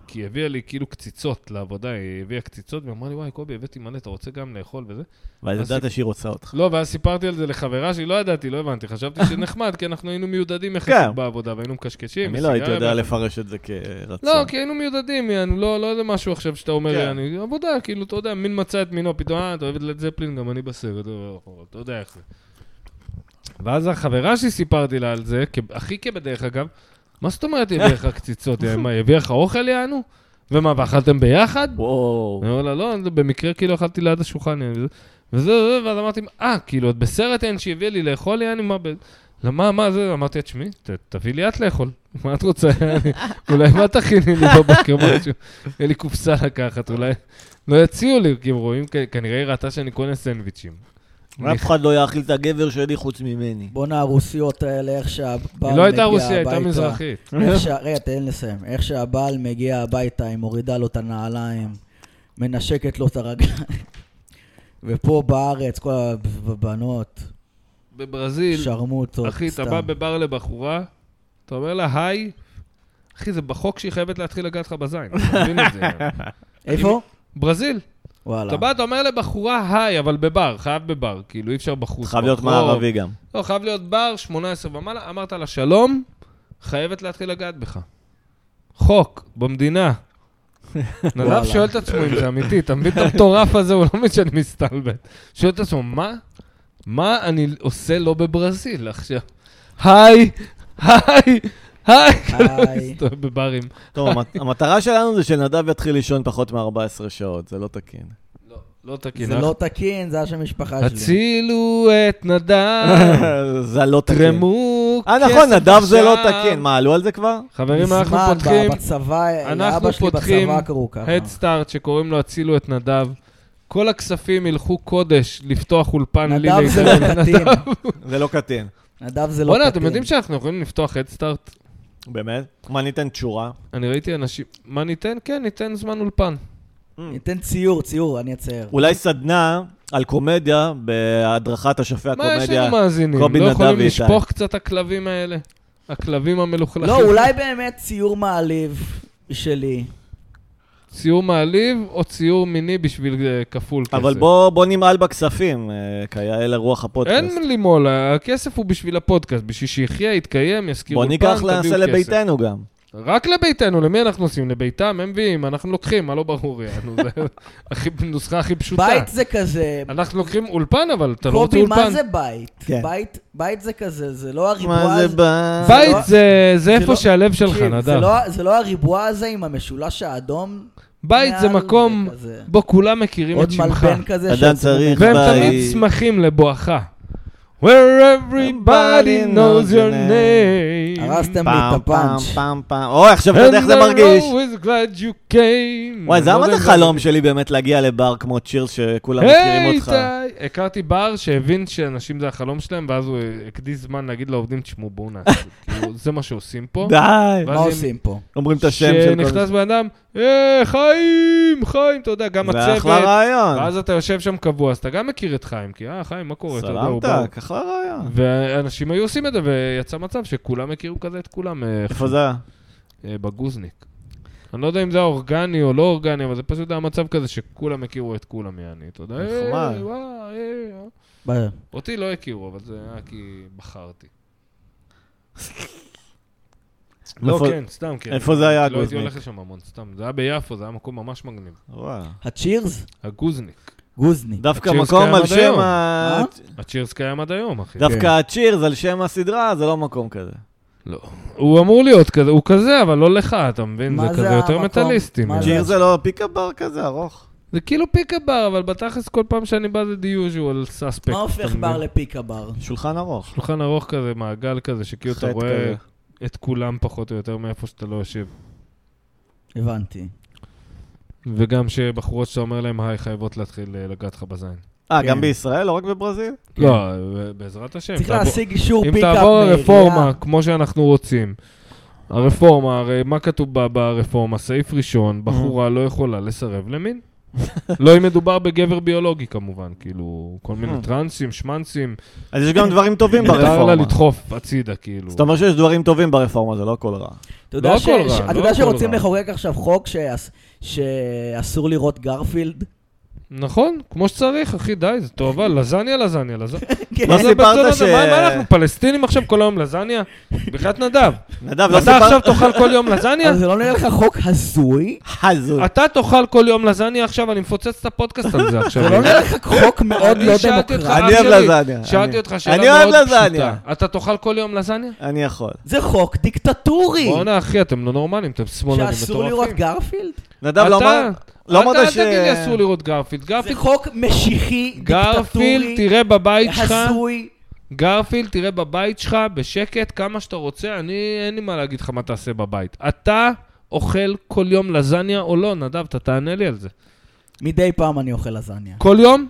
[SPEAKER 3] כי היא הביאה לי כאילו קציצות לעבודה, היא הביאה קציצות, ואמרה לי, וואי, קובי, הבאתי מלא, אתה רוצה גם לאכול וזה?
[SPEAKER 1] ואז
[SPEAKER 3] אז-
[SPEAKER 1] ידעת שהיא רוצה אותך.
[SPEAKER 3] לא, ואז סיפרתי על זה לחברה שלי, לא ידעתי, לא הבנתי, חשבתי שנחמד, כי אנחנו היינו מיודדים יחסית
[SPEAKER 1] כן.
[SPEAKER 3] בעבודה, והיינו מקשקשים.
[SPEAKER 1] אני לא הייתי
[SPEAKER 3] וסיגריה
[SPEAKER 1] יודע
[SPEAKER 3] ביחד.
[SPEAKER 1] לפרש את זה כרצון.
[SPEAKER 3] לא, כי היינו מיודדים, יענו, לא, לא איזה משהו עכשיו שאתה אומר,
[SPEAKER 1] כן.
[SPEAKER 3] יענו, עבודה, כאילו, אתה יודע, מין מצא את מינו, פתאום, אה, אתה אוהב את לד זפלין, גם אני בסרט, אה, אתה יודע איך זה. ואז החברה שסיפרתי לה על זה, כ- הכי כבדרך אגב, מה זאת אומרת היא הביאה לך קציצות? היא- מה, היא הביאה לך אוכל, יענו? ומה, ואכלתם ביחד?
[SPEAKER 1] וואו.
[SPEAKER 3] אני אומר לה, לא, זה במקרה כאילו אכלתי ליד השולחן, יעני, וזה- וזה, וזה, ואז אמרתי, אה, כאילו, את בסרט אין שהביאה לי לאכול, יעני, מה, ב- למה, מה זה, אמרתי, תשמעי, ת- תביאי לי את לאכול, מה את רוצה, יעני? אולי מה תכיני לי בבוקר משהו, יהיה לי קופסה לקחת, אולי לא יציעו לי, כי הם רואים, כ- כנראה היא ראתה שאני קונה סנדוויצ'ים.
[SPEAKER 1] אף אחד לא יאכיל את הגבר שלי חוץ ממני.
[SPEAKER 2] בואנה הרוסיות האלה, איך שהבעל מגיע הביתה.
[SPEAKER 3] היא לא הייתה רוסיה, היא הייתה מזרחית.
[SPEAKER 2] איך שה- רגע, תן לי לסיים. איך שהבעל מגיע הביתה, היא מורידה לו את הנעליים, מנשקת לו את הרגליים. ופה בארץ, כל הבנות,
[SPEAKER 3] בברזיל,
[SPEAKER 2] שרמוטות,
[SPEAKER 3] אחי, אתה
[SPEAKER 2] סתם.
[SPEAKER 3] בא בבר לבחורה, אתה אומר לה, היי, אחי, זה בחוק שהיא חייבת להתחיל לגעת לך בזין, אתה מבין את זה.
[SPEAKER 2] איפה?
[SPEAKER 3] ברזיל.
[SPEAKER 2] וואלה.
[SPEAKER 3] אתה בא, אתה אומר לבחורה היי, אבל בבר, חייב בבר, כאילו אי אפשר בחוץ.
[SPEAKER 1] חייב להיות
[SPEAKER 3] ברחוב.
[SPEAKER 1] מערבי גם.
[SPEAKER 3] לא, חייב להיות בר, 18 ומעלה, אמרת לה שלום, חייבת להתחיל לגעת בך. חוק, במדינה. נדב
[SPEAKER 2] וואלה.
[SPEAKER 3] שואל את עצמו אם זה אמיתי, אתה מבין את המטורף הזה, הוא לא מבין שאני מסתלבט. שואל את עצמו, מה? מה אני עושה לא בברזיל עכשיו? היי, היי, היי, כאילו,
[SPEAKER 2] היי.
[SPEAKER 3] מסתובב בברים.
[SPEAKER 1] טוב, המת- המטרה שלנו זה שנדב יתחיל לישון פחות מ-14 שעות, זה לא תקין.
[SPEAKER 3] לא, לא תקין.
[SPEAKER 2] זה לא תקין, זה השם משפחה שלי.
[SPEAKER 3] הצילו את נדב.
[SPEAKER 1] זה לא תקין.
[SPEAKER 3] אה. תרמו כסף
[SPEAKER 1] אה,
[SPEAKER 3] עכשיו.
[SPEAKER 1] נכון, נדב זה לא תקין. מה, עלו על זה כבר?
[SPEAKER 3] חברים, אנחנו
[SPEAKER 2] מזמן,
[SPEAKER 3] פותחים
[SPEAKER 2] בצבא,
[SPEAKER 3] אנחנו
[SPEAKER 2] לאבא שלי
[SPEAKER 3] פותחים
[SPEAKER 2] בצבא קראו ככה.
[SPEAKER 3] הדסטארט שקוראים לו הצילו את נדב. כל הכספים ילכו קודש לפתוח אולפן לי
[SPEAKER 2] נדב זה לא
[SPEAKER 3] להתעלם.
[SPEAKER 2] קטין.
[SPEAKER 1] זה לא קטין.
[SPEAKER 2] נדב זה לא
[SPEAKER 3] וואלה, אתם יודעים שאנחנו יכולים לפתוח הדסטארט?
[SPEAKER 1] באמת? מה, ניתן תשורה?
[SPEAKER 3] אני ראיתי אנשים... מה ניתן? כן, ניתן זמן אולפן.
[SPEAKER 2] ניתן ציור, ציור, אני אצייר.
[SPEAKER 1] אולי סדנה על קומדיה בהדרכת אשפי
[SPEAKER 3] מה יש
[SPEAKER 1] הקומדיה.
[SPEAKER 3] לנו מאזינים?
[SPEAKER 1] קובי
[SPEAKER 3] לא
[SPEAKER 1] נדב
[SPEAKER 3] יכולים
[SPEAKER 1] ואיתי.
[SPEAKER 3] לשפוך קצת הכלבים האלה? הכלבים המלוכלכים.
[SPEAKER 2] לא, אולי באמת ציור מעליב שלי.
[SPEAKER 3] ציור מעליב או ציור מיני בשביל אה, כפול כסף.
[SPEAKER 1] אבל בוא בוא נמעל בכספים, אה, כיאה לרוח הפודקאסט.
[SPEAKER 3] אין לימול, הכסף הוא בשביל הפודקאסט, בשביל שיחיה, יתקיים, יזכיר
[SPEAKER 1] בוא
[SPEAKER 3] אולפן,
[SPEAKER 1] ניקח,
[SPEAKER 3] תביאו
[SPEAKER 1] נעשה
[SPEAKER 3] כסף.
[SPEAKER 1] לביתנו גם.
[SPEAKER 3] רק לביתנו, למי אנחנו עושים? לביתם, הם מביאים, אנחנו לוקחים, מה לא ברור יענו, זה הכי- נוסחה הכי פשוטה.
[SPEAKER 2] בית זה כזה...
[SPEAKER 3] אנחנו לוקחים אולפן, אבל אתה לא רוצה
[SPEAKER 2] קובי, מה
[SPEAKER 3] אולפן.
[SPEAKER 2] זה בית?
[SPEAKER 1] כן.
[SPEAKER 2] בית- בית זה כזה, זה לא הריבוע
[SPEAKER 1] מה
[SPEAKER 2] הזה.
[SPEAKER 1] זה בא...
[SPEAKER 3] בית
[SPEAKER 2] לא-
[SPEAKER 3] זה- זה
[SPEAKER 2] זה
[SPEAKER 3] איפה
[SPEAKER 2] לא-
[SPEAKER 3] שהלב שלך,
[SPEAKER 2] תקשיב, זה
[SPEAKER 3] נדב.
[SPEAKER 2] לא- זה לא הריבוע הזה עם המשולש האדום?
[SPEAKER 3] בית זה
[SPEAKER 2] מעל
[SPEAKER 3] מקום
[SPEAKER 2] וכזה.
[SPEAKER 3] בו כולם מכירים
[SPEAKER 2] עוד
[SPEAKER 3] את שמך.
[SPEAKER 2] מלבן כזה.
[SPEAKER 1] אדם
[SPEAKER 2] שעצמו-
[SPEAKER 1] צריך
[SPEAKER 3] והם
[SPEAKER 1] בית.
[SPEAKER 3] תמיד שמחים לבואך. Where everybody knows your name.
[SPEAKER 2] הרסתם לי
[SPEAKER 1] פעם,
[SPEAKER 2] את
[SPEAKER 1] פעם,
[SPEAKER 2] הפאנץ'.
[SPEAKER 1] פעם, פעם. אוי, עכשיו אתה
[SPEAKER 3] And
[SPEAKER 1] יודע איך זה
[SPEAKER 3] I'm
[SPEAKER 1] מרגיש.
[SPEAKER 3] always glad you came.
[SPEAKER 1] וואי, זה
[SPEAKER 3] אני לא
[SPEAKER 1] היה מה
[SPEAKER 3] יודע
[SPEAKER 1] זה
[SPEAKER 3] אם
[SPEAKER 1] חלום שלי באמת להגיע לבר כמו צ'ירס שכולם מכירים
[SPEAKER 3] היי,
[SPEAKER 1] אותך.
[SPEAKER 3] איתי. הכרתי בר שהבין שאנשים זה החלום שלהם, ואז הוא הקדיש זמן להגיד לעובדים, תשמעו, בואו נעשה. כאילו, זה מה שעושים פה.
[SPEAKER 1] די.
[SPEAKER 2] מה עושים פה?
[SPEAKER 1] אומרים את השם של כל
[SPEAKER 3] שנכנס בן אדם, "אה, חיים, חיים, אתה יודע, גם
[SPEAKER 1] זה אחלה
[SPEAKER 3] הצוות.
[SPEAKER 1] רעיון.
[SPEAKER 3] ואז אתה יושב שם קבוע, אז אתה גם מכיר את חיים, כי אה, חיים, מה קורה? אתה יודע, הוא בא.
[SPEAKER 1] סלמת, אה, אחלה רעיון.
[SPEAKER 3] ואנשים היו עושים את זה, ויצא מצב שכולם הכירו כזה את כולם אה,
[SPEAKER 1] איפה זה היה?
[SPEAKER 3] אה, בגוזניק. אני לא יודע אם זה היה אורגני או לא אורגני, אבל זה פשוט היה מצב כזה שכולם הכירו את כולם, יעני, אתה יודע. אה,
[SPEAKER 1] נחמד.
[SPEAKER 3] וואי, אה,
[SPEAKER 2] ב-
[SPEAKER 3] אה. אותי לא הכירו, אבל זה היה כי בחרתי. לא,
[SPEAKER 1] איפה-
[SPEAKER 3] כן, סתם כן.
[SPEAKER 1] איפה זה היה,
[SPEAKER 3] לא הייתי
[SPEAKER 1] הגוזניק?
[SPEAKER 3] הולך לשם המון, סתם. זה היה ביפו, זה היה מקום ממש מגניב.
[SPEAKER 1] וואו.
[SPEAKER 2] הצ'ירס?
[SPEAKER 3] הגוזניק.
[SPEAKER 2] גוזני.
[SPEAKER 1] דווקא
[SPEAKER 3] הצ'ירס
[SPEAKER 1] מקום
[SPEAKER 3] קיים
[SPEAKER 1] על
[SPEAKER 3] עד
[SPEAKER 1] שם
[SPEAKER 3] היום. כן.
[SPEAKER 1] ה...
[SPEAKER 2] מה?
[SPEAKER 3] הצ'ירס קיים עד היום, אחי.
[SPEAKER 1] כן. דווקא הצ'ירס על שם הסדרה זה לא מקום כזה.
[SPEAKER 3] לא. הוא אמור להיות כזה, הוא כזה, אבל לא לך, אתה מבין?
[SPEAKER 2] מה
[SPEAKER 3] זה
[SPEAKER 2] זה
[SPEAKER 3] כזה יותר
[SPEAKER 2] המקום?
[SPEAKER 3] מטאליסטי.
[SPEAKER 2] מה
[SPEAKER 3] מזה.
[SPEAKER 1] צ'ירס זה לא פיקה בר כזה ארוך.
[SPEAKER 3] זה כאילו פיקה בר, אבל בתכלס כל פעם שאני בא זה דיוז'ואל סאספקט.
[SPEAKER 2] מה הופך בר לפיקה בר?
[SPEAKER 1] שולחן ארוך.
[SPEAKER 3] שולחן ארוך כזה, מעגל כזה, שכאילו אתה
[SPEAKER 1] חטא
[SPEAKER 3] רואה
[SPEAKER 1] כזה.
[SPEAKER 3] את כולם פחות או יותר מאיפה שאתה לא יושב.
[SPEAKER 2] הבנתי.
[SPEAKER 3] כן, וגם שבחורות שאתה אומר להם, היי, חייבות להתחיל אה, לגעת לך בזין.
[SPEAKER 1] אה,
[SPEAKER 2] כן.
[SPEAKER 1] גם בישראל? לא רק בברזיל?
[SPEAKER 3] לא, אה, בעזרת השם.
[SPEAKER 2] צריך
[SPEAKER 3] תעבור-
[SPEAKER 2] להשיג אישור
[SPEAKER 3] אם
[SPEAKER 2] פיקאפ
[SPEAKER 3] תעבור
[SPEAKER 2] מהעירייה.
[SPEAKER 3] הרפורמה, כמו שאנחנו רוצים. הרפורמה, הרי מה כתוב ב- ברפורמה? סעיף
[SPEAKER 1] Mm.
[SPEAKER 3] ראשון, בחורה לא יכולה לסרב למין. לא אם מדובר בגבר ביולוגי כמובן, כאילו, כל מיני
[SPEAKER 1] Mm.
[SPEAKER 3] טרנסים, שמנסים,
[SPEAKER 1] אז יש גם דברים טובים
[SPEAKER 3] מותר לה
[SPEAKER 1] ברפורמה.
[SPEAKER 3] לדחוף הצידה, כאילו.
[SPEAKER 1] זאת אומרת שיש דברים טובים ברפורמה, זה לא הכל רע.
[SPEAKER 2] אתה יודע
[SPEAKER 3] לא
[SPEAKER 2] ש-
[SPEAKER 3] הכל רע,
[SPEAKER 2] ש-
[SPEAKER 3] לא
[SPEAKER 2] אתה יודע
[SPEAKER 3] הכל
[SPEAKER 2] שרוצים
[SPEAKER 3] רע.
[SPEAKER 2] לחוקק עכשיו חוק שאס- שאסור לראות גרפילד?
[SPEAKER 3] נכון, כמו שצריך, אחי, די, זה תועבה, לזניה, לזניה, לזניה.
[SPEAKER 2] כן.
[SPEAKER 1] לא סיפרת ש...
[SPEAKER 3] מה מה אנחנו, פלסטינים עכשיו כל היום לזניה? בחייאת נדב,
[SPEAKER 1] נדב, לא
[SPEAKER 3] אתה עכשיו
[SPEAKER 1] סיפרת...
[SPEAKER 3] תאכל כל יום לזניה?
[SPEAKER 2] אבל זה לא נראה לך חוק הזוי?
[SPEAKER 1] חזות.
[SPEAKER 3] אתה תאכל כל יום לזניה עכשיו, אני מפוצץ את הפודקאסט על זה עכשיו.
[SPEAKER 2] זה לא נראה לך חוק מאוד
[SPEAKER 3] אני
[SPEAKER 2] לא
[SPEAKER 3] שאלתי אותך,
[SPEAKER 1] אני
[SPEAKER 2] דמוקרטי?
[SPEAKER 3] אח
[SPEAKER 1] אוהב
[SPEAKER 3] שלי,
[SPEAKER 1] לזניה.
[SPEAKER 3] שאלתי
[SPEAKER 1] אני-
[SPEAKER 3] אותך שאלה
[SPEAKER 1] אני אוהב
[SPEAKER 3] מאוד
[SPEAKER 1] לזניה.
[SPEAKER 3] פשוטה. אתה תאכל כל יום לזניה?
[SPEAKER 1] אני יכול.
[SPEAKER 2] זה חוק דיקטטורי!
[SPEAKER 3] בואנה אחי, אתם לא נורמלים, אתם שמאלנים
[SPEAKER 2] שאסור לראות
[SPEAKER 3] מטורפים.
[SPEAKER 2] גרפילד?
[SPEAKER 1] נדב, לא אמר-
[SPEAKER 3] אתה-
[SPEAKER 1] לא אמרת ש...
[SPEAKER 3] אתה אל תגיד לי אסור לראות גרפילד.
[SPEAKER 2] זה
[SPEAKER 3] גרפילד-
[SPEAKER 2] חוק משיחי,
[SPEAKER 3] גרפילד,
[SPEAKER 2] דיקטטורי,
[SPEAKER 3] תראה בבית שלך,
[SPEAKER 2] הזוי.
[SPEAKER 3] גרפילד, תראה בבית שלך, בשקט, כמה שאתה רוצה, אני, אין לי מה להגיד לך מה תעשה בבית. אתה אוכל כל יום לזניה או לא, נדב, אתה תענה לי על זה.
[SPEAKER 2] מדי פעם אני אוכל לזניה,
[SPEAKER 3] כל יום?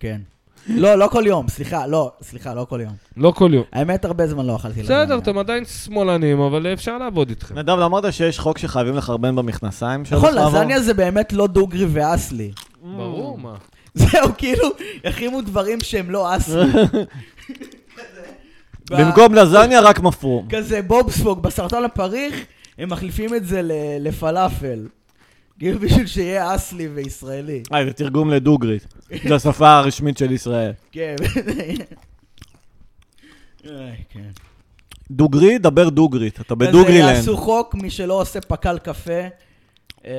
[SPEAKER 2] כן. לא, לא כל יום, סליחה, לא, סליחה, לא כל יום.
[SPEAKER 3] לא כל יום.
[SPEAKER 2] האמת, הרבה זמן לא אכלתי לזניה.
[SPEAKER 3] בסדר, אתם עדיין שמאלנים, אבל אפשר לעבוד איתכם.
[SPEAKER 1] נדב, לא אמרת שיש חוק שחייבים לחרבן במכנסיים שלך?
[SPEAKER 2] נכון,
[SPEAKER 1] לעבור?
[SPEAKER 2] לזניה זה באמת לא דוגרי ואסלי.
[SPEAKER 3] ברור,
[SPEAKER 1] אה,
[SPEAKER 3] מה.
[SPEAKER 2] זהו, כאילו, יחרימו דברים שהם לא אסלי. כזה.
[SPEAKER 1] במקום לזניה רק מפרום.
[SPEAKER 2] כזה בובספוג בסרטן הפריך, הם מחליפים את זה ל- לפלאפל. כאילו בשביל שיהיה אסלי וישראלי.
[SPEAKER 1] אה, זה תרגום לדוגרית. זו השפה הרשמית של ישראל.
[SPEAKER 2] כן. איי, כן.
[SPEAKER 1] דוגרי, דבר דוגרית. אתה
[SPEAKER 2] אז
[SPEAKER 1] בדוגרילנד.
[SPEAKER 2] יעשו חוק, מי שלא עושה פקל קפה, אה,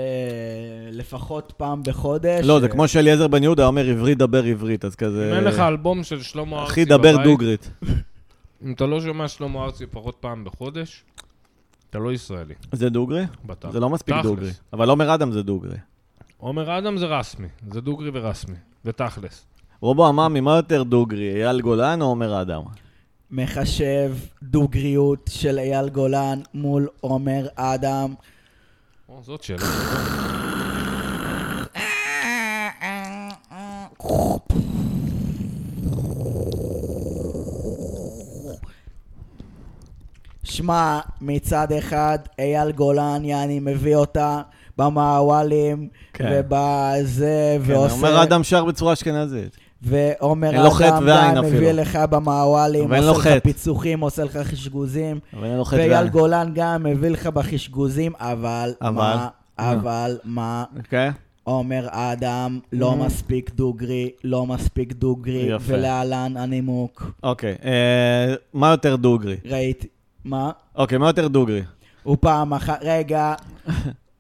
[SPEAKER 2] לפחות פעם בחודש.
[SPEAKER 1] לא, זה כמו שאליעזר בן יהודה אומר עברית, דבר עברית, אז כזה...
[SPEAKER 3] אם אין לך אלבום של שלמה ארצי
[SPEAKER 1] אחי,
[SPEAKER 3] בבית,
[SPEAKER 1] דבר דוגרית.
[SPEAKER 3] אם אתה לא שומע שלמה ארצי פחות פעם בחודש, אתה לא ישראלי.
[SPEAKER 1] זה דוגרי?
[SPEAKER 3] בתכלס.
[SPEAKER 1] זה לא מספיק
[SPEAKER 3] תכלס.
[SPEAKER 1] דוגרי. אבל עומר אדם זה דוגרי.
[SPEAKER 3] עומר אדם זה רסמי, זה דוגרי ורסמי, ותכלס.
[SPEAKER 1] רובו עממי, מה יותר דוגרי? אייל גולן או עומר אדם?
[SPEAKER 2] מחשב דוגריות של אייל גולן מול עומר אדם.
[SPEAKER 3] או, זאת שאלה.
[SPEAKER 2] שמע, מצד אחד, אייל גולן, יעני, מביא אותה במעוולים,
[SPEAKER 4] כן.
[SPEAKER 2] ובזה,
[SPEAKER 1] כן,
[SPEAKER 2] ועושה...
[SPEAKER 1] אומר אדם שר בצורה אשכנזית.
[SPEAKER 2] ועומר
[SPEAKER 1] אין לו חטא
[SPEAKER 2] אדם
[SPEAKER 1] ואין
[SPEAKER 2] דן מביא
[SPEAKER 1] אפילו. לא
[SPEAKER 2] לך במעוולים,
[SPEAKER 1] ואין לו
[SPEAKER 2] עושה
[SPEAKER 1] חטא.
[SPEAKER 2] לך פיצוחים, עושה לך חשגוזים.
[SPEAKER 1] אבל אין לו חטא
[SPEAKER 2] ואייל
[SPEAKER 1] ואין.
[SPEAKER 2] גולן גם מביא לך בחשגוזים, אבל...
[SPEAKER 1] אבל? אה.
[SPEAKER 2] מה, אבל מה?
[SPEAKER 1] אוקיי?
[SPEAKER 2] עומר אדם לא מספיק דוגרי, לא מספיק דוגרי,
[SPEAKER 1] אה. יפה.
[SPEAKER 2] ולהלן הנימוק.
[SPEAKER 1] אוקיי. אה, מה יותר דוגרי?
[SPEAKER 2] ראיתי, מה?
[SPEAKER 1] אוקיי, מה יותר דוגרי?
[SPEAKER 2] הוא פעם אחת, רגע,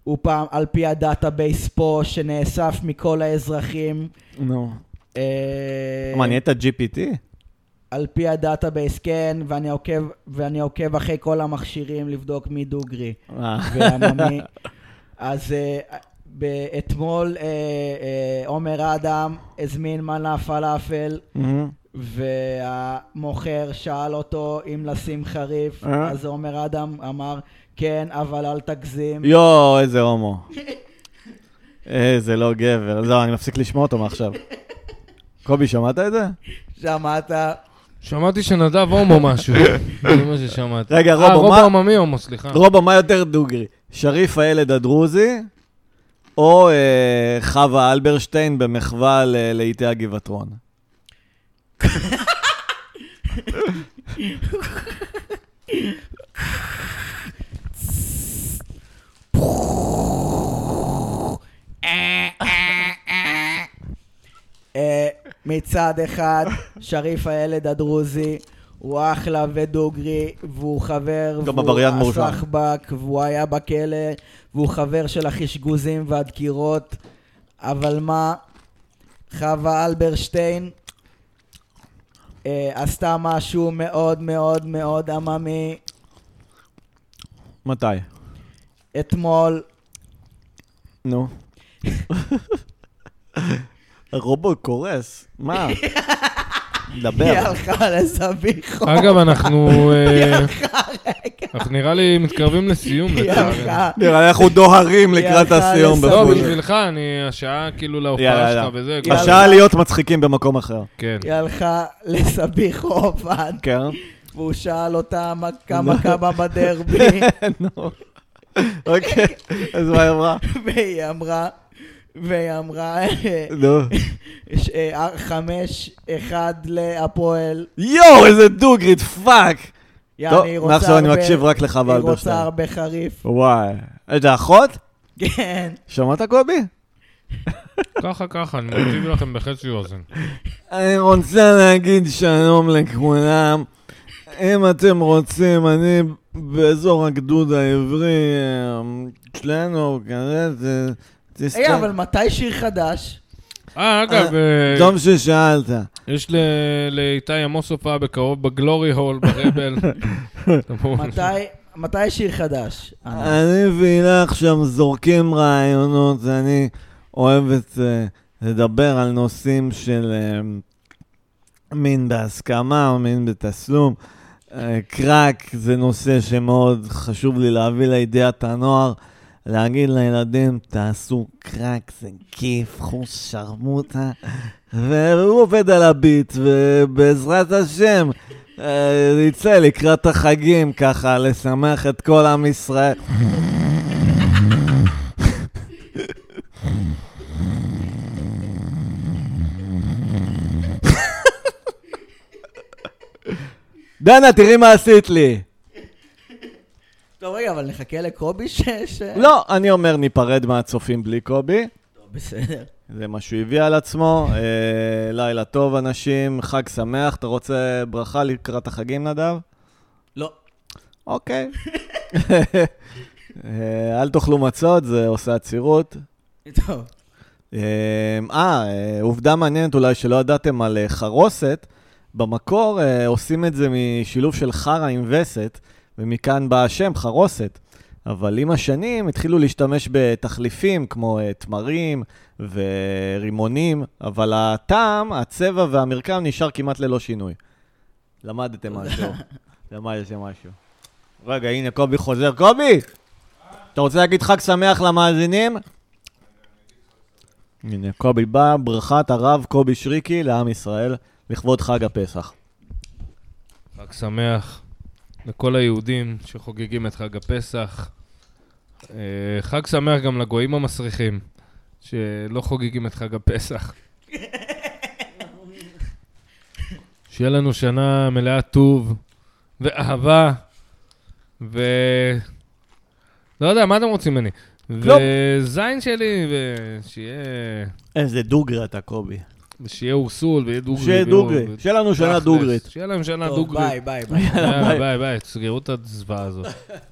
[SPEAKER 2] הוא פעם, על פי הדאטאבייס פה, שנאסף מכל האזרחים,
[SPEAKER 1] נו.
[SPEAKER 2] אה,
[SPEAKER 1] מה, נהיית GPT?
[SPEAKER 2] על פי הדאטאבייס, כן, ואני עוקב, ואני עוקב אחרי כל המכשירים לבדוק מי דוגרי
[SPEAKER 1] אה.
[SPEAKER 2] ועממי. אז אה, ב- אתמול אה, אה, עומר אדם הזמין מנה פלאפל.
[SPEAKER 1] מהמם.
[SPEAKER 2] והמוכר שאל אותו אם לשים חריף,
[SPEAKER 1] אה?
[SPEAKER 2] אז עומר אדם אמר, כן, אבל אל תגזים.
[SPEAKER 1] יואו, איזה הומו. איזה לא גבר. לא, אני מפסיק לשמוע אותו מעכשיו. קובי, שמעת את זה?
[SPEAKER 2] שמעת?
[SPEAKER 3] שמעתי שנדב הומו משהו, זה מה ששמעתי.
[SPEAKER 1] רגע,
[SPEAKER 3] אה,
[SPEAKER 1] רובו,
[SPEAKER 3] רוב
[SPEAKER 1] מה-
[SPEAKER 3] העממי הומו, סליחה.
[SPEAKER 1] רובו, מה יותר דוגרי? שריף הילד הדרוזי, או אה, חווה אלברשטיין במחווה ל- לאיתי הגבעתרון?
[SPEAKER 2] אה, מצד אחד, שריף הילד הדרוזי, הוא אחלה ודוגרי, והוא חבר,
[SPEAKER 1] גם עבריין מורשע.
[SPEAKER 2] והוא הסחבק, והוא היה בכלא, והוא חבר של החשגוזים והדקירות, אבל מה, חווה אלברשטיין אה, עשתה משהו מאוד מאוד מאוד עממי
[SPEAKER 1] מתי?
[SPEAKER 2] אתמול,
[SPEAKER 1] נו. הרובו קורס, מה?
[SPEAKER 2] היא
[SPEAKER 1] דבר.
[SPEAKER 2] הלכה לזביחו,
[SPEAKER 3] אגב, אנחנו... אה, אנחנו נראה לי מתקרבים לסיום,
[SPEAKER 2] היא
[SPEAKER 3] לצערי.
[SPEAKER 2] הלכה.
[SPEAKER 1] נראה לי אנחנו דוהרים לקראת
[SPEAKER 2] יאללה,
[SPEAKER 1] הסיום
[SPEAKER 2] לסוף.
[SPEAKER 3] לא,
[SPEAKER 1] בפודקאסט.
[SPEAKER 3] בשבילך, אני השעה כאילו
[SPEAKER 1] יאללה,
[SPEAKER 3] להופעה
[SPEAKER 1] יאללה.
[SPEAKER 3] שלך וזה.
[SPEAKER 2] יאללה.
[SPEAKER 3] כאילו.
[SPEAKER 1] השעה להיות מצחיקים במקום אחר.
[SPEAKER 3] כן.
[SPEAKER 2] היא הלכה לסביח עובד,
[SPEAKER 1] כן.
[SPEAKER 2] והוא שאל אותה מה- כמה כמה בדרבי,
[SPEAKER 1] נו. אוקיי, אז מה היא אמרה?
[SPEAKER 2] והיא אמרה, והיא אמרה, אה,
[SPEAKER 1] נו.
[SPEAKER 2] ש- אה, חמש, אחד להפועל.
[SPEAKER 1] יואו, איזה דוגרית, פאק!
[SPEAKER 2] יעני,
[SPEAKER 1] טוב,
[SPEAKER 2] היא רוצה
[SPEAKER 1] מעכשיו אני
[SPEAKER 2] הרבה-
[SPEAKER 1] מקשיב רק לך
[SPEAKER 2] היא רוצה
[SPEAKER 1] ואלברשטיין.
[SPEAKER 2] הרבה חריף.
[SPEAKER 1] וואי. איזה אחות?
[SPEAKER 2] כן.
[SPEAKER 1] שמעת קובי?
[SPEAKER 3] ככה, ככה, אני מקשיב לכם בחצי אוזן.
[SPEAKER 1] אני רוצה להגיד שלום לכולם. אם אתם רוצים, אני באזור הגדוד העברי אמ, שלנו, כזה, זה- תסתכל.
[SPEAKER 2] רגע, אבל מתי שיר חדש?
[SPEAKER 3] אה, אגב, אה,
[SPEAKER 1] טוב ששאלת.
[SPEAKER 3] יש ל- לאיתי עמוס הופעה בקרוב בגלורי הול, ברבל. תבואו.
[SPEAKER 2] מתי... מתי שיר חדש? אה,
[SPEAKER 1] אני והילך שם זורקים רעיונות, אני אוהבת אה, לדבר על נושאים של אה, מין בהסכמה או מין בתסלום. אה, קרק זה נושא שמאוד חשוב לי להביא לידיעת הנוער, להגיד לילדים, תעשו קרק, זה כיף, קחו שרמוטה. והוא עובד על הביט, ובעזרת השם, אה, נצא לקראת החגים ככה, לשמח את כל עם ישראל. דנה, תראי מה עשית לי.
[SPEAKER 2] טוב, לא, רגע, אבל נחכה לקובי ש... ש-
[SPEAKER 1] לא, אני אומר ניפרד מהצופים בלי קובי.
[SPEAKER 2] טוב, בסדר.
[SPEAKER 1] זה מה שהוא הביא על עצמו. אה, לילה טוב, אנשים, חג שמח. אתה רוצה ברכה לקראת החגים, נדב?
[SPEAKER 2] לא.
[SPEAKER 1] אוקיי. אה, אל תאכלו מצות, זה עושה עצירות.
[SPEAKER 2] טוב.
[SPEAKER 1] אה, אה, עובדה מעניינת אולי שלא ידעתם על אה, חרוסת. במקור אה, עושים את זה משילוב של חרא עם וסת, ומכאן בא השם חרוסת. אבל עם השנים התחילו להשתמש בתחליפים כמו אה, תמרים ורימונים, אבל הטעם, הצבע והמרקם נשאר כמעט ללא שינוי. למדתם משהו. למדתם משהו. רגע, הנה קובי חוזר. קובי! אתה רוצה להגיד חג שמח למאזינים? הנה, קובי בא, ברכת הרב קובי שריקי לעם ישראל, לכבוד חג הפסח.
[SPEAKER 3] חג שמח, לכל היהודים שחוגגים את חג הפסח. אה, חג שמח גם לגויים המסריחים, שלא חוגגים את חג הפסח. שיהיה לנו שנה מלאה טוב ואהבה, ו... לא יודע, מה אתם רוצים ממני?
[SPEAKER 1] כלום.
[SPEAKER 3] וזין שלי, ושיהיה...
[SPEAKER 1] איזה דוגרי אתה, קובי.
[SPEAKER 3] ושיהיה אורסול, ויהיה דוגרי.
[SPEAKER 1] שיהיה
[SPEAKER 3] ויהיה-
[SPEAKER 1] דוגרי, שיהיה לנו שנה
[SPEAKER 3] תכלס,
[SPEAKER 1] דוגרית.
[SPEAKER 3] שיהיה להם שנה
[SPEAKER 2] טוב,
[SPEAKER 3] דוגרית.
[SPEAKER 2] ביי, ביי, ביי.
[SPEAKER 3] יאללה, ביי, ביי, תסגרו את הזוועה הזאת.